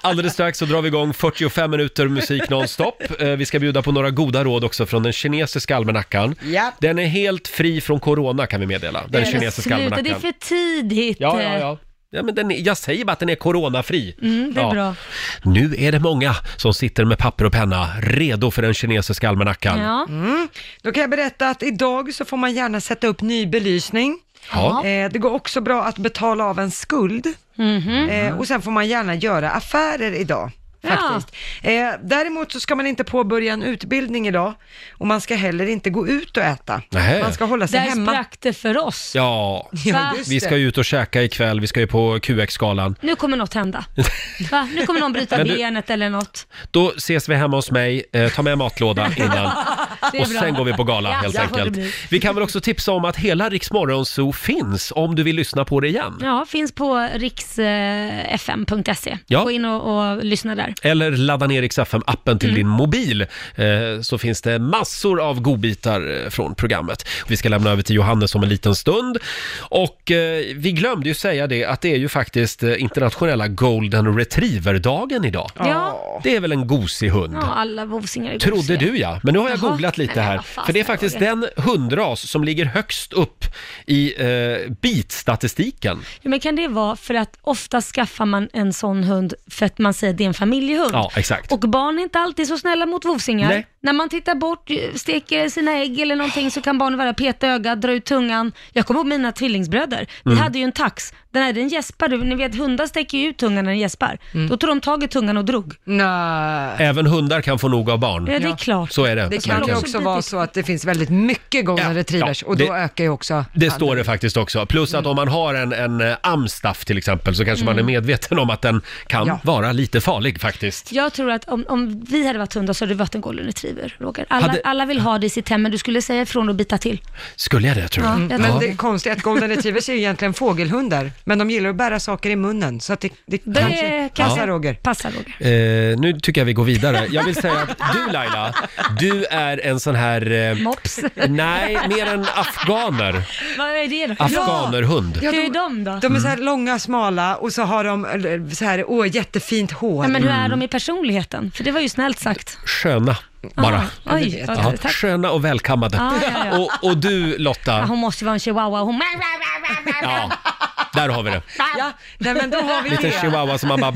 Speaker 1: Alldeles strax så drar vi igång 45 minuter musik nonstop. Eh, Vi ska bjuda på några goda råd också från den kinesiska almanackan.
Speaker 2: Ja.
Speaker 1: Den är helt fri från corona kan vi meddela, den kinesiska
Speaker 2: Sluta,
Speaker 1: almanackan.
Speaker 2: det är för tidigt.
Speaker 1: Ja, ja, ja. ja men den, är- jag säger bara att den är coronafri.
Speaker 2: Mm, det är
Speaker 1: ja.
Speaker 2: bra.
Speaker 1: Nu är det många som sitter med papper och penna, redo för den kinesiska almanackan.
Speaker 4: Mm. Då kan jag berätta att idag så får man gärna sätta upp ny belysning.
Speaker 1: Ja.
Speaker 4: Eh, det går också bra att betala av en skuld.
Speaker 2: Mhm.
Speaker 1: Mm.
Speaker 4: Eh, och sen får man gärna göra affärer idag. Faktiskt. Eh, däremot så ska man inte påbörja en utbildning idag och man ska heller inte gå ut och äta.
Speaker 1: Nähä.
Speaker 4: Man ska hålla sig
Speaker 2: Där
Speaker 4: hemma.
Speaker 2: sprack det för oss.
Speaker 1: Ja,
Speaker 2: Ja, just
Speaker 1: vi ska
Speaker 2: det.
Speaker 1: ju ut och käka ikväll, vi ska ju på QX-galan.
Speaker 2: Nu kommer något hända. Va? Nu kommer någon bryta
Speaker 1: Men du-
Speaker 2: benet eller något.
Speaker 1: Då ses vi hemma hos mig, eh, ta med matlåda innan.
Speaker 2: Det är
Speaker 1: Och
Speaker 2: bra.
Speaker 1: sen går vi på gala
Speaker 2: Ja,
Speaker 1: helt
Speaker 2: så får det
Speaker 1: enkelt.
Speaker 2: bli.
Speaker 1: Vi kan väl också tipsa om att hela Rix Morgonzoo finns om du vill lyssna på det igen.
Speaker 2: Ja, finns på eh, riksfm.se.
Speaker 1: Ja.
Speaker 2: Gå in och, och lyssna där.
Speaker 1: Eller ladda ner Rix FM-appen till
Speaker 2: Mm.
Speaker 1: din mobil eh, så finns det massor av godbitar eh, från programmet. Vi ska lämna över till Johannes om en liten stund. Och eh, vi glömde ju säga det att det är ju faktiskt eh, internationella golden retriever-dagen idag.
Speaker 2: Ja.
Speaker 1: Det är väl en gosig hund?
Speaker 2: Ja, alla vovsingar är
Speaker 1: Mm. Trodde
Speaker 2: gosiga.
Speaker 1: du ja, men nu har jag
Speaker 2: Jaha.
Speaker 1: googlat lite
Speaker 2: Nej,
Speaker 1: här.
Speaker 2: vad fan
Speaker 1: För det är
Speaker 2: ska jag
Speaker 1: faktiskt
Speaker 2: googla?
Speaker 1: den hundras som ligger högst upp i eh, bitstatistiken.
Speaker 2: Ja, men kan det vara för att ofta skaffar man en sån hund för att man säger att det är en familjehund?
Speaker 1: Ja, exakt.
Speaker 2: Och barn är inte alltid så snälla mot vovsingar.
Speaker 1: Nej.
Speaker 2: När man tittar bort, steker sina ägg eller någonting så kan barnen vara peta ögat, dra ut tungan. Jag kommer ihåg mina tvillingsbröder. Vi
Speaker 15: Mm.
Speaker 2: hade ju en tax. Den här den gäspade. Ni vet hundar sträcker ju ut tungan när den gäspar.
Speaker 1: Mm.
Speaker 2: Då tog de tag i tungan och drog.
Speaker 4: Nej.
Speaker 1: Även hundar kan få nog av barn.
Speaker 2: Ja, det är klart.
Speaker 1: Så är det.
Speaker 4: Det kan ju
Speaker 1: verkligen.
Speaker 4: också vara så att det finns väldigt mycket golden retrievers och då
Speaker 1: det-
Speaker 4: ökar ju också
Speaker 1: Det står det faktiskt också. Plus att om man har en, en eh, amstaff till exempel så kanske man
Speaker 2: Mm.
Speaker 1: är medveten om att den kan vara lite farlig faktiskt.
Speaker 2: Jag tror att om, om vi hade varit hundar så hade det varit en golden retriever, Roger. Alla,
Speaker 1: Hade-
Speaker 2: alla vill ha det i sitt hem, men du skulle säga ifrån och bita till.
Speaker 1: Skulle jag det tror
Speaker 2: Ja,
Speaker 1: du?
Speaker 2: jag tror
Speaker 1: Ja.
Speaker 4: Men det konstiga är att golden retrievers är ju egentligen fågelhundar. Men de gillar att bära saker i munnen, så att det, det, kanske
Speaker 1: kanske-
Speaker 4: passar Roger.
Speaker 2: Passar Roger.
Speaker 1: Eh, nu tycker jag vi går vidare. Jag vill säga att du Laila, du är en sån här... Eh,
Speaker 2: Mops.
Speaker 1: Nej, mer en afghaner.
Speaker 2: Vad är det då?
Speaker 1: Afghanerhund.
Speaker 2: Ja. Hur är de då? Mm.
Speaker 4: De är så här långa, smala och så har de eh, så här, åh, jättefint hår. Mm.
Speaker 2: Ja, men hur är de i personligheten? För det var ju snällt sagt.
Speaker 1: Sköna, bara.
Speaker 2: Ah, oj, ja,
Speaker 1: Ja,
Speaker 2: tack.
Speaker 1: sköna och välkammade.
Speaker 2: Ah, ja, ja.
Speaker 1: Och, och du
Speaker 2: Ja,
Speaker 1: Lotta,
Speaker 2: hon måste ju vara en chihuahua. Hon...
Speaker 1: ja, där har vi det.
Speaker 4: Ja, nej, men då har vi
Speaker 1: Liten
Speaker 4: det.
Speaker 1: chihuahua som man bara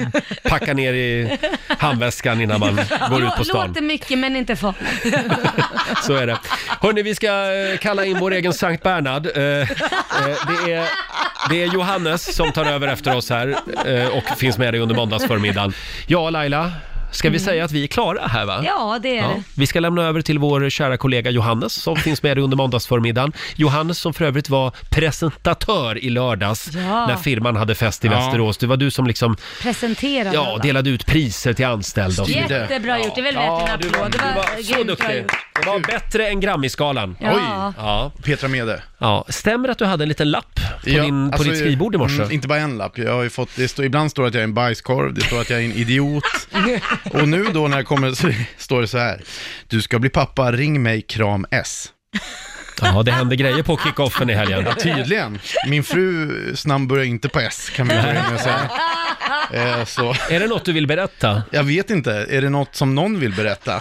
Speaker 1: packar ner i handväskan innan man går ut på stan.
Speaker 2: Låter mycket men inte farligt.
Speaker 1: Så är det. Hörni, vi ska eh, kalla in vår egen Sankt Bernhard. Eh, eh, Det är, det är Johannes som tar över efter oss här eh, och finns med dig under måndagsförmiddagen. Ja, Laila, ska vi säga att vi är klara här va?
Speaker 2: Mm. Ja, det är det.
Speaker 1: Vi ska lämna över till vår kära kollega Johannes som finns med dig under måndagsförmiddagen. Johannes som för övrigt var presentatör i lördags
Speaker 2: Ja.
Speaker 1: när firman hade fest i
Speaker 7: Ja.
Speaker 1: Västerås. Det var du som liksom,
Speaker 2: Presentera.
Speaker 1: ja, delade ut priser till anställda och så vidare.
Speaker 2: Jättebra gjort. Det är väl värt en applåd. Det var
Speaker 1: Så
Speaker 2: grymt bra
Speaker 1: duktig.
Speaker 2: gjort.
Speaker 1: Det var bättre än Grammisgalan.
Speaker 2: Ja.
Speaker 15: Oj.
Speaker 1: Ja.
Speaker 15: Petra Mede.
Speaker 1: Ja, stämmer att du hade en liten lapp på,
Speaker 15: Ja,
Speaker 1: din, på
Speaker 15: alltså,
Speaker 1: ditt skrivbord i morse?
Speaker 15: mm, Inte bara en lapp. Jag har ju fått, det står, ibland står det att jag är en bajskorv, det står att jag är en idiot. Och nu då när jag kommer så står det så här. Du ska bli pappa, ring mig, kram S.
Speaker 1: Ja, det hände grejer på kickoffen i helgen.
Speaker 15: Ja, tydligen. Min frus namn börjar inte på S, kan vi börja med att säga. Eh, så.
Speaker 1: Är det något du vill berätta?
Speaker 15: Jag vet inte. Är det något som någon vill berätta?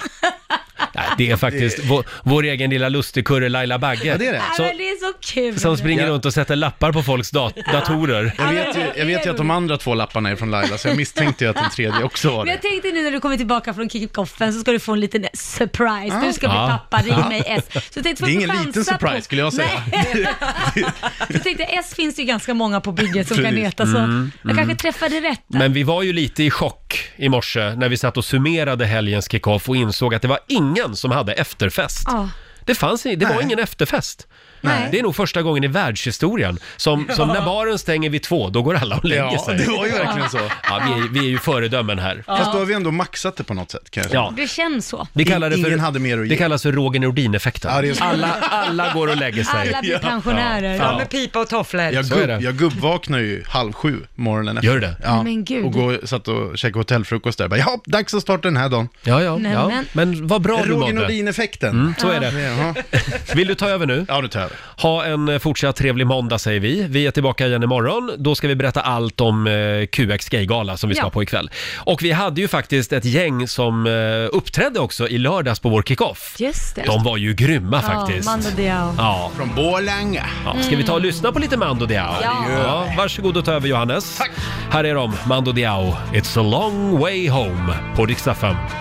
Speaker 1: Nej, det är faktiskt vår, vår egen lilla lustigkurre Laila Bagge.
Speaker 15: Ja, det är det.
Speaker 2: Ja,
Speaker 1: Som,
Speaker 2: men det är så kul.
Speaker 1: som springer runt och sätter lappar på folks dat- datorer.
Speaker 15: Jag vet, ju, jag vet ju att de andra två lapparna är från Laila, så jag misstänkte ju att den tredje också var
Speaker 2: Men jag
Speaker 15: det.
Speaker 2: tänkte nu när du kommer tillbaka från kickoffen så ska du få en liten surprise. Du ska bli
Speaker 1: Ja.
Speaker 2: pappa, ring
Speaker 1: Ja.
Speaker 2: mig S. Så jag tänkte, får
Speaker 15: Det är
Speaker 2: jag
Speaker 15: ingen
Speaker 2: chansa
Speaker 15: liten surprise,
Speaker 2: på...
Speaker 15: skulle jag säga.
Speaker 2: Nej. så jag tänkte S finns det ju ganska många på bygget som kan
Speaker 15: Precis.
Speaker 2: heta så.
Speaker 1: Mm,
Speaker 2: Jag kanske träffade rätt.
Speaker 1: Men vi var ju lite i chock i morse när vi satt och summerade helgens kickoff och insåg att det var ingen som hade efterfest.
Speaker 2: Ja.
Speaker 1: Det, fanns, i- det var
Speaker 15: Nej.
Speaker 1: ingen efterfest.
Speaker 15: Nej.
Speaker 1: Det är nog första gången i världshistorien som, som när baren stänger vid två, då går alla och lägger
Speaker 15: Ja,
Speaker 1: sig.
Speaker 15: det var ju verkligen så.
Speaker 1: Ja, vi, är, vi är ju föredömen här.
Speaker 15: Fast då har vi ändå maxat det på något sätt, kanske.
Speaker 1: Ja.
Speaker 2: Det känns så.
Speaker 1: Vi kallar det för,
Speaker 15: Ingen hade mer att ge.
Speaker 1: det kallas för Roger Nordin-effekten.
Speaker 15: Ja, det är så.
Speaker 1: alla, alla går och lägger sig.
Speaker 2: Alla blir pensionärer.
Speaker 4: Ja, med pipa och tofflor.
Speaker 15: Jag,
Speaker 1: Så är det.
Speaker 15: gubb, jag gubbvaknar ju halv sju morgonen efter.
Speaker 1: Gör du det?
Speaker 15: Ja,
Speaker 2: Men gud.
Speaker 15: och går, satt och käkade hotellfrukost där. Bara, ja, dags att starta den här dagen.
Speaker 1: Ja, ja,
Speaker 2: Nej,
Speaker 1: ja.
Speaker 2: men-
Speaker 1: Men vad bra du
Speaker 15: Roger
Speaker 1: mådde. Mm.
Speaker 15: Nordin-effekten.
Speaker 1: Så är det.
Speaker 15: Jaha.
Speaker 1: Vill du ta över nu?
Speaker 15: Ja, du tar jag över.
Speaker 1: Ha en eh, fortsatt trevlig måndag säger vi. Vi är tillbaka igen imorgon. Då ska vi berätta allt om eh, QX Gaygala som vi ska
Speaker 2: Ja.
Speaker 1: på ikväll. Och vi hade ju faktiskt ett gäng som eh, uppträdde också i lördags på vår kickoff.
Speaker 2: Just det.
Speaker 1: De var ju grymma faktiskt.
Speaker 2: Ja, Mando Diao.
Speaker 1: Ja,
Speaker 15: Från Borlänge.
Speaker 1: ja. Ska vi ta och lyssna på lite Mando Diao?
Speaker 2: Ja.
Speaker 1: ja. Varsågod och ta över Johannes. Här är de, Mando Diao. It's a long way home på Dix FM.